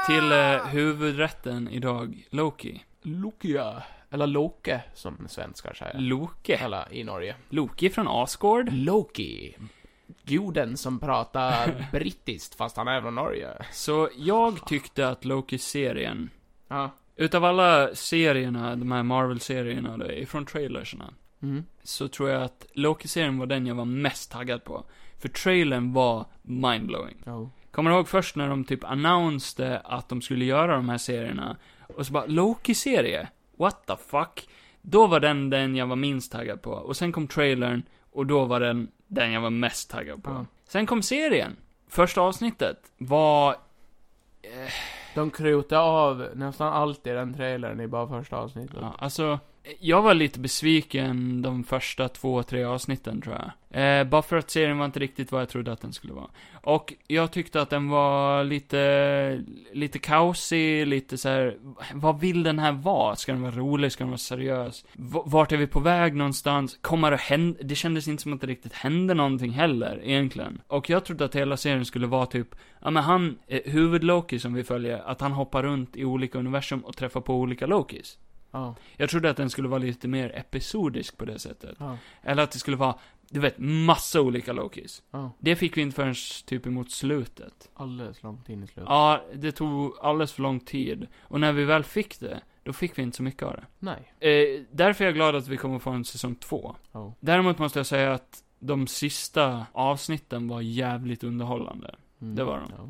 Speaker 1: Till eh, huvudrätten idag, Loki.
Speaker 2: Lokia. Eller Loke, som svenskar säger.
Speaker 1: Loke.
Speaker 2: Eller i Norge.
Speaker 1: Loki från Asgård.
Speaker 2: Loki. Guden
Speaker 1: (laughs)
Speaker 2: som pratar brittiskt fast han är från Norge.
Speaker 1: Så jag tyckte att Loki-serien
Speaker 2: Ja.
Speaker 1: Utav alla serierna, de här Marvel-serierna då, ifrån trailersna,
Speaker 2: Mm.
Speaker 1: så tror jag att Loki-serien var den jag var mest taggad på. För trailern var mindblowing.
Speaker 2: Ja.
Speaker 1: Kommer du ihåg först när de typ annonserade att de skulle göra de här serierna? Och så bara, Loki-serie? What the fuck? Då var den den jag var minst taggad på. Och sen kom trailern, och då var den den jag var mest taggad på.
Speaker 2: Ja.
Speaker 1: Sen kom serien. Första avsnittet var
Speaker 2: De krutar av nästan allt i den trailern i bara första avsnittet.
Speaker 1: Ja, alltså, jag var lite besviken de första två, tre avsnitten tror jag. Eh, bara för att serien var inte riktigt vad jag trodde att den skulle vara. Och jag tyckte att den var lite, lite kaosig, lite så här. vad vill den här vara? Ska den vara rolig? Ska den vara seriös? V- vart är vi på väg någonstans? Kommer det hända? Det kändes inte som att det riktigt hände någonting heller, egentligen. Och jag trodde att hela serien skulle vara typ Ja men han, eh, huvud-Loki som vi följer, att han hoppar runt i olika universum och träffar på olika Lokis.
Speaker 2: Ja.
Speaker 1: Jag trodde att den skulle vara lite mer episodisk på det sättet.
Speaker 2: Ja.
Speaker 1: Eller att det skulle vara, du vet, massa olika Lokis.
Speaker 2: Ja.
Speaker 1: Det fick vi inte förrän typ emot slutet.
Speaker 2: Alldeles långt in i slutet.
Speaker 1: Ja, det tog alldeles för lång tid. Och när vi väl fick det, då fick vi inte så mycket av det.
Speaker 2: Nej.
Speaker 1: Eh, därför är jag glad att vi kommer få en säsong två.
Speaker 2: Ja.
Speaker 1: Däremot måste jag säga att de sista avsnitten var jävligt underhållande.
Speaker 2: Mm.
Speaker 1: Det var de.
Speaker 2: Ja.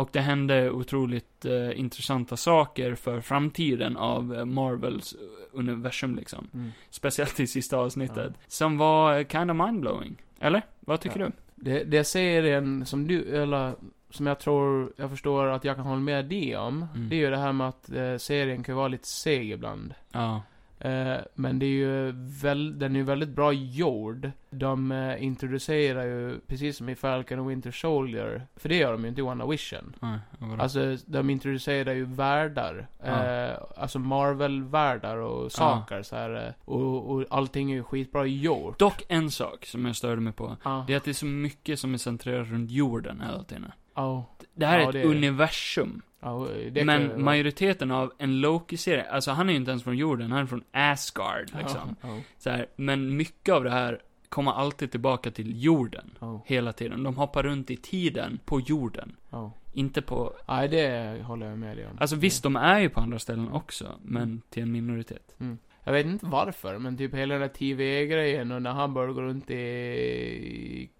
Speaker 1: Och det hände otroligt eh, intressanta saker för framtiden av eh, Marvels eh, universum liksom.
Speaker 2: Mm.
Speaker 1: Speciellt i sista avsnittet. Som var eh, kind of mindblowing. Eller? Vad tycker
Speaker 2: Ja.
Speaker 1: du?
Speaker 2: Det, det serien som du, eller som jag tror, jag förstår att jag kan hålla med dig om.
Speaker 1: Mm.
Speaker 2: Det är ju det här med att eh, serien kan vara lite seg ibland.
Speaker 1: Ja.
Speaker 2: Eh, Eh, men det är ju väl, den är ju väldigt bra gjord. De eh, introducerar ju, precis som i Falcon och Winter Soldier, för det gör de ju inte i WandaVision.
Speaker 1: Nej, vadå?
Speaker 2: Alltså, de introducerar ju världar. Eh, alltså Marvel-världar och saker så här. eh, Och, och allting är ju skitbra gjort.
Speaker 1: Dock en sak som jag störde mig på.
Speaker 2: Ja.
Speaker 1: Det är att det är så mycket som är centrerat runt jorden hela tiden.
Speaker 2: Ja.
Speaker 1: Det här
Speaker 2: Ja,
Speaker 1: är ett
Speaker 2: det är det.
Speaker 1: universum.
Speaker 2: Ja, det kan ju-
Speaker 1: men majoriteten av en Loki-serie, alltså han är ju inte ens från jorden, han är från Asgard
Speaker 2: Ja,
Speaker 1: liksom.
Speaker 2: ja,
Speaker 1: Så här, men mycket av det här kommer alltid tillbaka till jorden.
Speaker 2: ja,
Speaker 1: Hela tiden. De hoppar runt i tiden på jorden.
Speaker 2: ja.
Speaker 1: Inte på...
Speaker 2: Nej, det håller jag med dig om.
Speaker 1: Alltså visst, de är ju på andra ställen också, men till en minoritet.
Speaker 2: Jag vet inte varför, men typ hela den där TV-grejen och när han börjar gå runt i...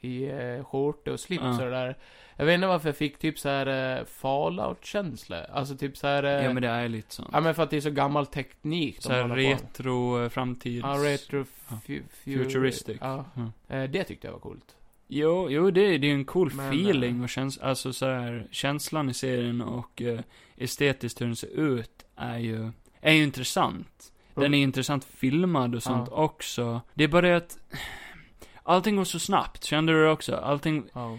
Speaker 2: I eh, skjorta och slips
Speaker 1: Ja.
Speaker 2: och det där. Jag vet inte varför jag fick typ så här eh, fallout-känsla. Alltså typ så här... eh,
Speaker 1: Ja, men det är lite sånt.
Speaker 2: ja, men för att det är så gammal teknik de
Speaker 1: Så här
Speaker 2: håller på
Speaker 1: retro, eh, framtids...
Speaker 2: Ja, retro...
Speaker 1: Ja.
Speaker 2: Fu- fu-
Speaker 1: Futuristic.
Speaker 2: Ja.
Speaker 1: Ja.
Speaker 2: Eh, Det tyckte jag var coolt.
Speaker 1: Jo, jo det, är- det är ju en cool
Speaker 2: Men,
Speaker 1: feeling och käns alltså så här, känslan i serien och eh, estetiskt hur den ser ut är ju, är ju intressant. Den är intressant filmad och sånt också. Det är bara det att (sighs) allting går så snabbt, kände du det också? Allting,
Speaker 2: Ja.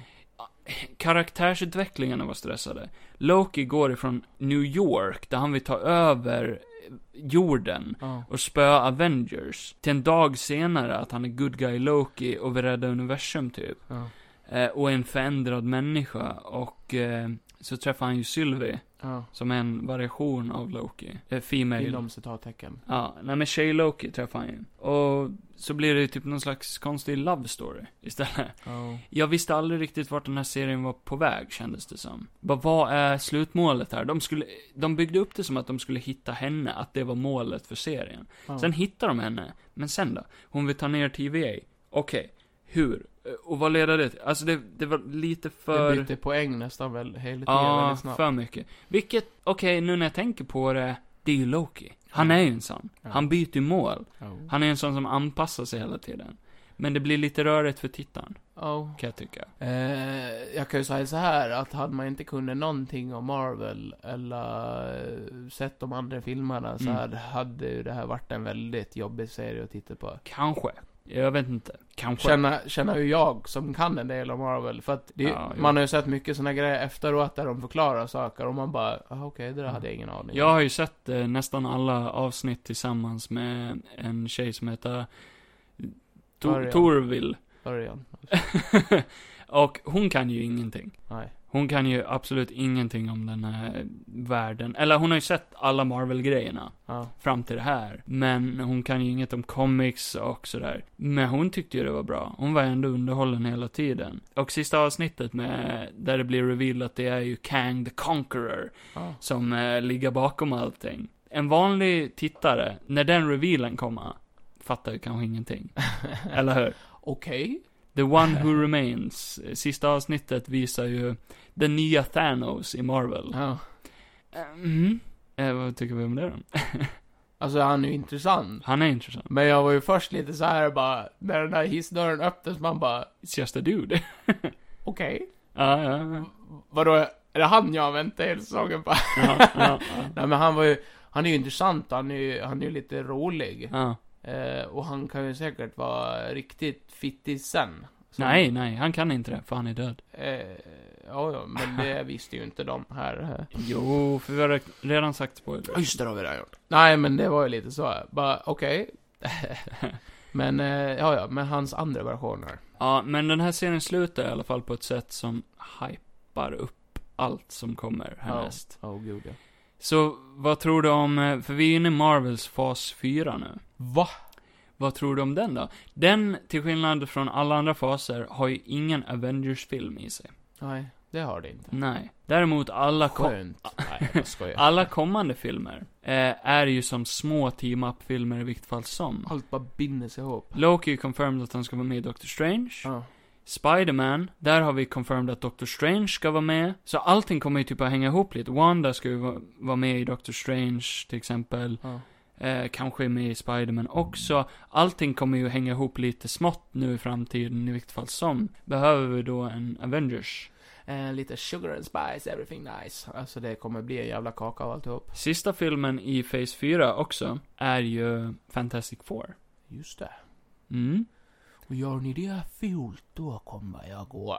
Speaker 1: karaktärsutvecklingarna var stressade. Loki går ifrån New York, där han vill ta över eh, jorden
Speaker 2: Ja.
Speaker 1: och spöa Avengers, till en dag senare att han är good guy Loki och vill rädda universum typ.
Speaker 2: Ja.
Speaker 1: Eh, och en förändrad människa. Och eh, så träffar han ju Sylvie,
Speaker 2: ja.
Speaker 1: som är en variation av Loki. Eh, female.
Speaker 2: Inom citattecken.
Speaker 1: Ja, nej men tjej Loki träffar han ju. Och så blir det ju typ någon slags konstig love story istället.
Speaker 2: Ja.
Speaker 1: Jag visste aldrig riktigt vart den här serien var på väg, kändes det som. Bara, vad är slutmålet här? De, skulle, de byggde upp det som att de skulle hitta henne, att det var målet för serien.
Speaker 2: Ja.
Speaker 1: Sen hittar de henne, men sen då? Hon vill ta ner TVA. Okej, hur? Eh, Och vad leder det till? Alltså det, det var lite för...
Speaker 2: Det byter poäng nästan väl, hela tiden
Speaker 1: Ja,
Speaker 2: väldigt snabbt.
Speaker 1: för mycket. Vilket, okej, nu när jag tänker på det, det är ju Loki. Han är ju en sån.
Speaker 2: Ja.
Speaker 1: Han byter mål.
Speaker 2: Ja.
Speaker 1: Han är en sån som anpassar sig hela tiden. Men det blir lite rörigt för tittaren,
Speaker 2: Ja.
Speaker 1: kan jag tycka.
Speaker 2: Eh, jag kan ju säga så här att hade man inte kunde någonting om Marvel eller eh, sett de andra filmerna så
Speaker 1: Mm.
Speaker 2: här, hade ju det här varit en väldigt jobbig serie att titta på.
Speaker 1: Kanske. Jag vet inte. Kanske.
Speaker 2: Känna, känna ju jag som kan en del om Marvel, för att det,
Speaker 1: Ja, jo.
Speaker 2: man har ju sett mycket såna grejer efteråt där de förklarar saker och man bara, ah, okej, det där
Speaker 1: Mm.
Speaker 2: hade jag ingen aning om.
Speaker 1: Jag har ju sett eh, nästan alla avsnitt tillsammans med en tjej som heter
Speaker 2: Arya.
Speaker 1: Tor- Torvill.
Speaker 2: Början.
Speaker 1: Och hon kan ju ingenting.
Speaker 2: Nej.
Speaker 1: Hon kan ju absolut ingenting om den här världen. Eller hon har ju sett alla Marvel-grejerna
Speaker 2: Ja.
Speaker 1: fram till det här. Men hon kan ju inget om comics och sådär. Men hon tyckte ju det var bra. Hon var ändå underhållen hela tiden. Och sista avsnittet med, där det blir reveal att det är ju Kang the Conqueror.
Speaker 2: Ja.
Speaker 1: som eh, ligger bakom allting. En vanlig tittare, när den revealen kommer, fattar ju kanske ingenting. Eller hur?
Speaker 2: (laughs) Okej.
Speaker 1: The One (laughs) Who Remains, eh, sista avsnittet visar ju den nya Thanos i Marvel.
Speaker 2: Ja.
Speaker 1: Mm. Eh, vad tycker vi om det då?
Speaker 2: Alltså han är ju intressant.
Speaker 1: Han är intressant.
Speaker 2: Men jag var ju först lite så här bara, när den där hissdörren öppnas, man bara,
Speaker 1: It's just a dude. (laughs)
Speaker 2: okej.
Speaker 1: ja, ja, ja.
Speaker 2: Vadå, är det han jag har väntat hela säsongen på? (laughs)
Speaker 1: ja, ja, ja.
Speaker 2: Nej men han var ju, han är ju intressant, han är ju, han är ju lite rolig.
Speaker 1: (laughs) ja.
Speaker 2: Eh, och han kan ju säkert vara riktigt fittig sen. Så-
Speaker 1: Nej, nej, han kan inte det, för han är död.
Speaker 2: Eh, ja, ja, men det (laughs) visste ju inte de här.
Speaker 1: Jo, för vi har redan sagt spoiler.
Speaker 2: Just det, har vi redan gjort. Nej men det var ju lite så, bara okej. (laughs) men, eh, ja ja, men hans andra versioner.
Speaker 1: Ja, men den här serien slutar i alla fall på ett sätt som hypar upp allt som kommer härnäst.
Speaker 2: Åh oh, gud ja.
Speaker 1: Så vad tror du om, eh, för vi är inne i Marvels fas 4 nu.
Speaker 2: Va?
Speaker 1: Vad tror du om den då? Den, till skillnad från alla andra faser, har ju ingen Avengers-film i sig.
Speaker 2: Nej, det har det inte.
Speaker 1: Nej. Däremot alla, ko-
Speaker 2: Skönt. Nej, jag skojar.
Speaker 1: alla kommande filmer eh, är ju som små team-up-filmer i vilket fall som.
Speaker 2: Allt bara binder sig ihop.
Speaker 1: Loki är confirmed att han ska vara med i Doctor Strange.
Speaker 2: Ja.
Speaker 1: Spider-Man, där har vi confirmed att Doctor Strange ska vara med. Så allting kommer ju typ att hänga ihop lite. Wanda ska ju va- vara med i Doctor Strange, till exempel.
Speaker 2: Ja.
Speaker 1: Eh, kanske är med i Spider-Man också. Allting kommer ju hänga ihop lite smått nu i framtiden, i vilket fall som. Behöver vi då en Avengers?
Speaker 2: eh, lite sugar and spice, everything nice. Alltså det kommer bli en jävla kaka av alltihop.
Speaker 1: Sista filmen i Phase 4 också är ju Fantastic Four.
Speaker 2: Just det.
Speaker 1: Mm.
Speaker 2: Och gör ni det fult, då kommer jag gå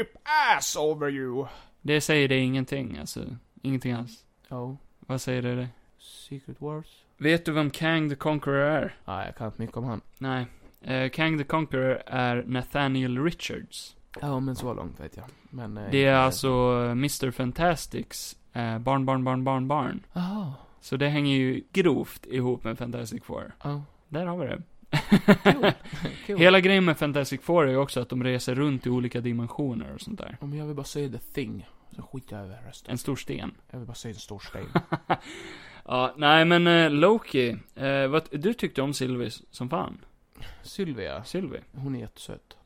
Speaker 2: ape ass over you.
Speaker 1: Det säger det ingenting, alltså. Ingenting alls.
Speaker 2: Ja,
Speaker 1: Vad säger det dig?
Speaker 2: Oh, Secret Wars?
Speaker 1: Vet du vem Kang the Conqueror är?
Speaker 2: Nej, jag kan inte mycket om han.
Speaker 1: Nej. Eh, Kang the Conqueror är Nathaniel Richards.
Speaker 2: Ja, men så långt vet jag. Men... eh,
Speaker 1: Det är
Speaker 2: inte-
Speaker 1: alltså eh, Mr. Fantastics eh, barn, barn, barn, barn, barn.
Speaker 2: Jaha.
Speaker 1: Så det hänger ju grovt ihop med Fantastic Four.
Speaker 2: Ja.
Speaker 1: Där har vi det.
Speaker 2: (laughs) Cool.
Speaker 1: (laughs)
Speaker 2: cool.
Speaker 1: Hela grejen med Fantastic Four är ju också att de reser runt i olika dimensioner och sånt där.
Speaker 2: Om jag vill bara säga the thing, så skiter jag över resten.
Speaker 1: En stor sten. (laughs)
Speaker 2: Jag vill bara säga en stor sten.
Speaker 1: Ja, nej men eh, Loki, eh, vad, du tyckte om Sylvie som fan.
Speaker 2: (laughs) Sylvia,
Speaker 1: Sylvie.
Speaker 2: hon är jättesöt.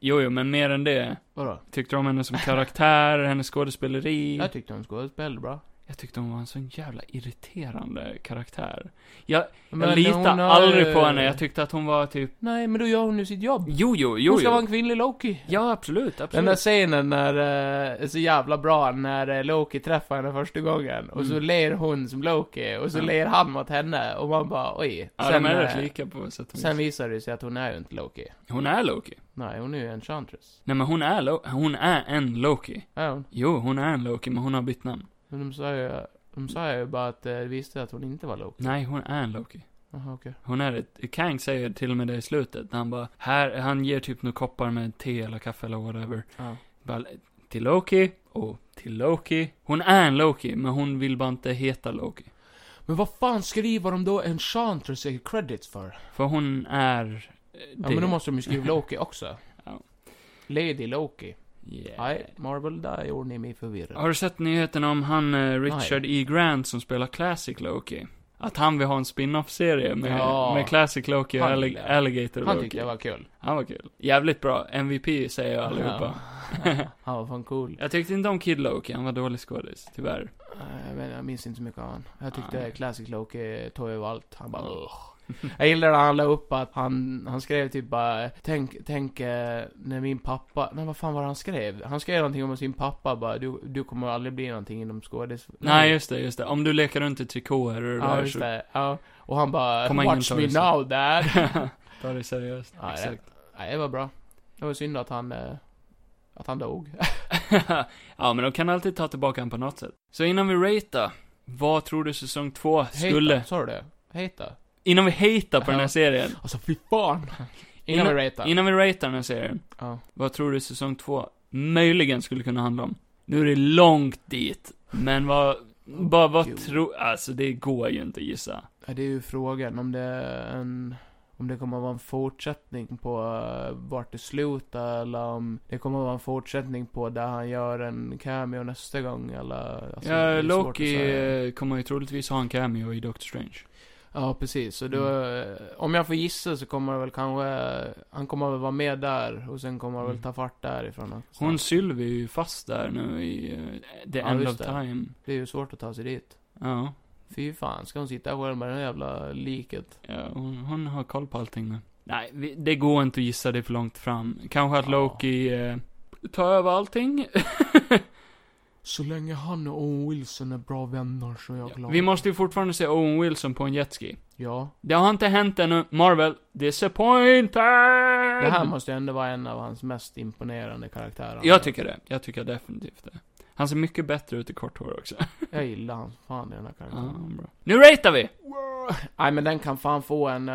Speaker 1: Jo, jo, men mer än det.
Speaker 2: Vadå?
Speaker 1: Tyckte du om henne som karaktär, hennes skådespeleri?
Speaker 2: Jag tyckte hon skådespelade bra.
Speaker 1: Jag tyckte hon var en sån jävla irriterande karaktär. Jag, jag
Speaker 2: hon
Speaker 1: litade
Speaker 2: har,
Speaker 1: aldrig på
Speaker 2: eh,
Speaker 1: henne, jag tyckte att hon var typ...
Speaker 2: Nej, men då gör hon ju sitt jobb.
Speaker 1: Jo, jo,
Speaker 2: hon
Speaker 1: jo,
Speaker 2: ska vara en
Speaker 1: jo.
Speaker 2: kvinnlig Loki.
Speaker 1: Ja, absolut, absolut.
Speaker 2: Den där scenen när, eh, är så jävla bra, när eh, Loki träffar henne första gången. Och så ler hon som Loki, och så
Speaker 1: Mm. Ja.
Speaker 2: ler han mot henne. Och man bara, oj.
Speaker 1: ja, de är
Speaker 2: eh,
Speaker 1: rätt lika på sätt och
Speaker 2: Sen
Speaker 1: vis.
Speaker 2: visar det sig att hon är ju inte Loki.
Speaker 1: Hon är Loki.
Speaker 2: Nej, hon är ju Enchantress.
Speaker 1: Nej, men hon är, Lo- hon är en Loki.
Speaker 2: Är hon?
Speaker 1: Jo, hon är en Loki, men hon har bytt namn.
Speaker 2: Men de sa ju, de sa ju bara att eh, visste att hon inte var Loki.
Speaker 1: Nej, hon är en Loki.
Speaker 2: Jaha, okej.
Speaker 1: Hon är ett, Kang säger till och med det i slutet, när han bara, här, han ger typ några koppar med te eller kaffe eller whatever.
Speaker 2: Ja.
Speaker 1: Bara, till Loki, och till Loki. Hon är en Loki, men hon vill bara inte heta Loki.
Speaker 2: Men vad fan skriver de då Enchantress i credits för?
Speaker 1: För hon är... eh,
Speaker 2: Ja,
Speaker 1: det.
Speaker 2: men då måste de ju skriva Loki också.
Speaker 1: (laughs) Ja. Eh.
Speaker 2: Lady Loki.
Speaker 1: Yeah.
Speaker 2: Nej, Marvel, där gjorde ni mig förvirrad.
Speaker 1: Har du sett nyheten om han eh, Richard E. Grant som spelar Classic Loki? Att han vill ha en spin-off-serie med,
Speaker 2: Ja.
Speaker 1: med Classic Loki och
Speaker 2: Han
Speaker 1: Alli-
Speaker 2: gillar jag.
Speaker 1: Alligator
Speaker 2: Han
Speaker 1: Loki.
Speaker 2: tyckte jag var kul.
Speaker 1: Han var kul. Jävligt bra. MVP säger jag allihopa.
Speaker 2: Ja. (laughs) Han var fan cool.
Speaker 1: Jag tyckte inte om Kid Loki, han var dålig skådis, tyvärr.
Speaker 2: Nej, Eh, Jag, vet, jag minns inte så mycket av han. Jag tyckte
Speaker 1: Nej.
Speaker 2: Classic Loki tog över allt. Han bara Ugh. Jag gillar när han la upp att han, han skrev typ bara Tänk, tänk eh, när min pappa, nej vad fan var det han skrev? Han skrev någonting om sin pappa bara du, du kommer aldrig bli någonting inom skådis...
Speaker 1: Nej, just det, just det. Om du lekar runt i trikåer och det
Speaker 2: Ja,
Speaker 1: där
Speaker 2: just
Speaker 1: så
Speaker 2: det. Ja. Och han bara
Speaker 1: Kommer ingen
Speaker 2: Watch
Speaker 1: ta
Speaker 2: me
Speaker 1: det så."
Speaker 2: now
Speaker 1: (laughs)
Speaker 2: dad.
Speaker 1: ta det seriöst.
Speaker 2: Ja,
Speaker 1: Exakt. (laughs)
Speaker 2: nej, det var bra. Det var synd att han, eh, att han dog.
Speaker 1: ja, men de kan alltid ta tillbaka honom på något sätt. Så innan vi ratear, vad tror du säsong två skulle...
Speaker 2: Hata, Sa du det? Hata?
Speaker 1: Innan vi hatar på den här
Speaker 2: Ja.
Speaker 1: serien.
Speaker 2: Alltså fy fan! Innan
Speaker 1: Innan-
Speaker 2: vi ratear.
Speaker 1: Innan vi ratear den här serien,
Speaker 2: Ja.
Speaker 1: vad tror du säsong två möjligen skulle kunna handla om? Nu är det långt dit, men vad, bara vad
Speaker 2: Gud.
Speaker 1: tror, alltså det går ju inte att gissa.
Speaker 2: Ja, det är ju frågan om det är en... Om det kommer att vara en fortsättning på eh, vart det slutar eller om det kommer att vara en fortsättning på där han gör en cameo nästa gång eller... alltså, det
Speaker 1: ja,
Speaker 2: är svårt att
Speaker 1: Loki
Speaker 2: säga.
Speaker 1: eh, kommer ju troligtvis ha en cameo i Doctor Strange.
Speaker 2: Ja, precis. Så då,
Speaker 1: mm.
Speaker 2: eh, om jag får gissa så kommer det väl kanske... eh, Han kommer väl vara med där och sen kommer det väl
Speaker 1: Mm.
Speaker 2: ta fart därifrån också.
Speaker 1: Hon Sylvie är ju fast där nu i eh, The
Speaker 2: Ja,
Speaker 1: End
Speaker 2: just
Speaker 1: of
Speaker 2: det.
Speaker 1: Time.
Speaker 2: Det är ju svårt att ta sig dit.
Speaker 1: Ja,
Speaker 2: Fy fan, ska hon sitta själv med det här jävla liket?
Speaker 1: ja hon, hon har koll på allting nu. Nej, vi, det går inte att gissa det är för långt fram. Kanske att
Speaker 2: Ja.
Speaker 1: Loki eh, tar över allting. (laughs)
Speaker 2: Så länge han och Owen Wilson är bra vänner så är jag glad.
Speaker 1: Vi måste ju fortfarande se Owen Wilson på en jetski.
Speaker 2: Ja.
Speaker 1: Det har inte hänt ännu. Marvel, disappointed!
Speaker 2: Det här måste ju ändå vara en av hans mest imponerande karaktärer.
Speaker 1: Jag tycker det. Jag tycker definitivt det. Han ser mycket bättre ut i kort hår också.
Speaker 2: Jag gillar han fan i den här
Speaker 1: Ja,
Speaker 2: karaktären.
Speaker 1: bra. Nu ratear vi!
Speaker 2: Nej men den kan fan få en... eh,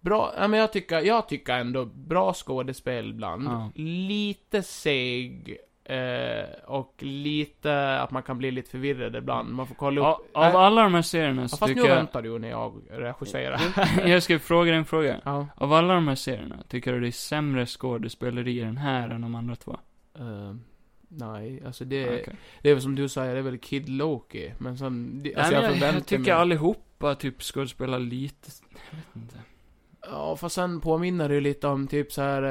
Speaker 2: Bra, nej men jag tycker, jag tycker ändå bra skådespel ibland.
Speaker 1: Ja.
Speaker 2: Lite seg. eh, och lite att man kan bli lite förvirrad ibland. Man får kolla
Speaker 1: Ja,
Speaker 2: upp.
Speaker 1: av
Speaker 2: Nej,
Speaker 1: alla de här serierna
Speaker 2: ja,
Speaker 1: så
Speaker 2: fast nu
Speaker 1: tycker jag...
Speaker 2: väntar du när jag regisserar.
Speaker 1: Jag (laughs) ska fråga dig en fråga.
Speaker 2: (laughs) Ja.
Speaker 1: Av alla de här serierna, tycker du det är sämre skådespeleri i den här än de andra två?
Speaker 2: Eh, nej, alltså det,
Speaker 1: Okej.
Speaker 2: det är väl som du säger, det är väl Kid Loki. Men sen, det, alltså
Speaker 1: Nej, men
Speaker 2: jag
Speaker 1: jag,
Speaker 2: förväntar
Speaker 1: jag tycker
Speaker 2: mig...
Speaker 1: allihopa typ skådespelar lite... Jag vet inte.
Speaker 2: Ja, fast sen påminner det ju lite om typ så här.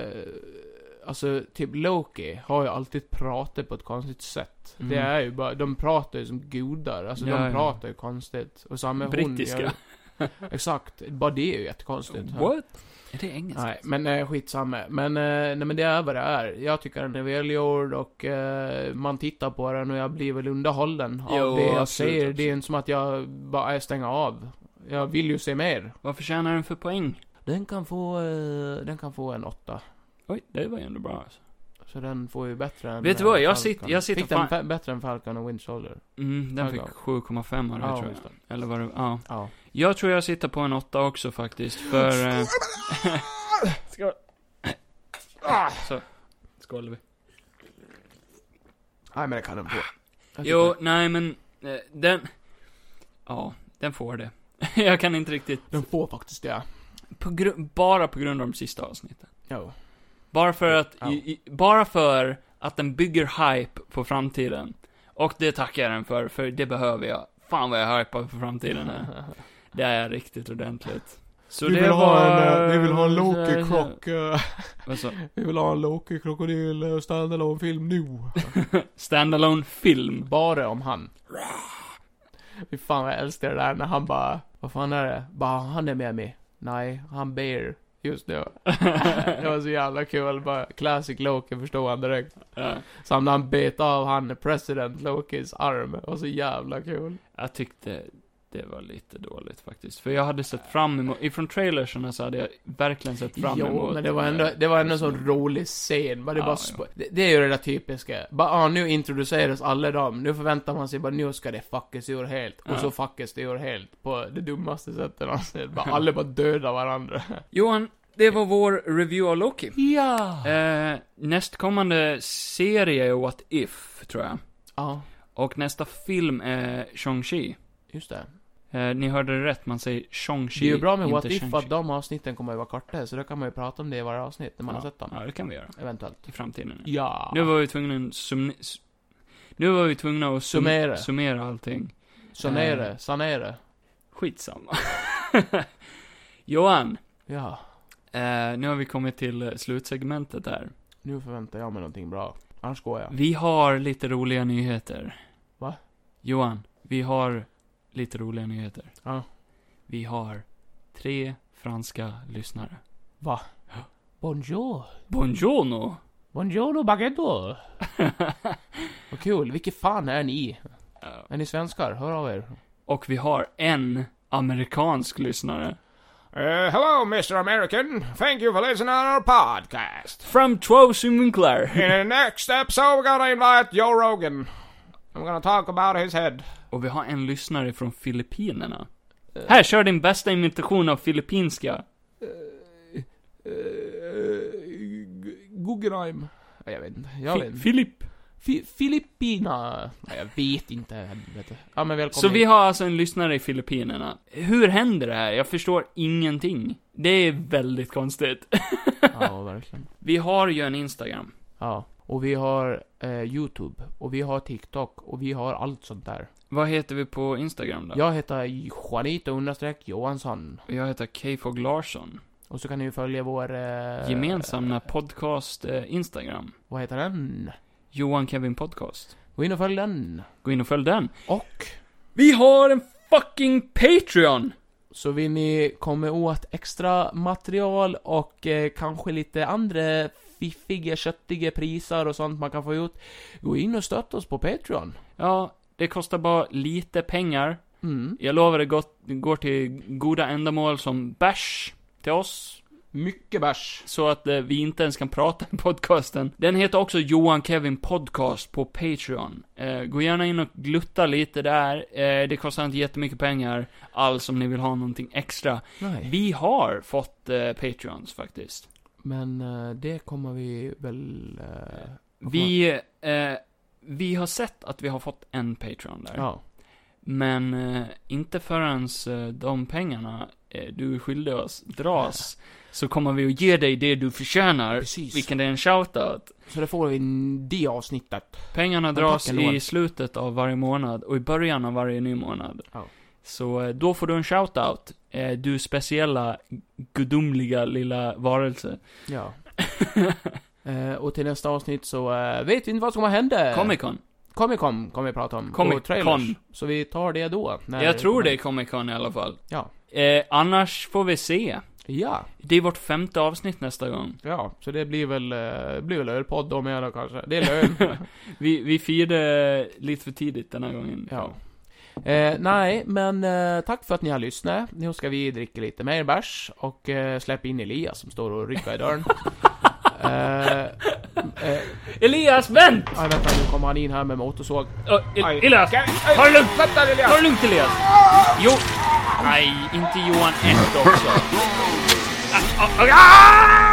Speaker 2: Eh, alltså, typ Loki har ju alltid pratat på ett konstigt sätt.
Speaker 1: Mm.
Speaker 2: Det är ju bara, de pratar ju som gudar. Alltså
Speaker 1: Ja,
Speaker 2: de
Speaker 1: ja.
Speaker 2: pratar ju konstigt. Och samma
Speaker 1: (laughs)
Speaker 2: hon
Speaker 1: Brittiska.
Speaker 2: gör- Exakt. Bara det är ju jättekonstigt.
Speaker 1: What? Är det engelska?
Speaker 2: Nej, men eh, skitsamma. Men, eh, nej, men det är vad det är. Jag tycker den är välgjord och eh, man tittar på den och jag blir väl underhållen av
Speaker 1: Jo,
Speaker 2: det jag
Speaker 1: absolut,
Speaker 2: säger. Det
Speaker 1: absolut.
Speaker 2: är inte som att jag bara eh, stänger av. Jag vill ju se mer.
Speaker 1: Vad förtjänar den för poäng?
Speaker 2: Den kan få, eh, den kan få en åtta.
Speaker 1: Oj, det var ju ändå bra alltså.
Speaker 2: Så den får ju bättre än
Speaker 1: Vet du
Speaker 2: eh,
Speaker 1: vad? Jag
Speaker 2: Falcon.
Speaker 1: sitter- jag sitter
Speaker 2: Fick den
Speaker 1: fan-
Speaker 2: fa- bättre än Falcon och Wind Soldier?
Speaker 1: Mm, den
Speaker 2: Jag
Speaker 1: fick
Speaker 2: gav.
Speaker 1: 7,5 av det tror
Speaker 2: just det.
Speaker 1: jag. Eller vad det ja.
Speaker 2: Ja.
Speaker 1: Jag tror jag sitter på en åtta också faktiskt, för... Eh... Skål. Så. Skålar vi.
Speaker 2: Nej, men det kan den få. Jag
Speaker 1: Jo,
Speaker 2: tycker
Speaker 1: nej men, eh, den... Ja, den får det. (laughs) jag kan inte riktigt...
Speaker 2: Den får faktiskt det.
Speaker 1: På gru... Bara på grund av de sista avsnitten.
Speaker 2: Jo.
Speaker 1: Bara för att...
Speaker 2: Ja.
Speaker 1: I, i, bara för att den bygger hype på framtiden. Och det tackar jag den för, för det behöver jag. Fan vad jag hypar för framtiden här. Det är riktigt ordentligt. Så
Speaker 2: vi,
Speaker 1: det
Speaker 2: vill ha
Speaker 1: var-
Speaker 2: en, eh, vi vill ha en Loki-krock. eh,
Speaker 1: Vad sa-
Speaker 2: Vi vill ha en Loki-krokodil eh, standalone film nu.
Speaker 1: Standalone (laughs) film.
Speaker 2: (laughs) Bara om han. Fy fan vad jag älskar det där när han bara, vad fan är det? Bara, han är med mig. Nej, han ber just nu. (laughs) det var så jävla kul, bara classic Loki förstod han direkt.
Speaker 1: Ja.
Speaker 2: Sen när han bet av han president Lokis arm, det var så jävla kul.
Speaker 1: Jag tyckte det var lite dåligt faktiskt. För jag hade sett fram emot, ifrån trailersen så hade jag verkligen sett fram emot.
Speaker 2: Jo, men det
Speaker 1: den
Speaker 2: var
Speaker 1: här
Speaker 2: ändå, det var ändå en
Speaker 1: filmen.
Speaker 2: sån rolig scen. Bara det,
Speaker 1: Ja,
Speaker 2: bara
Speaker 1: ja.
Speaker 2: spo- det, det är ju det där typiska. Bara, ah, nu introduceras alla dem. Nu förväntar man sig bara, nu ska det fuckas ur helt. Och
Speaker 1: Ja.
Speaker 2: så fuckas det ur helt. På det dummaste sättet (laughs) någonsin. Bara, alla bara dödar varandra.
Speaker 1: (laughs) Johan, det var vår review av Loki.
Speaker 2: Ja!
Speaker 1: Eh, nästkommande serie är What If, tror jag.
Speaker 2: Ja,
Speaker 1: Och nästa film är Shang-Chi.
Speaker 2: just det.
Speaker 1: Eh, ni hörde det rätt, man säger Shang-Chi,
Speaker 2: Det är ju bra med
Speaker 1: inte
Speaker 2: What If
Speaker 1: Shang-Chi.
Speaker 2: att de avsnitten kommer ju vara korta. Så då kan man ju prata om det i varje avsnitt när man har sett dem.
Speaker 1: Ja, det kan vi göra.
Speaker 2: Eventuellt.
Speaker 1: I framtiden.
Speaker 2: Ja.
Speaker 1: Nu var vi tvungna att sum... Nu var vi tvungna att sum...
Speaker 2: Summera.
Speaker 1: summera allting. Ehm.
Speaker 2: Sanere, sanere.
Speaker 1: Skitsamma. (laughs) Johan,
Speaker 2: Ja.
Speaker 1: eh, nu har vi kommit till eh, slutsegmentet här.
Speaker 2: Nu förväntar jag mig någonting bra. Annars går jag.
Speaker 1: Vi har lite roliga nyheter.
Speaker 2: Va?
Speaker 1: Johan, vi har lite roliga nyheter.
Speaker 2: Ja.
Speaker 1: Vi har tre franska lyssnare.
Speaker 2: Va? Bonjour. (laughs)
Speaker 1: Buongiorno!
Speaker 2: Buongiorno baguetto! Vad kul, vilka fan är ni?
Speaker 1: Ja.
Speaker 2: Är ni svenskar? Hör av er.
Speaker 1: Och vi har en amerikansk lyssnare.
Speaker 2: Eh, hello Mr American, thank you for listening to our podcast.
Speaker 1: From Trows Winkler.
Speaker 2: In the next episode we're gonna invite Joe Rogan. I'm gonna talk about his head.
Speaker 1: Och vi har en lyssnare från Filippinerna.
Speaker 2: Eh.
Speaker 1: Här, kör din bästa imitation av filippinska. Eh,
Speaker 2: Guggenheim. Jag vet inte, jag vet
Speaker 1: Fi-
Speaker 2: inte.
Speaker 1: Filip.
Speaker 2: Fi- Filippina. Nej, jag vet inte, helvete. Ja men välkommen
Speaker 1: Så vi
Speaker 2: hit.
Speaker 1: har alltså en lyssnare i Filippinerna. Hur händer det här? Jag förstår ingenting. Det är väldigt konstigt.
Speaker 2: (laughs) Ja, verkligen.
Speaker 1: Vi har ju en Instagram.
Speaker 2: Ja. Och vi har eh, Youtube. Och vi har TikTok. Och vi har allt sånt där.
Speaker 1: Vad heter vi på Instagram då?
Speaker 2: Jag heter Juanito understreck Johansson.
Speaker 1: Jag heter Kfog Larsson.
Speaker 2: Och så kan ni ju följa vår... Eh,
Speaker 1: Gemensamma podcast eh, Instagram.
Speaker 2: Vad heter den?
Speaker 1: Johan Kevin Podcast.
Speaker 2: Gå in och följ den.
Speaker 1: Gå in och följ den.
Speaker 2: Och
Speaker 1: Vi har en fucking Patreon!
Speaker 2: så vill ni komma åt extra material och eh, kanske lite andra fiffiga, köttiga priser och sånt man kan få ut. Gå in och stötta oss på Patreon.
Speaker 1: Ja, det kostar bara lite pengar.
Speaker 2: Mm.
Speaker 1: Jag lovar det gott, går till goda ändamål som bärs till oss.
Speaker 2: Mycket bärs.
Speaker 1: Så att eh, vi inte ens kan prata i podcasten. Den heter också Johan Kevin Podcast på Patreon. Eh, gå gärna in och glutta lite där. Eh, det kostar inte jättemycket pengar alls om ni vill ha någonting extra.
Speaker 2: Nej.
Speaker 1: Vi har fått eh, Patreons faktiskt.
Speaker 2: Men eh, det kommer vi väl... Eh,
Speaker 1: Vi, eh, vi har sett att vi har fått en Patreon där.
Speaker 2: ja.
Speaker 1: Men eh, inte förrän eh, de pengarna eh, du är skyldig oss
Speaker 2: (laughs)
Speaker 1: dras, så kommer vi att ge dig det du förtjänar.
Speaker 2: Precis.
Speaker 1: Vilken är en shoutout.
Speaker 2: Så det får vi i det avsnittet.
Speaker 1: Pengarna
Speaker 2: tack,
Speaker 1: dras
Speaker 2: Johan.
Speaker 1: i slutet av varje månad och i början av varje ny månad.
Speaker 2: Ja.
Speaker 1: Så eh, då får du en shoutout. Eh, du speciella, gudomliga lilla varelse.
Speaker 2: (laughs) Ja. eh, och till nästa avsnitt så eh, vet vi inte vad som kommer hända.
Speaker 1: Comic Con.
Speaker 2: Comic Con kommer vi prata om.
Speaker 1: Comic
Speaker 2: och trailers.
Speaker 1: Con.
Speaker 2: Så vi tar det då. när
Speaker 1: Jag tror
Speaker 2: kommer.
Speaker 1: det är Comic Con i alla fall.
Speaker 2: Ja.
Speaker 1: Eh, annars får vi se.
Speaker 2: Ja,
Speaker 1: Det är vårt femte avsnitt nästa gång.
Speaker 2: ja. Så det blir väl, eh, blir väl ölpodd då med då kanske. Det är
Speaker 1: (laughs)
Speaker 2: löl.
Speaker 1: Vi, vi firade lite för tidigt den här gången.
Speaker 2: ja. Eh, nej, men eh, tack för att ni har lyssnat. Nu ska vi dricka lite mer bärs och eh, släppa in Elias som står och rycker
Speaker 1: (laughs)
Speaker 2: i dörren. eh, eh,
Speaker 1: Elias, vänt!
Speaker 2: aj, vänta, nu kommer han in här med motorsåg.
Speaker 1: Oh,
Speaker 2: Aj.
Speaker 1: El- Elias! Ta det lugnt! Ta det lugnt Elias! Jo... Nej, inte Johan 1 också. Ah, ah, ah, ah!